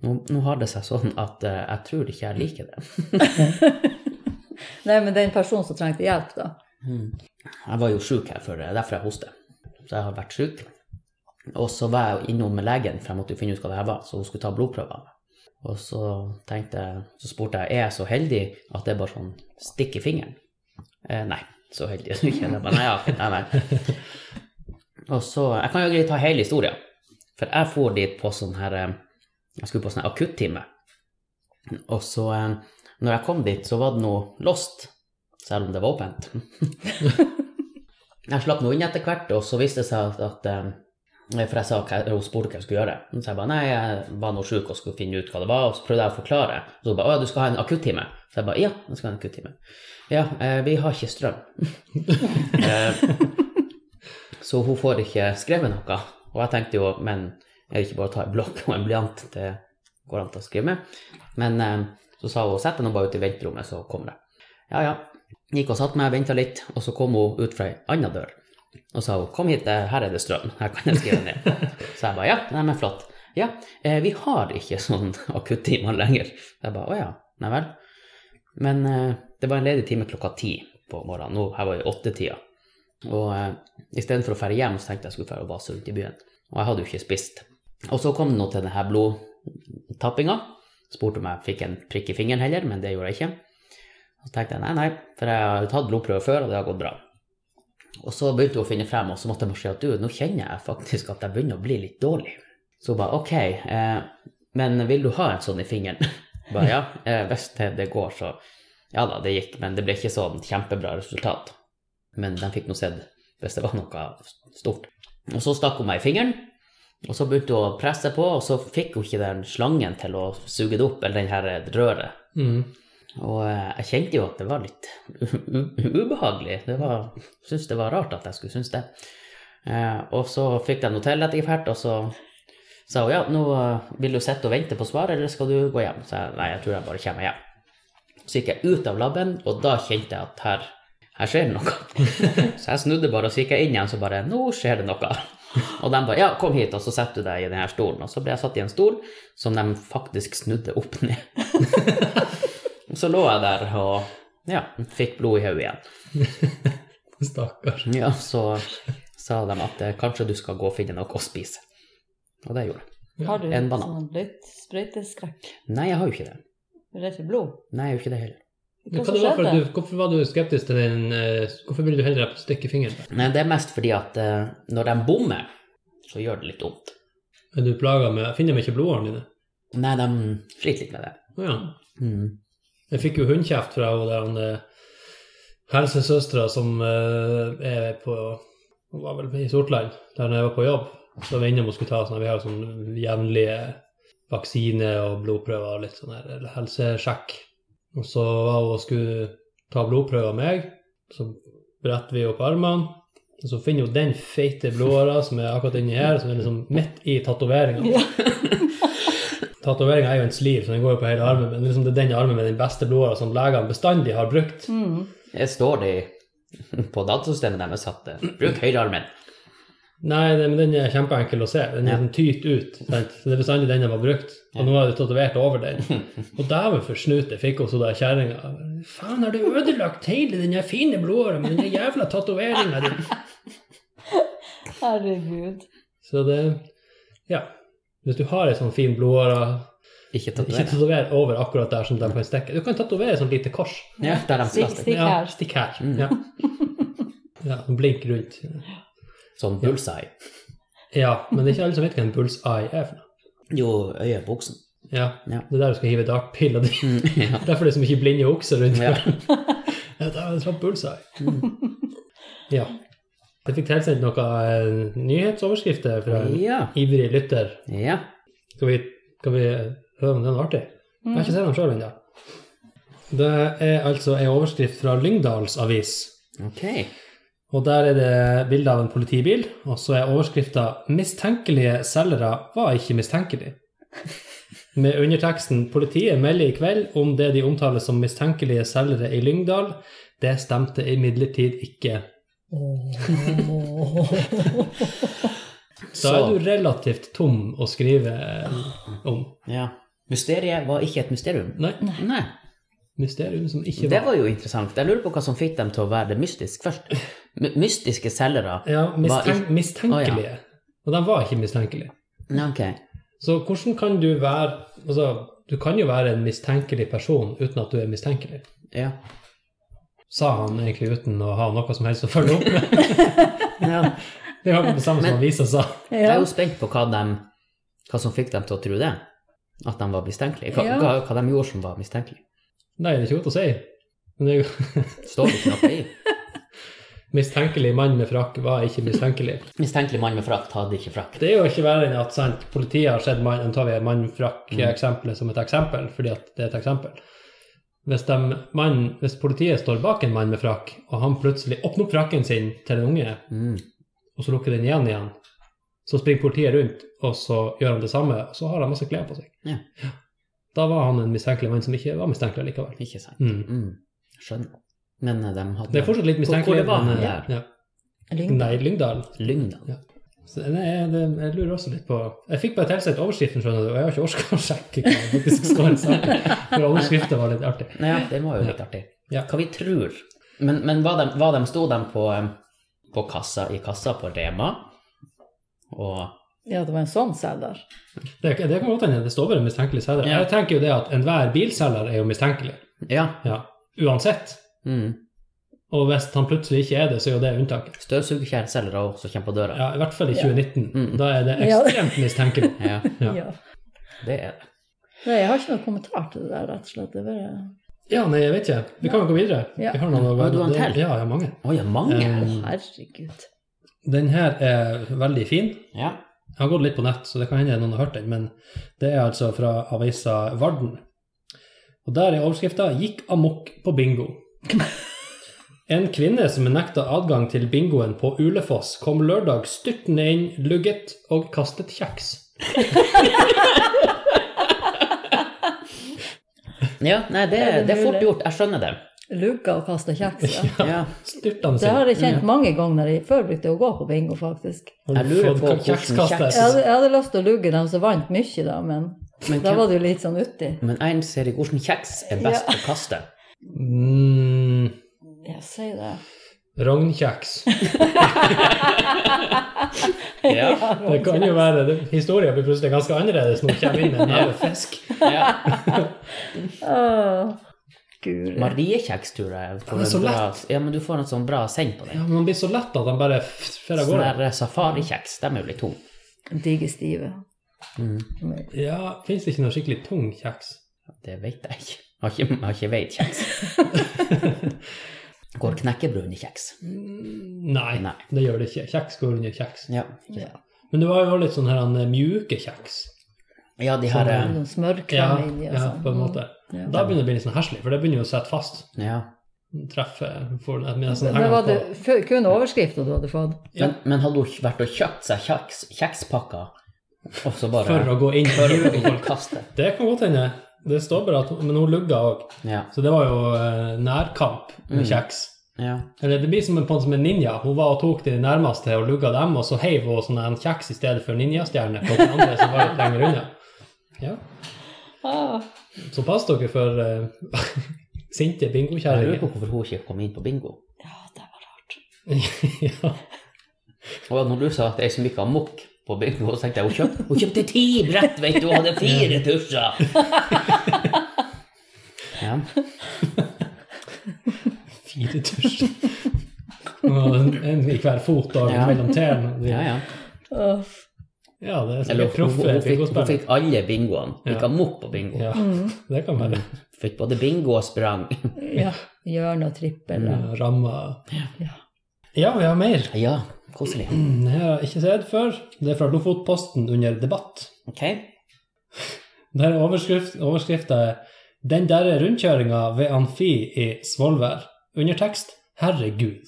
Speaker 1: nå, nå har det seg sånn at eh, jeg tror ikke jeg liker det.
Speaker 3: Nei, men det er en person som trengte hjelp, da.
Speaker 1: Mm. Jeg var jo sjuk her før, det er derfor jeg hoster. Så jeg har vært sjuk. Og så var jeg jo innom legen, for jeg måtte jo finne ut hva det her var, så hun skulle ta blodprøver. av meg. Og så tenkte jeg, så spurte jeg, er jeg så heldig at det er bare sånn stikk i fingeren? Eh, nei, så heldig er du ikke. Jeg bare, nei, ja, nei, nei. Og så, jeg kan jo greit ta hele historien. For jeg for dit på sånn her, eh, jeg skulle på sånn her akuttime. Og så, eh, når jeg kom dit, så var det noe lost, selv om det var åpent. Jeg slapp nå inn etter hvert, og så viste det seg at, at eh, For jeg sa, hva- hun spurte hva jeg skulle gjøre. Så jeg bare nei, jeg var nå sjuk og skulle finne ut hva det var. Og så prøvde jeg å forklare. Så hun bare å ja, du skal ha en akuttime. Så jeg bare ja, jeg skal ha en akuttime. Ja, eh, vi har ikke strøm. [LAUGHS] Eh, så hun får ikke skrevet noe. Og jeg tenkte jo, men er det ikke bare å ta en blokk og en blyant? Det går an til å skrive med. Men eh, så sa hun sett deg nå bare ut i venterommet, så kommer det. Ja, ja. Gikk og satte meg, venta litt, og så kom hun ut fra ei anna dør. Og sa hun, 'Kom hit, eh, her er det strøm. Her kan jeg skrive ned.' Så jeg bare 'Ja, nei, men flott'. Ja, eh, vi har ikke sånn [LAUGHS] akuttimer lenger. Så jeg bare 'Å ja, nei vel'. Men eh, det var en ledig time klokka ti på morgenen. Nå, her var det åttetida. Og eh, istedenfor å dra hjem, så tenkte jeg jeg skulle dra og vase rundt i byen. Og jeg hadde jo ikke spist. Og så kom det nå til denne blodtappinga, spurte om jeg fikk en prikk i fingeren heller, men det gjorde jeg ikke. Så tenkte jeg nei, nei, for jeg har tatt blodprøve før, og det har gått bra. Og så begynte hun å finne frem, og så måtte jeg bare si at du, nå kjenner jeg faktisk at jeg begynner å bli litt dårlig. Så hun bare ok, eh, men vil du ha en sånn i fingeren? [LAUGHS] Bare ja, eh, hvis det det går, så ja da, det gikk, men det ble ikke sånn kjempebra resultat. Men de fikk nå sett hvis det var noe stort. Og så stakk hun meg i fingeren, og så begynte hun å presse på, og så fikk hun ikke den slangen til å suge det opp, eller den her røret.
Speaker 2: Mm.
Speaker 1: Og eh, jeg kjente jo at det var litt u- u- ubehagelig. Det var, syntes det var rart at jeg skulle synes det. Eh, og så fikk jeg noe til etter hvert, og så sa hun ja, nå eh, vil du sitte og vente på svar, eller skal du gå hjem? Så jeg nei, jeg tror jeg bare kommer hjem. Så gikk jeg ut av laben, og da kjente jeg at her, her skjer det noe. [LAUGHS] så jeg snudde bare, og så gikk jeg inn igjen, så bare nå skjer det noe. Og de bare ja, kom hit, og så setter du deg i denne stolen. Og så ble jeg satt i en stol som de faktisk snudde opp ned. Så lå jeg der og ja, fikk blod i hodet igjen.
Speaker 2: Stakkars.
Speaker 1: Ja, så sa de at eh, kanskje du skal gå og finne noe å spise. Og det gjorde jeg.
Speaker 3: Har du
Speaker 1: En banan.
Speaker 3: sånn litt sprøyteskrekk?
Speaker 1: Nei, jeg har jo ikke det.
Speaker 3: Du er redd for blod?
Speaker 1: Nei, jeg har jo ikke det heller.
Speaker 2: Men
Speaker 3: Hva
Speaker 2: Hva
Speaker 3: som
Speaker 2: det var for,
Speaker 3: skjedde?
Speaker 2: du, hvorfor var du skeptisk til den eh, Hvorfor ville du heller stikke fingeren?
Speaker 1: Nei, det er mest fordi at eh, når de bommer, så gjør det litt vondt.
Speaker 2: Er du plaga med Finner de ikke blodårene dine?
Speaker 1: Nei, de sliter litt med det.
Speaker 2: Å ja.
Speaker 1: Mm.
Speaker 2: Jeg fikk jo hundkjeft fra hun der hun, eh, helsesøstera som eh, er på Hun var vel i Sortland, der jeg var på jobb. Så var vi innom og skulle ta sånn, vi har sånn jevnlige vaksiner og blodprøver og litt sånn her, eller helsesjekk. Og så var hun og skulle ta blodprøve av meg, så bretter vi opp armene. Og så finner hun den feite blodåra som er akkurat inni her, som er liksom midt i tatoveringa. [LAUGHS]
Speaker 3: Ja.
Speaker 2: Tatoveringa er jo en sliv, så den går jo på hele armen, men liksom det er den armen med den beste blodåra som legene bestandig har brukt.
Speaker 3: Mm.
Speaker 1: Det står det i- på datasystemet deres at eh, bruk høyrearmen.
Speaker 2: Nei, det- men den er kjempeenkel å se. Den er
Speaker 1: Ja.
Speaker 2: sånn tyt ut. Sant? Så det er bestandig den de har brukt. Og nå er det tatovert over
Speaker 1: [LAUGHS]
Speaker 2: den. Og dæven for snut, jeg fikk også der kjerringa. Faen, har du ødelagt hele den her fine blodåra med den her jævla tatoveringa di?
Speaker 3: Herregud.
Speaker 2: Så det Ja. Hvis du har ei sånn fin blodåre,
Speaker 1: Ikke
Speaker 2: ikke
Speaker 1: tatovere.
Speaker 2: tatover over akkurat der som de kan stikke. Du kan tatovere et sånt lite kors.
Speaker 1: Ja, der de skal
Speaker 3: Stikk,
Speaker 1: stikke.
Speaker 3: stikk
Speaker 2: Ja,
Speaker 3: her.
Speaker 2: stikk her.
Speaker 1: Mm.
Speaker 2: Ja. ja. Blink rundt.
Speaker 1: Sånn bullseye.
Speaker 2: Ja, men det er ikke alle som vet hva en bullseye er for noe.
Speaker 1: Jo, øyebuksen.
Speaker 2: Ja,
Speaker 1: Ja.
Speaker 2: Det er der du skal hive dartpilla di.
Speaker 1: Mm, ja.
Speaker 2: Derfor er det så mye blinde okser rundt
Speaker 1: Ja. Mm.
Speaker 2: her. [LAUGHS] Ja, det er en sånn bullseye. [LAUGHS] Ja. Jeg fikk tilsendt noen eh, nyhetsoverskrifter fra en
Speaker 1: [LAUGHS] ja. [LAUGHS]
Speaker 2: ivrig lytter.
Speaker 1: Ja.
Speaker 2: Skal vi, skal vi høre om den er artig? Jeg har
Speaker 1: Mm.
Speaker 2: ikke sett den sjøl ennå. Det er altså ei overskrift fra Lyngdals avis.
Speaker 1: Ok.
Speaker 2: Og der er det bilde av en politibil, og så er overskrifta 'Mistenkelige selgere var ikke
Speaker 1: [LAUGHS]
Speaker 2: mistenkelige'. Med underteksten 'Politiet melder i kveld om det de omtaler som mistenkelige selgere i Lyngdal'. Det stemte imidlertid ikke. Da er du
Speaker 1: Så-
Speaker 2: relativt tom å skrive eh, om.
Speaker 1: Ja. Mysteriet var ikke et mysterium.
Speaker 2: Nei,
Speaker 1: Nei.
Speaker 2: mysterium som ikke
Speaker 1: Det
Speaker 2: var
Speaker 1: var jo interessant. Jeg lurer på hva som fikk dem til å være mystisk først. My- Mystiske selgere.
Speaker 2: Ja,
Speaker 1: Var
Speaker 2: mistenk
Speaker 1: ikke-
Speaker 2: mistenkelige. Og de var ikke mistenkelige.
Speaker 1: Ja, ok.
Speaker 2: Så hvordan kan du være Altså, du kan jo være en mistenkelig person uten at du er mistenkelig,
Speaker 1: Ja.
Speaker 2: sa han egentlig uten å ha noe som helst å følge opp med.
Speaker 1: ja.
Speaker 2: Det var det samme som avisa sa.
Speaker 1: Jeg er
Speaker 3: Ja.
Speaker 1: jo spent på hva, dem- hva som fikk dem til å tro det. At de var mistenkelige. Hva,
Speaker 3: Ja.
Speaker 1: hva, hva de gjorde som var mistenkelige.
Speaker 2: Nei, det er ikke godt å si. Men det er jo
Speaker 1: Står det ikke noe i?
Speaker 2: mistenkelig mann med frakk var ikke mistenkelig.
Speaker 1: Mistenkelig mann med frakt hadde ikke frakt.
Speaker 2: Det er jo ikke verre enn at sant, politiet har sett mann, nå tar vi mann med frakk-eksempelet som et eksempel, fordi at det er et eksempel. Hvis, dem- mann- hvis politiet står bak en mann med frakk, og han plutselig åpner opp frakken sin til en unge,
Speaker 1: Mm.
Speaker 2: og så lukker den igjen igjen. Så springer politiet rundt, og så gjør han det samme, og så har han masse klær på seg.
Speaker 1: Ja.
Speaker 2: Da var han en mistenkelig mann som ikke var mistenkelig likevel.
Speaker 1: Ikke sant.
Speaker 2: Mm.
Speaker 1: Mm. Skjønner. Men eh, de hadde
Speaker 2: Det er fortsatt litt
Speaker 1: Hvor- hvor
Speaker 2: mistenkelig.
Speaker 1: det var
Speaker 2: men, eh,
Speaker 1: han
Speaker 2: ja.
Speaker 3: Lyng.
Speaker 2: Nei, Lyngdal.
Speaker 1: Lyngdal.
Speaker 2: Så det er, det, jeg lurer også litt på Jeg fikk bare tilsendt overskriften, skjønner du, og jeg har ikke orka å sjekke hva det faktisk står i saken. For overskriften var litt artig.
Speaker 1: Ja, det var jo litt artig.
Speaker 2: Ja.
Speaker 1: Hva vi tror. Men, men hva de, hva de sto de på, eh, på kassa, i kassa på Rema og
Speaker 3: Ja, det var en sånn selger.
Speaker 2: Det, det kan godt hende det står bare en mistenkelig selger.
Speaker 1: Ja.
Speaker 2: Jeg tenker jo det at enhver bilselger er jo mistenkelig.
Speaker 1: Ja.
Speaker 2: Ja. Uansett.
Speaker 1: Mm.
Speaker 2: Og hvis han plutselig ikke er det, så er jo det unntaket.
Speaker 1: Støvsugerkjærselgere også kommer på døra.
Speaker 2: Ja, I hvert fall i 2019.
Speaker 1: Mm.
Speaker 2: Da er det
Speaker 1: [LAUGHS]
Speaker 3: Ja.
Speaker 2: ekstremt mistenkelig.
Speaker 1: Ja.
Speaker 2: Ja.
Speaker 1: det er det.
Speaker 3: Nei, jeg har ikke noen kommentar til det der, rett og slett. Det er bare...
Speaker 2: Ja, nei, jeg vet ikke. Vi kan jo gå videre.
Speaker 3: Ja.
Speaker 2: Vi har noen å-
Speaker 1: Har du en
Speaker 2: det-
Speaker 1: til?
Speaker 2: Ja, jeg har mange.
Speaker 1: Å ja, mange.
Speaker 2: Eh,
Speaker 3: Å, herregud.
Speaker 2: Den her er veldig fin.
Speaker 1: Ja.
Speaker 2: Jeg har gått litt på nett, så det kan hende noen har hørt den, men det er altså fra avisa Varden. Og der er overskrifta 'Gikk amok på bingo'.
Speaker 1: [LAUGHS]
Speaker 2: En kvinne som er nekta adgang til bingoen på Ulefoss, kom lørdag styrtende inn, lugget og kastet kjeks.
Speaker 1: ja nei, det,
Speaker 3: Er det
Speaker 1: det er fort
Speaker 3: mulig?
Speaker 1: gjort. Jeg skjønner det.
Speaker 3: Lugga og kasta kjeks. Ja.
Speaker 1: Ja.
Speaker 2: Styrtende
Speaker 3: Det har
Speaker 2: inn.
Speaker 3: jeg kjent mange ganger når jeg før brukte jeg å gå på bingo, faktisk.
Speaker 2: Har
Speaker 1: Jeg
Speaker 2: du
Speaker 1: lurer
Speaker 2: fått
Speaker 1: på hvordan
Speaker 2: kjekskaster?
Speaker 1: kjeks-
Speaker 3: Jeg hadde, jeg hadde lyst til å lugge dem som vant mye, da, men
Speaker 1: Men,
Speaker 3: da var
Speaker 1: hvem,
Speaker 3: det jo litt sånn uti.
Speaker 1: men en ser i hvordan kjeks er best
Speaker 3: Ja.
Speaker 1: å kaste.
Speaker 2: Mm,
Speaker 3: Ja, si det.
Speaker 2: Rognkjeks.
Speaker 1: Ja.
Speaker 2: Det kan jo være det- Historien blir plutselig ganske annerledes når det kommer inn en hel fisk.
Speaker 1: Ja.
Speaker 3: Åh, Guri.
Speaker 1: Mariekjeks, tror jeg. får
Speaker 2: det er
Speaker 1: en
Speaker 2: så
Speaker 1: bra, ja, men du får en sånn bra seng på den.
Speaker 2: Ja, men han blir så lett at han bare f- fer av
Speaker 1: Sånn
Speaker 2: gårde.
Speaker 1: der safarikjeks, de er jo litt tunge.
Speaker 3: Digestive.
Speaker 2: Mm. Ja, fins det ikke noe skikkelig tung kjeks?
Speaker 1: Det vet jeg ikke. Jeg har ikke, jeg har ikke veid
Speaker 2: [LAUGHS]
Speaker 1: kjeks. Går knekkebrun i kjeks?
Speaker 2: Mm, Nei,
Speaker 1: Nei.
Speaker 2: det gjør det ikke. Kjeks går under kjeks.
Speaker 1: Ja.
Speaker 3: Ja.
Speaker 2: Men det var jo også litt sånn her han, eh, mjuke kjeks.
Speaker 1: ja,
Speaker 2: Sånn
Speaker 1: de her eh,
Speaker 3: Noen
Speaker 2: Ja,
Speaker 3: smørkrem inni og
Speaker 2: ja,
Speaker 3: sånn.
Speaker 2: på en måte.
Speaker 3: Ja.
Speaker 2: Da begynner det å bli litt sånn heslig, for det begynner jo å sette fast.
Speaker 1: Ja.
Speaker 2: Treffe får den- med nesten
Speaker 3: Men
Speaker 2: hengende
Speaker 3: var det
Speaker 2: på.
Speaker 3: f- kun overskriften du hadde fått?
Speaker 2: Ja.
Speaker 1: Men, men hadde hun vært og kjøpt seg kjeks, kjekspakker, og så bare [LAUGHS]
Speaker 2: For å gå inn.
Speaker 1: For å kunne kaste?
Speaker 2: Det kan godt hende. Det står bare at Men hun lugga òg.
Speaker 1: Ja.
Speaker 2: Så det var jo eh, nærkamp med
Speaker 3: Mm.
Speaker 2: kjeks.
Speaker 1: ja.
Speaker 2: Eller det blir som en, på en, som en ninja. Hun var og tok de nærmeste og lugga dem, og så heiv hun sånn en kjeks i stedet for ninjastjerne på den andre som var litt lenger unna. Ja.
Speaker 3: Ah.
Speaker 2: Så pass dere for eh, [LAUGHS] sinte
Speaker 1: Jeg lurer på
Speaker 2: bingokjerringer.
Speaker 1: hvorfor hun ikke kom inn på bingo.
Speaker 3: Ja, det var rart.
Speaker 2: ja.
Speaker 1: Og når du sa at jeg som gikk amok på bingo, så tenkte jeg hun kjøpte, hun kjøpte ti brett, vet du, og hadde
Speaker 2: [LAUGHS]
Speaker 1: fire tusjer! Ja.
Speaker 2: Fire tusjer. [LAUGHS] Og en- En i hver fot og
Speaker 1: Ja.
Speaker 2: mellom tærne.
Speaker 1: Ja, ja.
Speaker 3: Åh,
Speaker 2: Ja, det er
Speaker 1: Eller
Speaker 2: sikkert
Speaker 1: hun, hun,
Speaker 2: proffe
Speaker 1: hun, fikk, hun
Speaker 2: bingospillere.
Speaker 1: fikk alle bingoene. Gikk
Speaker 2: Ja.
Speaker 1: amok på bingo.
Speaker 2: Ja, det kan
Speaker 1: Mm,
Speaker 2: være.
Speaker 1: Fikk både bingo og sprang.
Speaker 3: ja. Hjørne og trippel.
Speaker 2: Ja,
Speaker 3: og-
Speaker 2: Ramma
Speaker 3: Ja.
Speaker 2: [LAUGHS] Ja, vi har mer.
Speaker 1: Ja, koselig.
Speaker 2: Det har jeg ikke sett før. Det er fra Lofotposten under debatt.
Speaker 1: Ok.
Speaker 2: Der er overskrift, overskrifta er 'Den derre rundkjøringa ved Amfi i Svolvær'. Undertekst 'Herregud'.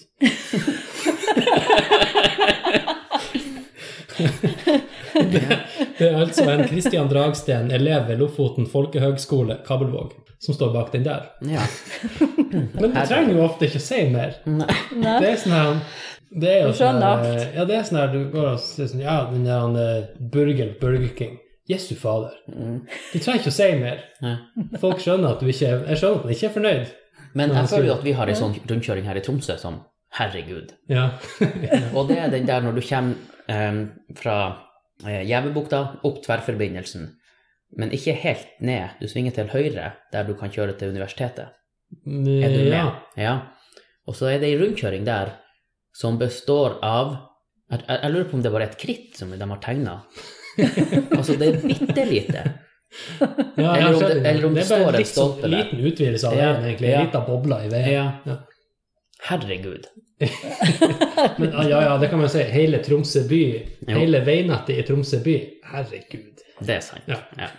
Speaker 2: det, det er altså en Christian Dragsten, elev ved Lofoten folkehøgskole, Kabelvåg, som står bak den der.
Speaker 1: Ja.
Speaker 2: Men du trenger jo ofte ikke å si mer. Det er sånn her det er jo
Speaker 3: Du skjønner
Speaker 2: sånn her,
Speaker 3: alt.
Speaker 2: Ja, det er sånn her du går og sier sånn Ja, den der han, eh, Burger Burger King. Jesu fader.
Speaker 1: Mm.
Speaker 2: Du trenger ikke å si mer.
Speaker 1: Nei.
Speaker 2: Folk skjønner at du ikke er, jeg skjønner at du ikke er fornøyd.
Speaker 1: Men
Speaker 2: Ja,
Speaker 1: jeg føler jo
Speaker 2: sier-
Speaker 1: at vi har en sånn rundkjøring her i Tromsø som herregud.
Speaker 2: Ja.
Speaker 1: Og det er den der når du kommer em, fra eh, Gjevebukta opp tverrforbindelsen, men ikke helt ned. Du svinger til høyre, der du kan kjøre til universitetet. Er du med?
Speaker 2: ja.
Speaker 1: Ja. Og så er det ei rundkjøring der som består av jeg, jeg, jeg lurer på om det var et kritt som de har
Speaker 2: [LAUGHS]
Speaker 1: tegna. altså, det er bitte lite.
Speaker 2: Ja, jeg
Speaker 1: Eller om
Speaker 2: ser
Speaker 1: det- eller om det
Speaker 2: er bare
Speaker 1: står en
Speaker 2: litt sånn
Speaker 1: stolpe der.
Speaker 2: liten utvidelse av
Speaker 1: Ja,
Speaker 2: veien, egentlig.
Speaker 1: ja.
Speaker 2: En liten boble i veien. Ja.
Speaker 1: Herregud.
Speaker 2: Men ah, ja, ja, det kan man si. Hele Tromsø by.
Speaker 1: Jo.
Speaker 2: Hele veinettet i Tromsø by. Herregud.
Speaker 1: Det er sant.
Speaker 2: Ja.
Speaker 1: Ja.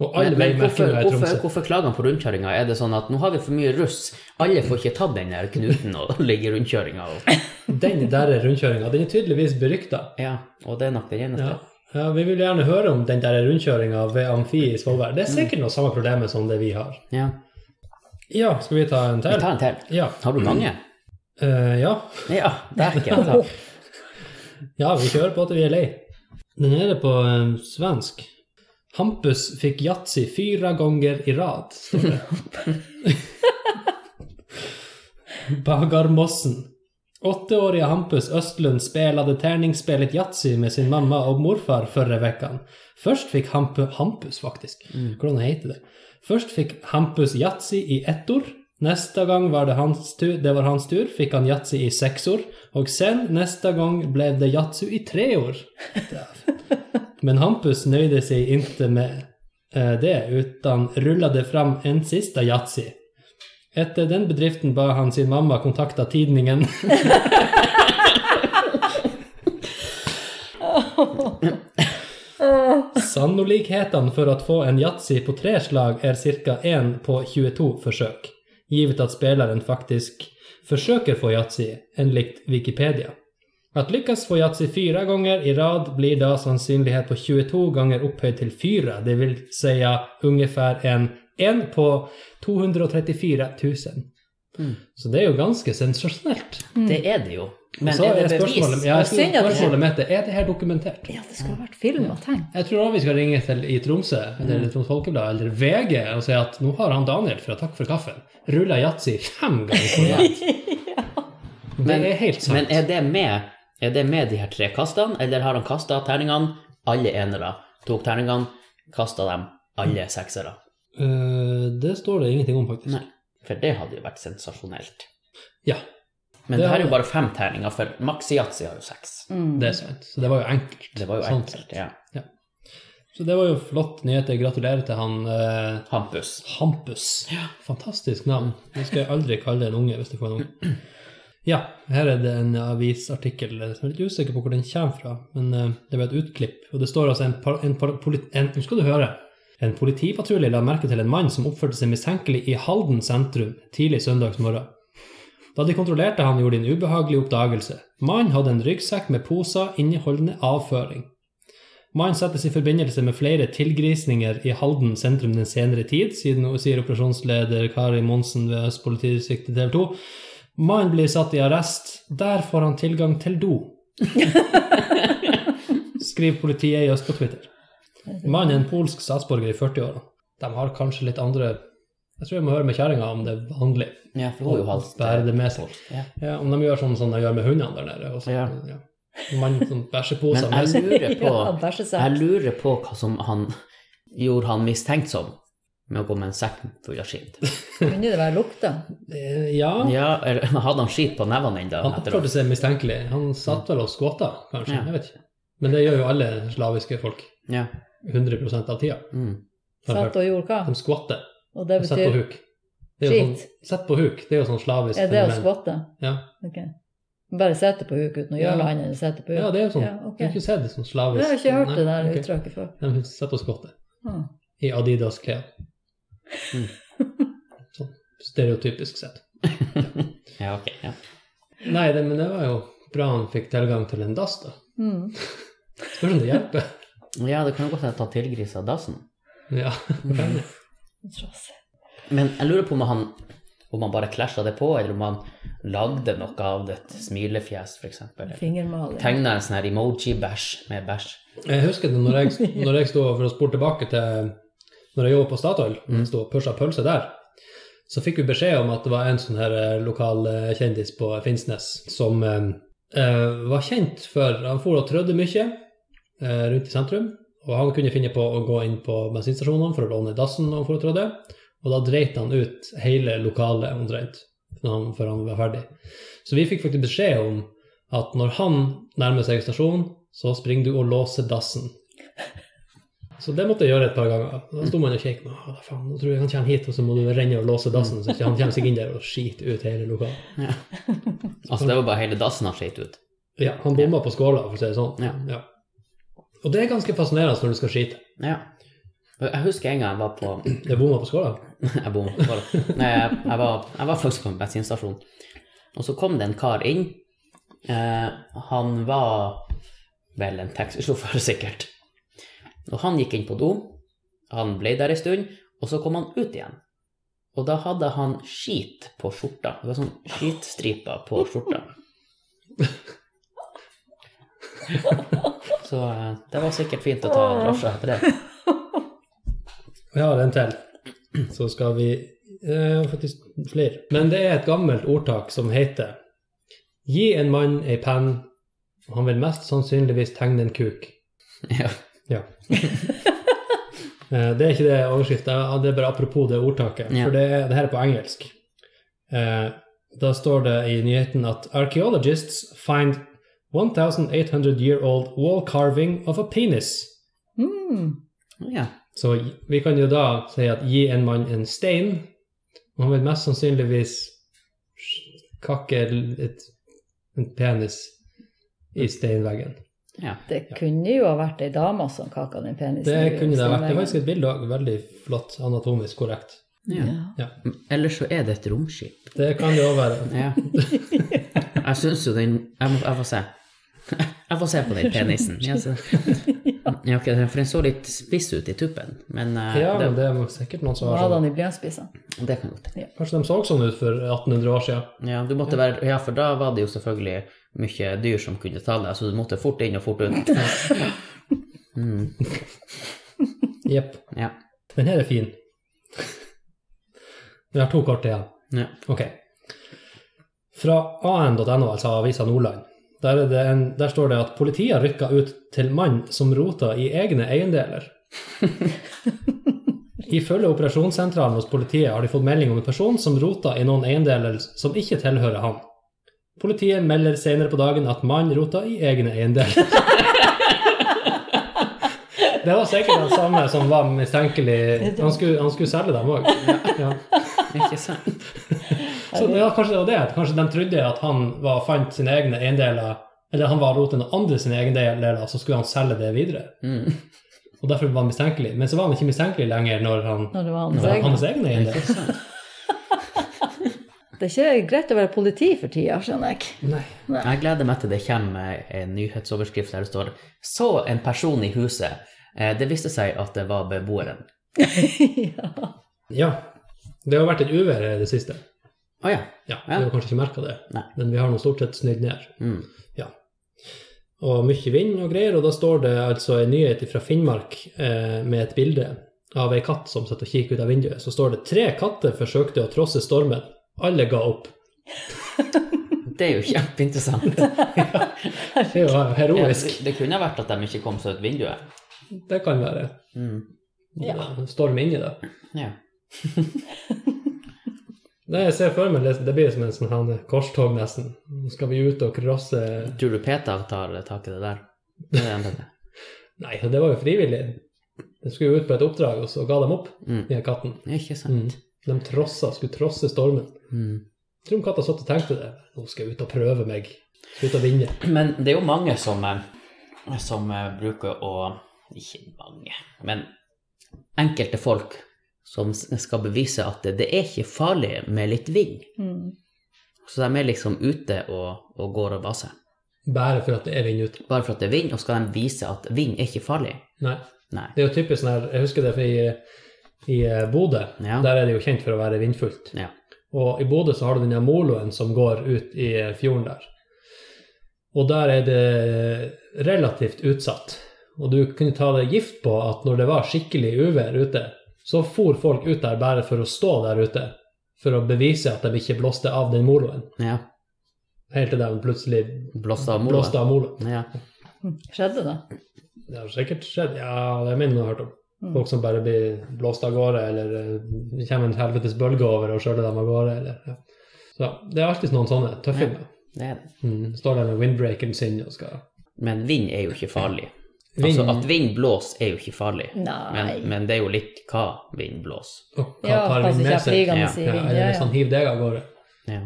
Speaker 2: Og
Speaker 1: Men,
Speaker 2: alle
Speaker 1: men hvorfor,
Speaker 2: veimerkinger i
Speaker 1: hvorfor,
Speaker 2: Tromsø.
Speaker 1: hvorfor klager han på rundkjøringa? Er det sånn at nå har vi for mye russ, alle får ikke tatt den der knuten og [LAUGHS] ligge i rundkjøringa? Og,
Speaker 2: Den der rundkjøringa, den er tydeligvis berykta.
Speaker 1: ja, og det er nok den eneste.
Speaker 2: Ja. ja, vi vil gjerne høre om den der rundkjøringa ved Amfi i Svolvær. Det er sikkert noe samme problemet som det vi har.
Speaker 1: Ja.
Speaker 2: Ja, skal vi ta en
Speaker 1: Vi
Speaker 2: til?
Speaker 1: tar en til.
Speaker 2: Ja.
Speaker 1: Har du mange?
Speaker 2: Eh, ja.
Speaker 1: Ja, der ikke. altså. Ta.
Speaker 2: ja, vi kjører på til vi er lei. Den er det på eh, svensk. Hampus fikk yatzy fyra ganger i rad. står det. Bagarmossen. Åtteårige Hampus Östlund spelade tärningsspelet Yatzy med sin mamma och morfar förra veckan. Först fick Hampu, Hampus faktiskt,
Speaker 1: Mm.
Speaker 2: hvordan heter det? Först fick Hampus Yatzy i ettor, nästa gång var det hans tur, det var hans tur fick han Yatzy i sexor och sen nästa gång blev det Yatzy i treor. Men Hampus nöjde sig inte med eh, det utan rullade fram en sista Yatzy. Etter den bedriften ba han sin mamma kontakta tidningen Sannolikheten för att få en Yatzy på tre slag är cirka en på 22 försök, givet att spelaren faktiskt försöker få Yatzy, enligt Wikipedia. Att lyckas få Yatzy fyra gånger i rad blir då sannsynlighet på 22 gånger upphöjd till fyra, det vill säga ungefär en en på 234 000.
Speaker 1: Mm.
Speaker 2: Så det är ju ganska sensationellt.
Speaker 1: Det er det jo.
Speaker 2: Men
Speaker 1: Men
Speaker 2: så
Speaker 1: er
Speaker 2: är
Speaker 1: det
Speaker 2: spörsmålet,
Speaker 1: bevis?
Speaker 2: ja,
Speaker 3: Synd att Mm. det-
Speaker 2: spörsmålet mitt är, är det här dokumenterat?
Speaker 3: Ja, det skulle ha vært filma, tenk.
Speaker 2: Jeg tror også vi skal ringe til i Tromsø, eller
Speaker 1: Mm.
Speaker 2: Troms Folkeblad, eller VG, og si at nå har han Daniel fra Takk for kaffen rulla yatzy fem
Speaker 1: [LAUGHS]
Speaker 2: ganger på rad. Det
Speaker 1: Men-
Speaker 2: er helt sant.
Speaker 1: Men er det med Er det med de her tre kastene, eller har han kasta terningene, alle enere? Tok terningene, kasta dem, alle seksere?
Speaker 2: Eh, det står det ingenting om, faktisk.
Speaker 1: Nei. For det hadde jo vært sensasjonelt.
Speaker 2: Ja,
Speaker 1: Men
Speaker 2: Det
Speaker 1: det, her
Speaker 2: hadde-
Speaker 1: er jo bare fem terninger, for Maxi Yatzy har jo seks.
Speaker 3: Mm.
Speaker 2: det er sant. Så det var jo enkelt.
Speaker 1: Det var jo
Speaker 2: Sånn
Speaker 1: enkelt.
Speaker 2: sett.
Speaker 1: Ja.
Speaker 2: Så det var jo flott nyheter. Gratulerer til han eh,
Speaker 1: Hampus.
Speaker 2: Hampus. Fantastisk navn. Det skal jeg aldri kalle en unge hvis du får en unge. Ja, her er det en avisartikkel som jeg er litt usikker på hvor den kommer fra, men eh, det var et utklipp, og det står altså en, par- en, par- poli- en Nå skal du høre. En politipatrulje la merke til en mann som oppførte seg mistenkelig i Halden sentrum tidlig søndagsmorgen. Da de kontrollerte han, gjorde de en ubehagelig oppdagelse. Mannen hadde en ryggsekk med poser inneholdende avføring. Mannen settes i forbindelse med flere tilgrisninger i Halden sentrum den senere tid, siden sier operasjonsleder Kari Monsen ved Øst politidistrikt i TV 2. Mannen blir satt i arrest. Der får han tilgang til do. Skriver politiet i Øst på Twitter. Mannen er en polsk statsborger i 40-åra. De har kanskje litt andre Jeg tror jeg må høre med kjerringa om det er vanlig
Speaker 1: Ja, for hun er jo halvt eh,
Speaker 2: bære det med seg.
Speaker 1: Ja.
Speaker 2: Ja, om de gjør sånn som de gjør med hundene der nede. Og så, ja.
Speaker 1: Ja.
Speaker 2: Mann som bæsjer på seg
Speaker 1: Men
Speaker 2: med
Speaker 1: jeg
Speaker 2: seg.
Speaker 1: lurer på
Speaker 3: [LAUGHS]
Speaker 2: [LAUGHS]
Speaker 3: Ja, bæsje
Speaker 1: Jeg
Speaker 3: seg.
Speaker 1: lurer på hva som han gjorde han mistenkt som med å gå med en sekk full av skitt.
Speaker 3: Kunne det være lukta?
Speaker 2: Eh, Ja,
Speaker 1: Ja, eller hadde han skitt på nevene ennå?
Speaker 2: han
Speaker 1: etter
Speaker 2: oppførte seg mistenkelig. Han satt vel og skåta, kanskje.
Speaker 1: Ja.
Speaker 2: Jeg vet ikke. Men det gjør jo alle slaviske folk.
Speaker 1: det? Ja.
Speaker 2: 100 av tida.
Speaker 1: Mm.
Speaker 2: har jeg hørt.
Speaker 3: Satt og gjorde hva?
Speaker 2: De skvatter
Speaker 3: Og det
Speaker 2: og setter på
Speaker 3: betyr
Speaker 2: huk. Det er jo sånn,
Speaker 3: Skit.
Speaker 2: sett på huk, det er jo sånn slavisk
Speaker 3: Er det å
Speaker 2: fenomen.
Speaker 3: skvatte?
Speaker 2: Ja.
Speaker 3: Ok. Bare sette på huk uten å
Speaker 2: Ja.
Speaker 3: gjøre noe annet enn å sette på huk?
Speaker 2: ja, det er jo sånn.
Speaker 3: Ja, ok.
Speaker 2: Du har ikke sett det som slavisk
Speaker 3: Jeg har ikke hørt
Speaker 2: Nei,
Speaker 3: det der
Speaker 2: ok.
Speaker 3: uttrykket før.
Speaker 2: De sitter og skvatter.
Speaker 3: Ah.
Speaker 2: I Adidas-klær.
Speaker 1: Mm.
Speaker 2: [LAUGHS] sånn stereotypisk sett.
Speaker 1: ja, ok. Ja.
Speaker 2: Nei, det, men det var jo bra han fikk tilgang til en dass, da.
Speaker 3: Mm.
Speaker 2: Spørs om det hjelper.
Speaker 3: [LAUGHS]
Speaker 1: ja, det kan jo godt hende at han tilgrisa dassen.
Speaker 2: Ja.
Speaker 3: Trassig.
Speaker 1: Men jeg lurer på om han, om han bare klasja det på, eller om han lagde noe av det, et smilefjes f.eks.
Speaker 3: Fingermaling.
Speaker 1: Tegna en sånn her emoji-bæsj med bæsj.
Speaker 2: Jeg husker det når jeg, når jeg stod for å spore tilbake til når jeg jobbet på Statoil, når jeg stod og pusha pølse der, så fikk vi beskjed om at det var en sånn her eh, lokal eh, kjendis på Finnsnes som eh, eh, var kjent for Han for og trødde mye eh, rundt i sentrum, og han kunne finne på å gå inn på bensinstasjonene for å låne dassen når han for og trødde, og da dreit han ut hele lokalet omtrent når han- før han var ferdig. Så vi fikk faktisk beskjed om at når han nærmer seg stasjonen, så springer du og låser dassen. Så det måtte jeg gjøre et par ganger. Da sto man og kjekk. Å, faen, nå tror jeg han kommer hit, og så må du renne og låse dassen, så ikke han kommer seg inn der og skiter ut hele lokalet.
Speaker 1: Altså, det var bare hele dassen han skeit ut.
Speaker 2: Ja, han bomma på skåla, for å si det sånn.
Speaker 1: Ja.
Speaker 2: Og det er ganske fascinerende når du skal skite.
Speaker 1: Ja. Jeg husker en gang jeg var på
Speaker 2: Det er bomma på skåla.
Speaker 1: Jeg bomma på det. Nei, jeg, jeg, var, jeg var faktisk på en bensinstasjon. Og så kom det en kar inn. Eh, han var vel en taxisjåfør, [LAUGHS] sikkert. Og han gikk inn på do. Han ble der en stund, og så kom han ut igjen. Og da hadde han skit på skjorta. Det var sånn skitstriper på skjorta. Så eh, det var sikkert fint å ta drosje etter det.
Speaker 2: Jeg har en til. Så skal vi eh, Faktisk flere. Men det er et gammelt ordtak som heter Gi en mann ei penn, og han vil mest sannsynligvis tegne en kuk.
Speaker 1: Ja.
Speaker 2: Ja. Eh, det er ikke det overskriften, det er bare apropos det ordtaket.
Speaker 1: Ja.
Speaker 2: For det, er- det her er på engelsk. Eh, Da står det i nyheten at archaeologists find 1800 year old wall carving of a penis.
Speaker 3: Mm.
Speaker 1: ja.
Speaker 2: Så vi kan jo da si at gi en mann en stein, og han vil mest sannsynligvis kakke et, en penis i steinveggen.
Speaker 1: ja.
Speaker 3: Det kunne jo ha vært ei dame som kaka den penisen.
Speaker 2: Det
Speaker 3: i
Speaker 2: kunne det ha vært. Det er
Speaker 3: steinveggen.
Speaker 2: faktisk et bilde også, veldig flott anatomisk korrekt.
Speaker 1: ja.
Speaker 3: Ja.
Speaker 1: Ellers så er det et romskip.
Speaker 2: Det kan det òg være.
Speaker 1: Ja. [LAUGHS] Jeg syns jo den Jeg, må, jeg får se. [LAUGHS] Jeg får se på den penisen. Ja, så. Ja, ok, for den så litt spiss ut i tuppen, men, eh,
Speaker 2: Ja, men
Speaker 1: det,
Speaker 2: det er sikkert noen som
Speaker 3: Hun
Speaker 2: har
Speaker 3: hadde
Speaker 2: sånn.
Speaker 3: han i blyantspissene.
Speaker 1: det kan godt hende.
Speaker 2: Kanskje de så sånn ut for 1800 år siden.
Speaker 1: Ja, du måtte være, ja, for da var det jo selvfølgelig mye dyr som kunne ta deg, så du måtte fort inn og fort ut. Mm,
Speaker 2: Jepp.
Speaker 1: [LAUGHS] ja.
Speaker 2: Den her er fin. [LAUGHS] Vi har to kort igjen.
Speaker 1: ja.
Speaker 2: Ok. Fra an.no, altså Avisa Nordland, der, er det en, der står det at politiet rykka ut til mann som rota i egne eiendeler. Ifølge operasjonssentralen hos politiet har de fått melding om en person som rota i noen eiendeler som ikke tilhører han. Politiet melder senere på dagen at mannen rota i egne eiendeler. Det var sikkert den samme som var mistenkelig. Han skulle, han skulle selge dem òg. Ja.
Speaker 1: Ikke sant?
Speaker 2: Så ja, kanskje det var det. Kanskje de trodde at han var, fant sine egne eiendeler, eller han var rot noen andre sine egne eiendeler, så skulle han selge det videre.
Speaker 1: Mm.
Speaker 2: Og derfor var han mistenkelig. Men så var han ikke mistenkelig lenger når han
Speaker 3: Når det var
Speaker 2: når
Speaker 3: hans
Speaker 2: det var
Speaker 3: egne.
Speaker 2: hans egne eiendeler.
Speaker 1: Ikke sant?
Speaker 3: Det er ikke greit å være politi for tida, skjønner jeg. [LAUGHS]
Speaker 2: Nei.
Speaker 1: Jeg gleder meg til det kommer en nyhetsoverskrift der det står 'Så en person i huset'. Eh, Det viste seg at det var beboeren.
Speaker 3: ja.
Speaker 2: Ja. Det har vært et uvær i det siste.
Speaker 1: Å ja.
Speaker 2: Ja,
Speaker 1: Ja.
Speaker 2: Vi har kanskje ikke merka det,
Speaker 1: Nei.
Speaker 2: men vi har nå stort sett snudd ned.
Speaker 1: Mm.
Speaker 2: og mye vind og greier, og da står det altså en nyhet fra Finnmark eh, med et bilde av ei katt som sitter og kikker ut av vinduet. Så står det tre katter forsøkte å trosse stormen. Alle ga opp.
Speaker 1: Det er jo kjempeinteressant.
Speaker 2: Det er jo
Speaker 1: Ja,
Speaker 2: heroisk.
Speaker 1: det, det kunne vært at de ikke kom seg ut vinduet.
Speaker 2: Det kan være.
Speaker 1: Mm.
Speaker 3: Ja.
Speaker 2: Storm inni det.
Speaker 1: Ja.
Speaker 2: Nei, jeg ser for meg det, det blir som en sånn her korstog, nesten. Nå skal vi ut og crosse
Speaker 1: Tror du Peter tar tak i det [LAUGHS] der? Det er det han tenker.
Speaker 2: Nei, det var jo frivillig. De skulle jo ut på et oppdrag, og så ga de opp,
Speaker 1: Mm.
Speaker 2: den katten.
Speaker 1: Ikke sant?
Speaker 2: Mm. De trossa, skulle trosse stormen.
Speaker 1: Mm.
Speaker 2: Jeg tror om katta satt og tenkte det. Nå skal jeg ut og prøve meg. Skal ut og vinne.
Speaker 1: Men det er jo mange som, eh, som eh, bruker å Ikke mange, men enkelte folk som s- skal bevise at det, det er ikke farlig med litt vind.
Speaker 3: Mm.
Speaker 1: Så de er liksom ute og, og går og baser.
Speaker 2: Bare for at det er vind ute.
Speaker 1: Bare for at det er vind, og skal de vise at vind er ikke farlig.
Speaker 2: Nei.
Speaker 1: Nei.
Speaker 2: Det er jo typisk sånn her Jeg husker det fra i, i eh, Bodø.
Speaker 1: Ja.
Speaker 2: Der er det jo kjent for å være vindfullt.
Speaker 1: Ja.
Speaker 2: Og i Bodø så har du den her moloen som går ut i eh, fjorden der. Og der er det relativt utsatt. Og du kunne ta deg gift på at når det var skikkelig uvær ute, så for folk ut der bare for å stå der ute. For å bevise at de ikke blåste av den moloen.
Speaker 1: Ja.
Speaker 2: Helt til de plutselig
Speaker 1: Blåste av moroa.
Speaker 2: blåste av moloen.
Speaker 1: Ja.
Speaker 3: Hm. Skjedde det?
Speaker 2: Det har sikkert skjedd. Ja, det er min jeg har hørt om.
Speaker 3: Mm.
Speaker 2: Folk som bare blir blåst av gårde, eller eh, det kommer en helvetes bølge over og skjøler dem av gårde. Eller, ja. Så det er alltid noen sånne tøffinger.
Speaker 1: Det er det.
Speaker 2: Mm, står der med windbreakeren sin og skal
Speaker 1: Men vind er jo ikke farlig.
Speaker 2: Vind-
Speaker 1: Altså at vind blåser er jo ikke farlig. Men,
Speaker 3: Nei.
Speaker 1: men det er jo litt hva vind blåser.
Speaker 2: Å, hva
Speaker 3: Ja,
Speaker 2: tar
Speaker 3: pass
Speaker 2: vinden med
Speaker 3: ikke jeg
Speaker 2: seg?
Speaker 3: flygende
Speaker 1: Ja,
Speaker 3: i
Speaker 2: Ja, eller
Speaker 3: vind.
Speaker 2: sånn.
Speaker 3: Ja, Sånn.
Speaker 2: hvis han
Speaker 3: ja.
Speaker 2: hiver deg av gårde.
Speaker 1: Ja.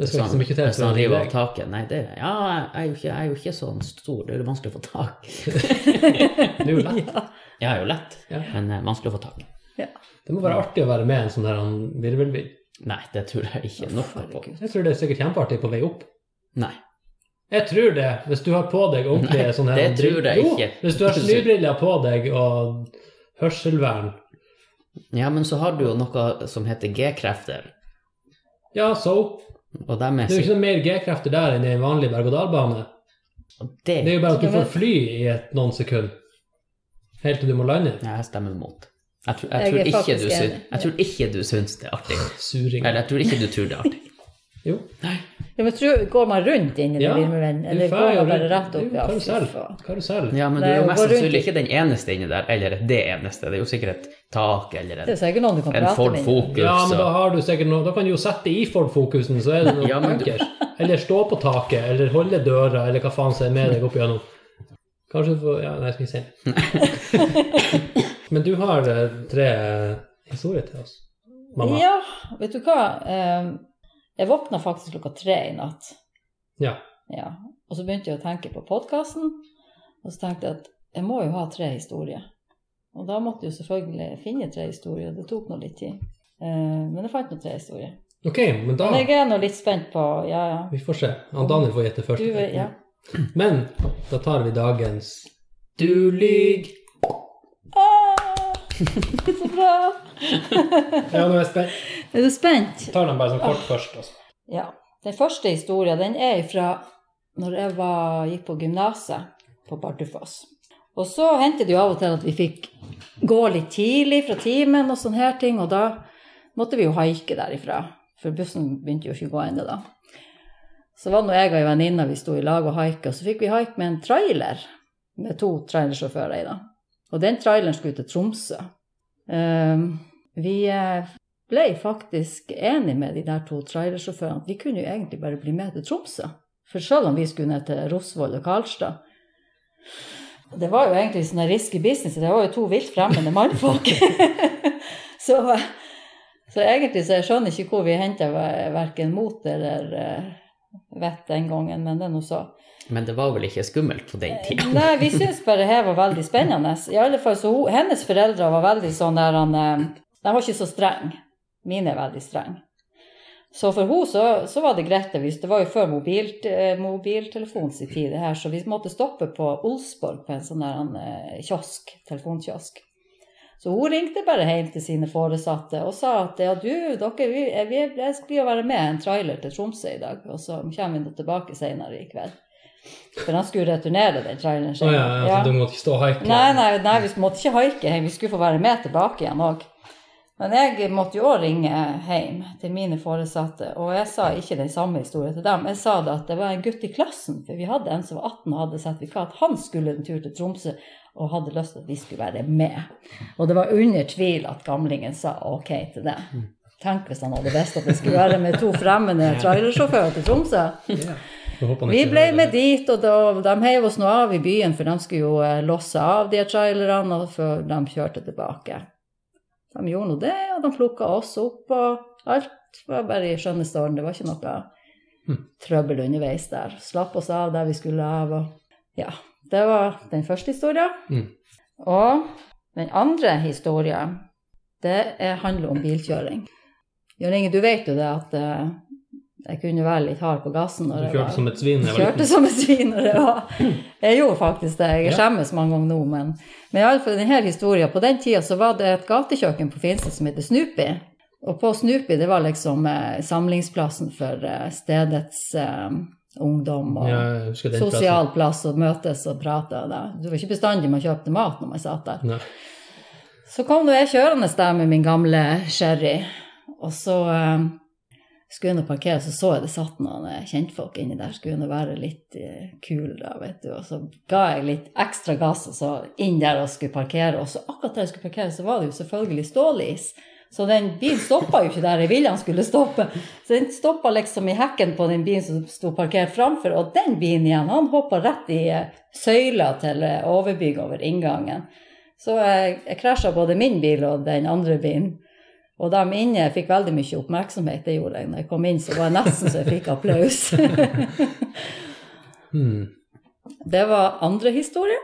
Speaker 2: Det skal ikke så mye til
Speaker 1: Hvis
Speaker 2: for å
Speaker 1: han
Speaker 2: hive
Speaker 1: river av
Speaker 2: deg.
Speaker 1: taket. Nei, det Ja, jeg er jo ikke, jeg er jo ikke sånn stor. Det er jo vanskelig å få tak.
Speaker 2: Det er jo lett.
Speaker 3: [LAUGHS]
Speaker 1: Jeg er jo lett,
Speaker 2: Ja.
Speaker 1: men eh, vanskelig å få tak.
Speaker 2: Det må være artig å være med i en sånn her han virvelvind.
Speaker 1: Nei, det tror jeg ikke noe på.
Speaker 3: Herregud.
Speaker 2: Jeg tror det er sikkert kjempeartig på vei opp.
Speaker 1: Nei.
Speaker 2: Jeg tror det, hvis du har på deg ordentlige
Speaker 1: Nei,
Speaker 2: sånne her-
Speaker 1: det tror jeg
Speaker 2: Jo,
Speaker 1: ikke.
Speaker 2: Hvis du har snøbriller på deg og hørselvern,
Speaker 1: Ja, men så har du jo noe som heter G-krefter,
Speaker 2: ja, så
Speaker 1: og dem er
Speaker 2: Det er jo ikke noe mer G-krefter der enn i en vanlig berg-og-dal-bane.
Speaker 1: sikkert
Speaker 2: Det er
Speaker 1: det
Speaker 2: jo bare at du
Speaker 3: Ja, men-
Speaker 2: får fly i et, noen sekunder. Helt til du må lande.
Speaker 1: Ja, jeg stemmer mot. Jeg tror,
Speaker 3: Jeg
Speaker 1: jeg,
Speaker 3: er
Speaker 1: tror ikke
Speaker 3: faktisk
Speaker 1: du syns,
Speaker 3: enig.
Speaker 1: jeg tror ikke du syns det er artig.
Speaker 2: Suring.
Speaker 1: Eller jeg tror ikke du tror det er artig.
Speaker 2: Jo.
Speaker 1: Nei.
Speaker 3: Ja, men tro, går man rundt inn i den
Speaker 2: Ja,
Speaker 3: bilmuren,
Speaker 2: du
Speaker 3: eller
Speaker 2: får
Speaker 3: går
Speaker 2: jo
Speaker 3: man bare
Speaker 2: rundt-
Speaker 3: rett
Speaker 2: det er
Speaker 3: opp?
Speaker 2: jo
Speaker 3: Ja,
Speaker 2: karusell.
Speaker 3: fy faen.
Speaker 2: Karusell.
Speaker 1: Ja, men du
Speaker 3: Nei,
Speaker 1: er jo
Speaker 3: og
Speaker 1: mest
Speaker 3: gå rundt
Speaker 1: sannsynlig
Speaker 3: i-
Speaker 1: ikke den eneste inni der, eller det eneste. Det er jo sikkert et tak eller
Speaker 3: Det er
Speaker 1: en,
Speaker 3: sikkert noen du kan
Speaker 1: en
Speaker 3: prate
Speaker 1: Ford
Speaker 3: med.
Speaker 1: Focus.
Speaker 2: Ja, men da
Speaker 1: og-
Speaker 2: har du sikkert noe Da kan du jo sette i Ford-fokusen, så er det noe
Speaker 1: Ja, men du-
Speaker 2: bankers. Eller stå på taket, eller holde døra, eller hva faen som er med deg opp igjennom. Kanskje du får Ja, nei, skal vi se. [LAUGHS] Men du har eh, tre historier til oss, mamma.
Speaker 3: Ja, vet du hva? Eh, Jeg våkna faktisk klokka tre i natt.
Speaker 2: Ja.
Speaker 3: Ja. Og så begynte jeg å tenke på podkasten, og så tenkte jeg at jeg må jo ha tre historier. Og da måtte jeg jo selvfølgelig finne tre historier, og det tok nå litt tid. Eh, Men jeg fant nå tre historier.
Speaker 2: Ok, men da
Speaker 3: Men jeg er nå litt spent på Ja, ja.
Speaker 2: Vi får se. Han Daniel får gjette først.
Speaker 3: Du,
Speaker 2: [LAUGHS]
Speaker 3: er- ja.
Speaker 2: Men da tar vi dagens
Speaker 1: Du lyg!
Speaker 3: Ah, så bra!
Speaker 2: Ja, nå er jeg spent.
Speaker 3: Er du spent?
Speaker 2: Tar den bare sånn kort først. Altså.
Speaker 3: Ja. Den første historien den er fra når jeg var, gikk på gymnaset på Bardufoss. Og så hendte det jo av og til at vi fikk gå litt tidlig fra timen og sånne her ting, og da måtte vi jo haike derifra, for bussen begynte jo ikke å gå ennå da. Så var det nå jeg og ei venninne vi sto i lag og haika, og så fikk vi haike med en trailer med to trailersjåfører i, da. Og den traileren skulle til Tromsø. Ehm, vi eh, ble faktisk enige med de der to trailersjåførene at vi kunne jo egentlig bare bli med til Tromsø. For selv om vi skulle ned til Rosvoll og Karlstad Det var jo egentlig sånn her risky business, det var jo to vilt fremmede mannfolk. [LAUGHS] så, så egentlig så jeg skjønner ikke hvor vi henta verken mot eller eh, vett den gangen, men det er nå så.
Speaker 1: Men det var vel ikke skummelt på den tida?
Speaker 3: Nei, vi syns bare det var veldig spennende. I alle fall så hun, Hennes foreldre var veldig sånn der han, eh, De var ikke så strenge. Mine er veldig strenge. Så for henne så, så var det greit. hvis- Det var jo før mobilt, eh, mobiltelefons i tid, det her, så vi måtte stoppe på Olsborg på en sånn der han, eh, kiosk, telefonkiosk. Så hun ringte bare hjem til sine foresatte og sa at ja, du, dere, vi, vi, jeg skal jo være med en trailer til Tromsø i dag, og så kommer vi nå tilbake senere i kveld. For han skulle returnere den traileren.
Speaker 2: Å ja, ja, så
Speaker 3: Ja.
Speaker 2: du måtte ikke stå og haike?
Speaker 3: Nei, nei, nei, vi måtte ikke haike hjem, vi skulle få være med tilbake igjen òg. Men jeg måtte jo òg ringe hjem til mine foresatte, og jeg sa ikke den samme historien til dem. Jeg sa det at det var en gutt i klassen, for vi hadde en som var 18 og hadde sertifikat. Han skulle en tur til Tromsø og hadde lyst til at vi skulle være med. Og det var under tvil at gamlingen sa ok til det. Tenk hvis han hadde visst at det skulle være med to fremmede trailersjåfører til Tromsø.
Speaker 2: Jeg håper han
Speaker 3: Vi
Speaker 2: ikke
Speaker 3: ble
Speaker 2: gjør det.
Speaker 3: med dit, og da, de heiv oss nå av i byen, for de skulle jo eh, losse av de trailerne og før de kjørte tilbake. De gjorde nå det, og de plukka oss opp, og alt var bare i skjønneste orden. Det var ikke noe
Speaker 2: Hm.
Speaker 3: trøbbel underveis der. Slapp oss av der vi skulle av, og ja. Det var den første historien.
Speaker 2: Mm.
Speaker 3: Og den andre historien, det er, handler om bilkjøring. Jørn Inge, du vet jo det at eh, jeg kunne være litt hard på gassen. når
Speaker 2: Du
Speaker 3: jeg var-
Speaker 2: kjørte som et svin. jeg var
Speaker 3: Kjørte
Speaker 2: liten.
Speaker 3: som et svin når det var Jeg gjorde faktisk det. Jeg
Speaker 2: Ja.
Speaker 3: skjemmes mange ganger nå, men, men iallfall denne historien. På den tida så var det et gatekjøkken på Finstad som heter Snoopy. Og på Snoopy, det var liksom eh, samlingsplassen for eh, stedets eh, ungdom og
Speaker 2: Ja, jeg husker den
Speaker 3: sosial plass å møtes og prate. og Da. Det var ikke bestandig man kjøpte mat når man satt der.
Speaker 2: plassen. Nei.
Speaker 3: Så kom nå jeg kjørende der med min gamle sherry, og så eh, skulle jeg nå parkere, så så jeg det satt noen eh, kjentfolk inni der, skulle nå være litt eh, kul da, vet du, og så ga jeg litt ekstra gass og så inn der og skulle parkere, og så akkurat der jeg skulle parkere, så var det jo selvfølgelig stålis. Så den bilen stoppa jo ikke der jeg ville han skulle stoppe. Så den stoppa liksom i hekken på den bilen som sto parkert framfor, og den bilen igjen, han hoppa rett i eh, søyla til eh, overbygget over inngangen. Så jeg, jeg krasja både min bil og den andre bilen. Og de inne fikk veldig mye oppmerksomhet, det gjorde jeg. Når jeg kom inn, så var jeg nesten så jeg fikk applaus. [LAUGHS]
Speaker 2: Hmm.
Speaker 3: Det var andre historie.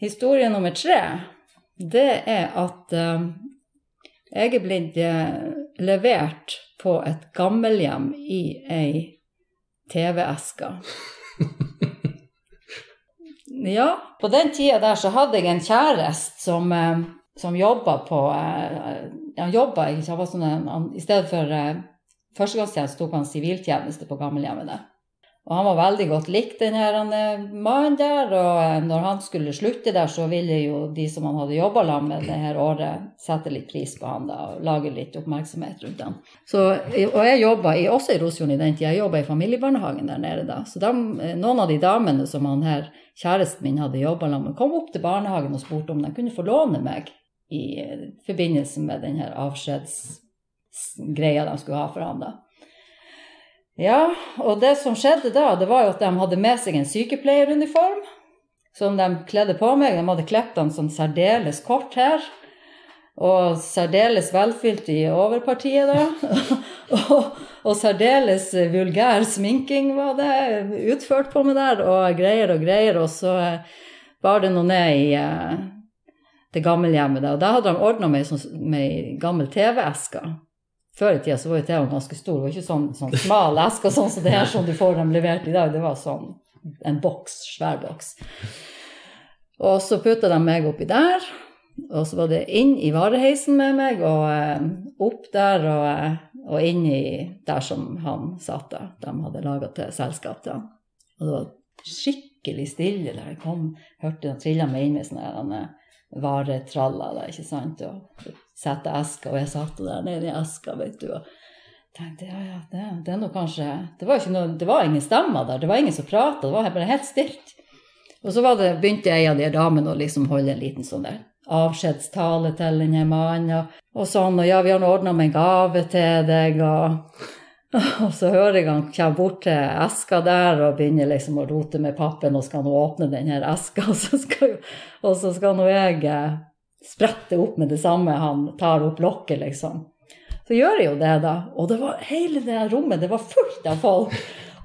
Speaker 3: Historie nummer tre, det er at eh, jeg er blitt eh, levert på et gammelhjem i ei TV-eske. ja, på den tida der så hadde jeg en kjæreste som, eh, som jobba på eh, Han jobba ikke, han var sånn en- han, i stedet for eh, førstegangstjeneste tok han siviltjeneste på gammelhjemmet der. Og han var veldig godt likt, den her han, eh, mannen der. Og eh, når han skulle slutte der, så ville jo de som han hadde jobba sammen med det her året, sette litt pris på han da, og lage litt oppmerksomhet rundt han. Så, eh, og jeg jobba i, også i Rosfjorden i den tida, jeg jobba i familiebarnehagen der nede da. Så dem, eh, noen av de damene som han her, kjæresten min hadde jobba sammen med, kom opp til barnehagen og spurte om de kunne få låne meg i eh, forbindelse med den her avskjedsgreia de skulle ha for han da. Ja, og det som skjedde da, det var jo at de hadde med seg en sykepleieruniform som de kledde på meg. De hadde klept den sånn særdeles kort her. Og særdeles velfylt i overpartiet, da. [LAUGHS] og, og særdeles vulgær sminking var det utført på meg der, og greier og greier. Og så eh, bar det noe ned i eh, det gammelhjemmet der. Og der hadde de ordna meg sånn, med ei gammel TV-eske. Før i tida så var jo TV-en ganske stor, det var ikke sånn, sånn smal eske og sånn som det her som du får dem levert i dag. Det var sånn en boks, svær boks. Og så putta de meg oppi der, og så var det inn i vareheisen med meg, og eh, opp der og, eh, og inn i der som han satt da. De hadde laga til selskap til han. Og det var skikkelig stille der jeg kom, hørte de trilla meg inn med sånne her, eh, varetraller, da, ikke sant, og sette eska, og jeg satt der nede i eska, vet du, og tenkte ja, ja, det, det er nå kanskje Det var, ikke noe, det var ingen stemmer der, det var ingen som prata, det var bare helt stilt. Og så var det, begynte ei av de damene å liksom holde en liten sånn der avskjedstale til den her mannen, og, og sånn, og ja, vi har ordna med en gave til deg, og [LAUGHS] og så hører jeg han kommer bort til eska der og begynner liksom å rote med pappen og skal nå åpne den her eska, [LAUGHS] og så skal, jo- og så skal nå jeg eh, sprette opp med det samme han tar opp lokket, liksom. Så gjør jeg jo det, da. Og det var hele det her rommet, det var fullt av folk.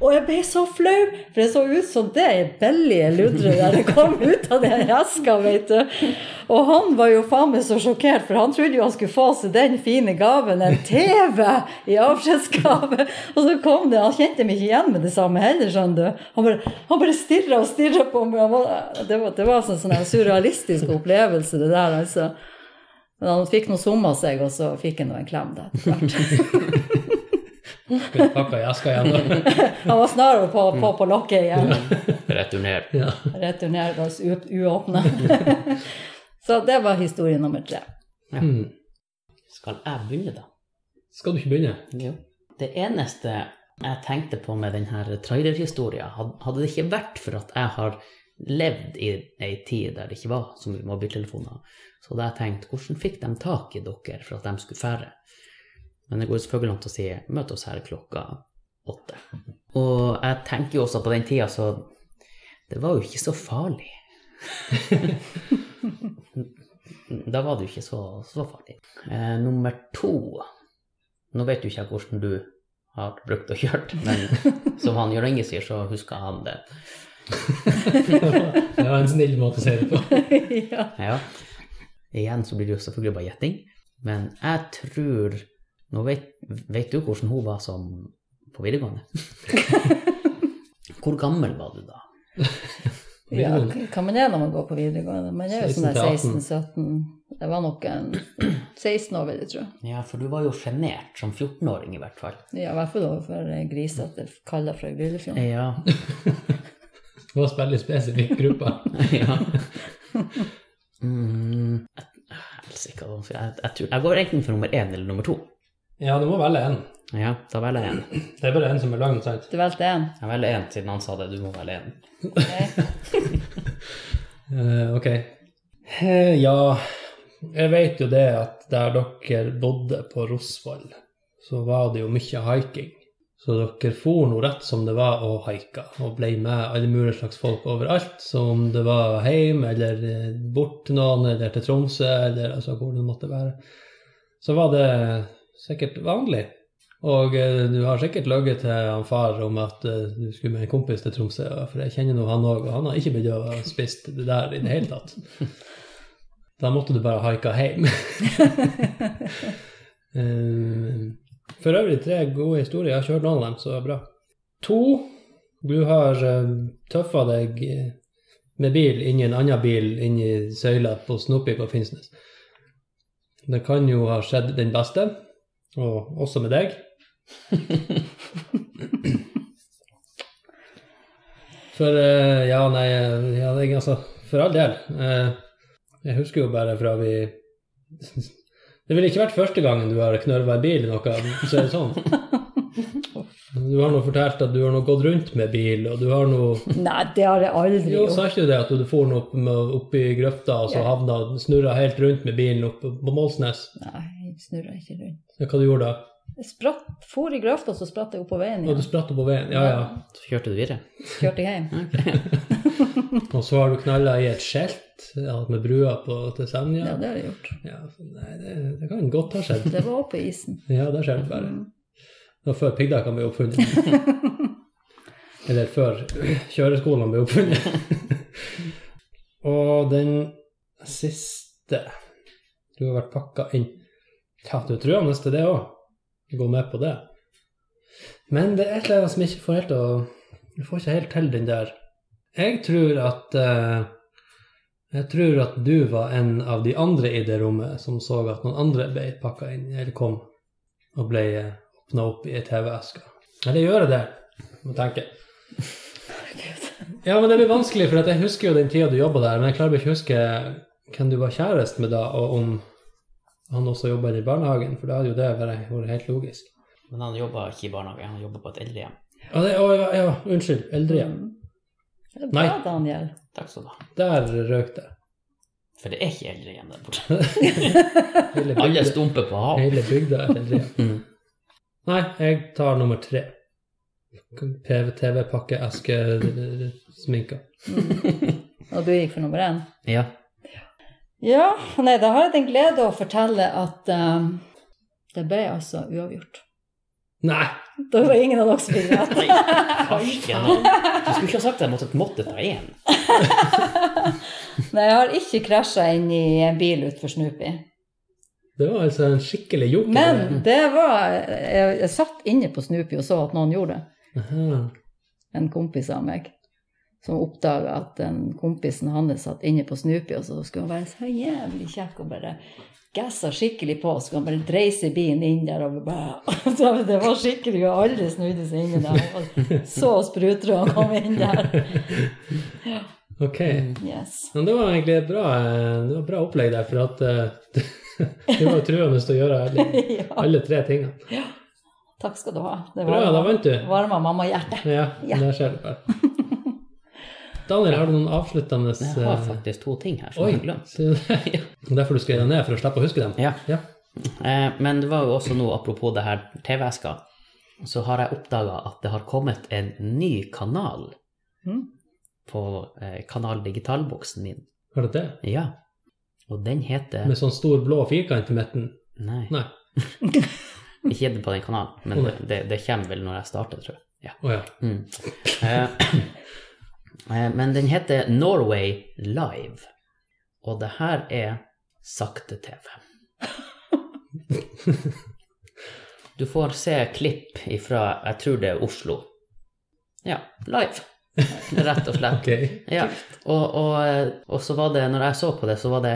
Speaker 3: Og jeg ble så flau, for det så ut som det billige ludret der det kom ut av den eska, vet du. Og han var jo faen meg så sjokkert, for han trodde jo han skulle få seg den fine gaven, en TV i avskjedsgave. Og så kom det, han kjente meg ikke igjen med det samme heller, skjønner du. Han bare, han bare stirra og stirra på meg. Han var, det var, det var sånn, sånn en surrealistisk opplevelse, det der, altså. Men han fikk nå summa seg, og så fikk han nå en klem da, etter hvert.
Speaker 2: Skulle pakka i eska
Speaker 3: [LAUGHS]
Speaker 2: igjen. da.
Speaker 3: Han var snarere på, på, på lokket igjen.
Speaker 1: Returner.
Speaker 2: Ja.
Speaker 3: Returnerer oss u- uåpna. [LAUGHS] Så det var historie nummer tre.
Speaker 2: Mm.
Speaker 1: Skal jeg begynne, da?
Speaker 2: Skal du ikke begynne?
Speaker 1: Jo. Det eneste jeg tenkte på med denne trailerhistorien, had- hadde det ikke vært for at jeg har levd i ei tid der det ikke var så mye mobiltelefoner, så hadde jeg tenkt hvordan fikk de tak i dere for at de skulle fære? Men det går jo selvfølgelig an til å si møt oss her klokka åtte. Og jeg tenker jo også at på den tida så det var jo ikke så farlig. da var det jo ikke så, så farlig. Eh, nummer to nå vet jo ikke jeg hvordan du har brukt og kjørt, [LAUGHS] men som han Jørn Inge sier, så husker han det.
Speaker 2: Det var en snill måte å si det på.
Speaker 3: ja.
Speaker 1: Ja. Igjen så blir det jo selvfølgelig bare gjetting, men jeg tror Nå vet, vet du hvordan hun var som på videregående? [LAUGHS] Hvor gammel var du da?
Speaker 3: ja. Hva man er når man går på videregående? Man er jo sånn der
Speaker 2: 16
Speaker 3: 16-17. Jeg var nok en [CLEARS THROAT] 16 år, vil jeg tro.
Speaker 1: Ja, for du var jo sjenert som 14-åring i hvert fall.
Speaker 3: Ja, I hvert fall overfor eh, grisete kaller fra Grillefjorden.
Speaker 1: Ja.
Speaker 2: Det var en veldig spesifikk gruppe.
Speaker 1: [LAUGHS] ja. [LAUGHS] Mm, jeg, helsike, hva skal jeg, jeg, tror, jeg går enten for nummer én eller nummer to.
Speaker 2: Ja, du må velge en.
Speaker 1: Ja, da velger jeg én.
Speaker 2: Det er bare en som er lang, sant?
Speaker 3: Du valgte én?
Speaker 1: Jeg velger én siden han sa det. Du må velge én.
Speaker 3: Ok.
Speaker 2: Eh, ok. Eh, ja, jeg vet jo det at der dere bodde på Rosvoll, så var det jo mye hiking. Så dere for nå rett som det var og haika, og ble med alle mulige slags folk overalt. Så om det var hjem, eller eh, bort til noen, eller til Tromsø, eller altså hvor det måtte være, så var det sikkert vanlig. Og eh, du har sikkert løyet til han far om at eh, du skulle med en kompis til Tromsø, for jeg kjenner nå han òg, og han har ikke bedøvet og spist det der i det hele tatt. Da måtte du bare haika hjem. Eh, for øvrig tre gode historier. Jeg har kjørt noen av dem, så det er bra. To, du har uh, tøffa deg eh, med bil inn i en annen bil inn i søyla på Snoopy på Finnsnes. Det kan jo ha skjedd den beste, og også med deg. For eh, Ja, nei, ja, det, er altså For all del. Eh, jeg husker jo bare fra vi [LAUGHS] Det ville ikke vært første gangen du har knørva en bil i noe, for å si det sånn. Du har nå fortalt at du har nå gått rundt med bil, og du har nå
Speaker 3: Nei, det har jeg aldri
Speaker 2: Jo,
Speaker 3: gjort.
Speaker 2: sa ikke du det, at du for nå opp, med- opp i grøfta og så
Speaker 3: Ja.
Speaker 2: havna snurra helt rundt med bilen opp på Målsnes?
Speaker 3: Nei, jeg snurra ikke rundt.
Speaker 2: Ja, Hva du gjorde da?
Speaker 3: Jeg spratt, for i grøfta, så spratt jeg opp på veien
Speaker 2: Og du
Speaker 3: igjen.
Speaker 2: spratt opp på veien? Ja, ja.
Speaker 1: Så kjørte du videre.
Speaker 3: Kjørte hjem.
Speaker 2: Og så har du knalla i et skjelt ja, med brua på, til Senja?
Speaker 3: Ja, det har jeg gjort.
Speaker 2: Ja, nei, det, det kan godt ha skjedd.
Speaker 3: Det var på isen.
Speaker 2: Ja, det skjer bare. Det var før piggdekkene ble oppfunnet. Eller før kjøreskolene ble oppfunnet. Og den siste Du har vært pakka inn. Ja, du er truende til det òg. Gå med på det. Men det er et eller annet som ikke får helt å Du får ikke helt til den der. Jeg tror at eh, jeg tror at du var en av de andre i det rommet som så at noen andre ble pakka inn, eller kom og ble åpna opp i ei TV-eske. Eller gjør jeg det? Må tenke. Ja, men det blir vanskelig, for at jeg husker jo den tida du jobba der, men jeg klarer bare ikke å huske hvem du var kjæreste med da, og om han også jobba i barnehagen, for da hadde jo det vært vært helt logisk.
Speaker 1: Men han jobba ikke i barnehage, han jobba på et eldrehjem.
Speaker 2: Ja, det, å, ja, ja, unnskyld. Eldrehjem.
Speaker 3: Mm. Det er
Speaker 2: Nei.
Speaker 3: bra, Daniel.
Speaker 1: Takk skal du ha.
Speaker 2: Der røk det.
Speaker 1: For det er ikke eldrehjem der borte.
Speaker 2: Hele
Speaker 1: Alle
Speaker 2: bygda-
Speaker 1: stumper på hav.
Speaker 2: Hele bygda er eldrehjem.
Speaker 1: Mm.
Speaker 2: Nei, jeg tar nummer tre. PVTV-pakke, eske, sminka.
Speaker 3: Og du gikk for nummer én.
Speaker 1: Ja.
Speaker 3: Ja, nei, da har jeg den glede å fortelle at eh, det ble altså uavgjort.
Speaker 2: Nei!
Speaker 3: Da var ingen av dere som fikk rett.
Speaker 1: Nei, farsken. Du skulle ikke ha sagt at jeg måtte, måtte ta én.
Speaker 3: Nei, jeg har ikke krasja inn i en bil utenfor Snoopy.
Speaker 2: Det var altså en skikkelig joker.
Speaker 3: Men det var jeg, jeg satt inne på Snoopy og så at noen gjorde det.
Speaker 2: Aha.
Speaker 3: en kompis av meg som oppdaga at den kompisen hans satt inne på Snoopy, og så skulle han være så jævlig kjekk og bare gassa skikkelig på. Så skulle han bare dreise bilen inn der og bare [LAUGHS] Så Det var skikkelig, og alle snudde seg inni der. Og så sprutrød han kom inn der.
Speaker 2: Ok.
Speaker 3: Yes.
Speaker 2: Men det var egentlig et bra, eh, det var et bra opplegg der, for at eh, [LAUGHS] det var truende til å gjøre alle,
Speaker 3: Ja,
Speaker 2: alle tre tingene.
Speaker 3: takk skal du ha. Det
Speaker 2: Bra, da
Speaker 3: varma,
Speaker 2: vant du.
Speaker 3: varma mamma hjertet.
Speaker 2: Ja,
Speaker 3: Ja.
Speaker 2: der skjer det bare. Daniel, har du noen avsluttende
Speaker 1: Men Jeg har
Speaker 2: eh,
Speaker 1: faktisk to ting her som
Speaker 2: Oi!
Speaker 1: jeg har glemt.
Speaker 2: sier [LAUGHS] du det? Derfor du skrev dem ned, for å slippe å huske dem?
Speaker 1: Ja.
Speaker 2: Ja.
Speaker 1: Eh, Men det var jo også noe apropos det her TV-eska, så har jeg oppdaga at det har kommet en ny kanal
Speaker 3: Mm.
Speaker 1: på eh, Kanal Digital-boksen min.
Speaker 2: Var det det?
Speaker 1: Ja. Og den heter
Speaker 2: Med sånn stor blå firkant i midten?
Speaker 1: Nei,
Speaker 2: Nei.
Speaker 1: ikke på den kanalen, men
Speaker 2: Å, nei.
Speaker 1: det, det kommer vel når jeg starter, tror jeg. Ja.
Speaker 2: Å ja.
Speaker 1: Mm. Eh, [CLEARS THROAT] eh, Men den heter Norway Live, og det her er sakte-TV. Du får se klipp ifra, jeg tror det er Oslo. Ja, live, rett og slett.
Speaker 2: Ok.
Speaker 1: Ja. Og, og, eh, og så var det, når jeg så på det, så var det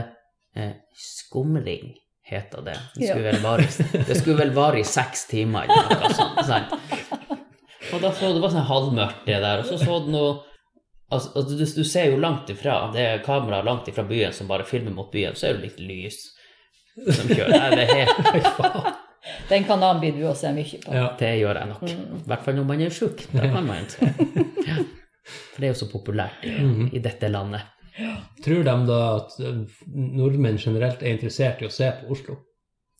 Speaker 1: eh, skumring, heter det. Det skulle, vel vare, det skulle vel vare i seks timer eller noe sånt. sant? Og da så det var sånn halvmørkt det der, og så så du noe altså, altså, du, du ser jo langt ifra, det er kamera langt ifra byen som bare filmer mot byen, så er det litt lys som kjører. Nei, det, er helt,
Speaker 2: Fy faen.
Speaker 3: Den kanalen blir du å se mye på.
Speaker 2: Ja.
Speaker 1: det gjør jeg nok. I hvert fall når man er sjuk. Da kan man jo se. Ja. For det er jo så populært i, i dette landet.
Speaker 2: Tror de da at eh, nordmenn generelt er interessert i å se på Oslo?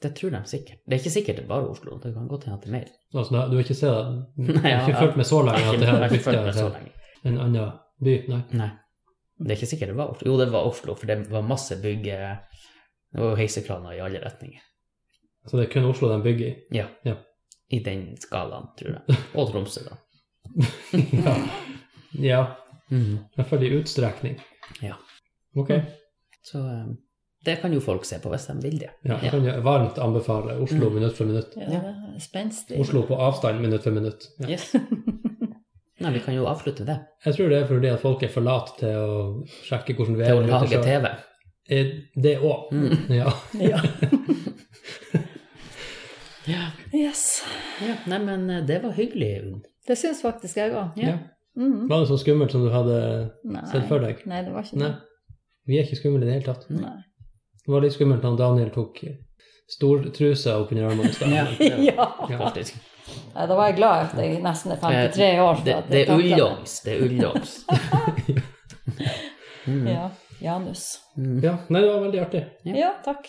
Speaker 1: Det tror de sikkert. Det er ikke sikkert det er bare Oslo. Det kan godt hende at det
Speaker 2: [LAUGHS]
Speaker 1: er mer.
Speaker 2: Altså, da- du har ikke sett det? Du
Speaker 1: Nei,
Speaker 2: har
Speaker 1: jeg
Speaker 2: ikke
Speaker 1: har-
Speaker 2: fulgt med så lenge at det
Speaker 1: Jeg
Speaker 2: har
Speaker 1: har ikke fulgt med
Speaker 2: byttet
Speaker 1: så
Speaker 2: til
Speaker 1: lenge.
Speaker 2: en annen by? Nei.
Speaker 1: Nei. Det er ikke sikkert det var Oslo. Jo, det var Oslo, for det var masse bygg eh, og heisekraner i alle retninger.
Speaker 2: Så det er kun Oslo de
Speaker 1: [LAUGHS]
Speaker 2: bygger i?
Speaker 1: Ja.
Speaker 2: Ja.
Speaker 1: I den skalaen,
Speaker 2: [LAUGHS]
Speaker 1: tror jeg. Og Tromsø, da.
Speaker 2: Ja. ja.
Speaker 1: Mhm.
Speaker 2: I hvert fall i utstrekning.
Speaker 1: Ja.
Speaker 2: Ok.
Speaker 1: Så eh, det kan jo folk se på hvis de vil det.
Speaker 2: Ja, jeg kan jo varmt anbefale
Speaker 1: Mm.
Speaker 2: Oslo minutt for minutt.
Speaker 3: Ja, det er Spenstig.
Speaker 2: Oslo på avstand minutt for minutt. Ja.
Speaker 1: Yes. [LAUGHS] Nei, vi kan jo avslutte det.
Speaker 2: Jeg tror det er fordi at folk er for late til å sjekke hvordan
Speaker 1: Til å
Speaker 2: været er.
Speaker 1: lage
Speaker 2: ute,
Speaker 1: TV.
Speaker 2: så- Mm. Eh, Det òg. Ja.
Speaker 1: [LAUGHS]
Speaker 3: Ja.
Speaker 1: Ja.
Speaker 3: Yes.
Speaker 1: ja. Nei, men eh, det var hyggelig, Unn.
Speaker 3: Det syns faktisk jeg òg.
Speaker 1: Ja.
Speaker 3: Mhm.
Speaker 2: Var det så skummelt som du hadde sett
Speaker 3: Nei.
Speaker 2: for deg?
Speaker 3: Nei, det var ikke
Speaker 2: Nei.
Speaker 3: det.
Speaker 2: Vi er ikke skumle i det hele tatt.
Speaker 1: Nei.
Speaker 2: Det var litt skummelt da Daniel tok stortrusa opp under armene i stad.
Speaker 1: Ja.
Speaker 3: [LAUGHS] Ja.
Speaker 2: Ja.
Speaker 1: Faktisk.
Speaker 3: Nei, da var jeg glad at jeg nesten er 53 år. for
Speaker 1: Det,
Speaker 3: at jeg
Speaker 1: det er
Speaker 3: taklet det.
Speaker 1: ullongs. Det er ullongs. Mm.
Speaker 3: [LAUGHS] Ja. Janus.
Speaker 1: Mm.
Speaker 2: Ja, nei, det var veldig artig.
Speaker 1: Ja.
Speaker 3: Ja, takk.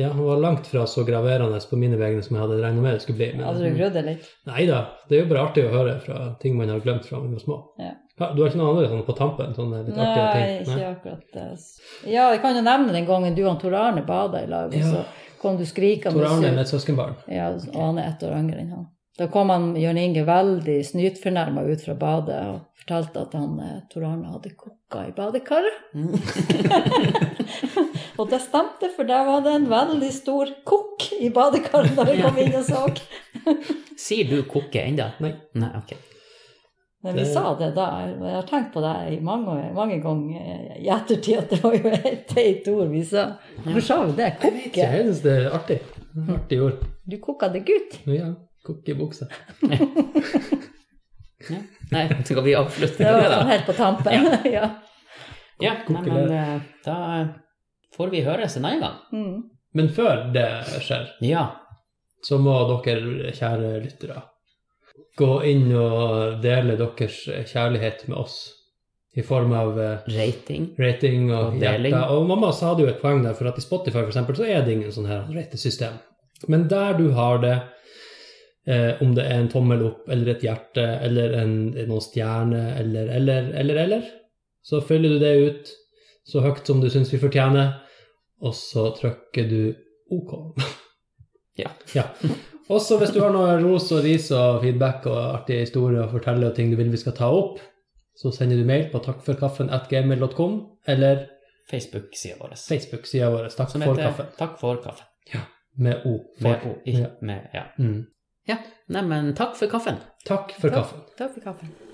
Speaker 2: Ja, han var langt fra så graverende på mine vegne som jeg hadde regnet med det skulle bli.
Speaker 3: Hadde du
Speaker 2: Men
Speaker 3: grudd deg litt?
Speaker 2: nei da, det er jo bare artig å høre fra ting man har glemt fra man var små.
Speaker 3: Ja.
Speaker 2: Ha, du har ikke noen andre sånn på tampen? Sånne litt artige
Speaker 3: Nei,
Speaker 2: ting?
Speaker 3: ikke akkurat det. Ja, jeg kan jo nevne den gangen du og Tor Arne bada i lag, og
Speaker 2: Ja.
Speaker 3: så kom du skrikende
Speaker 2: Tor Arne er
Speaker 3: ut.
Speaker 2: med et søskenbarn.
Speaker 3: Ja, og han er ett år yngre enn han. Da kom han Jørn Inge veldig snytfornærma ut fra badet og fortalte at han eh, Tor Arne hadde kokka i badekaret.
Speaker 1: Mm.
Speaker 3: [LAUGHS] Og det stemte, for der var det en veldig stor kokk i badekaret da vi kom inn og så.
Speaker 1: Sier du kokke ennå?
Speaker 2: Nei.
Speaker 1: Nei, ok.
Speaker 3: Men vi
Speaker 2: Det-
Speaker 3: sa det da. Jeg har tenkt på det i mange, mange ganger eh, i ettertid at det var jo et teit ord vi sa. Hvor sa vi det?
Speaker 2: Så
Speaker 3: Kokke?
Speaker 2: jeg synes det er artig. Artig ord.
Speaker 3: Du kokka det gutt?
Speaker 2: Ja, kokke i buksa.
Speaker 1: Ja. Nei, skal vi avslutte
Speaker 3: Det
Speaker 1: med
Speaker 3: var
Speaker 1: det, da?
Speaker 3: sånn helt på tampen. Ja. [LAUGHS]
Speaker 1: Ja, nei,
Speaker 2: Kokke
Speaker 1: men eh, da får vi høres en annen gang.
Speaker 3: Mm.
Speaker 2: Men før det skjer,
Speaker 1: Ja.
Speaker 2: så må dere, kjære lyttere, gå inn og dele deres kjærlighet med oss i form av eh,
Speaker 1: Rating.
Speaker 2: rating og,
Speaker 1: Og deling.
Speaker 2: hjerter. Og mamma sa det jo et poeng der, for at i Spotify for eksempel, så er det ingen sånn her ratesystem. Men der du har det, eh, om det er en tommel opp eller et hjerte eller en, noen stjerne eller, eller, eller, eller, så fyller du det ut så høyt som du syns vi fortjener, og så trykker du OK.
Speaker 1: Ja.
Speaker 2: [LAUGHS] Ja. Også hvis du har noe ros og ris og feedback og artige historier å fortelle og ting du vil vi skal ta opp, så sender du mail på takkforkaffen.gmail.com eller
Speaker 1: Facebook-sida vår.
Speaker 2: Facebook-sida vår Takk
Speaker 1: Som
Speaker 2: for
Speaker 1: heter
Speaker 2: kaffen.
Speaker 1: Takk for kaffe.
Speaker 2: Med O.
Speaker 1: Med O.
Speaker 2: Ja.
Speaker 1: Med, ja.
Speaker 2: Mm.
Speaker 1: Neimen, takk for kaffen.
Speaker 2: Takk for kaffen.
Speaker 3: Takk for kaffen.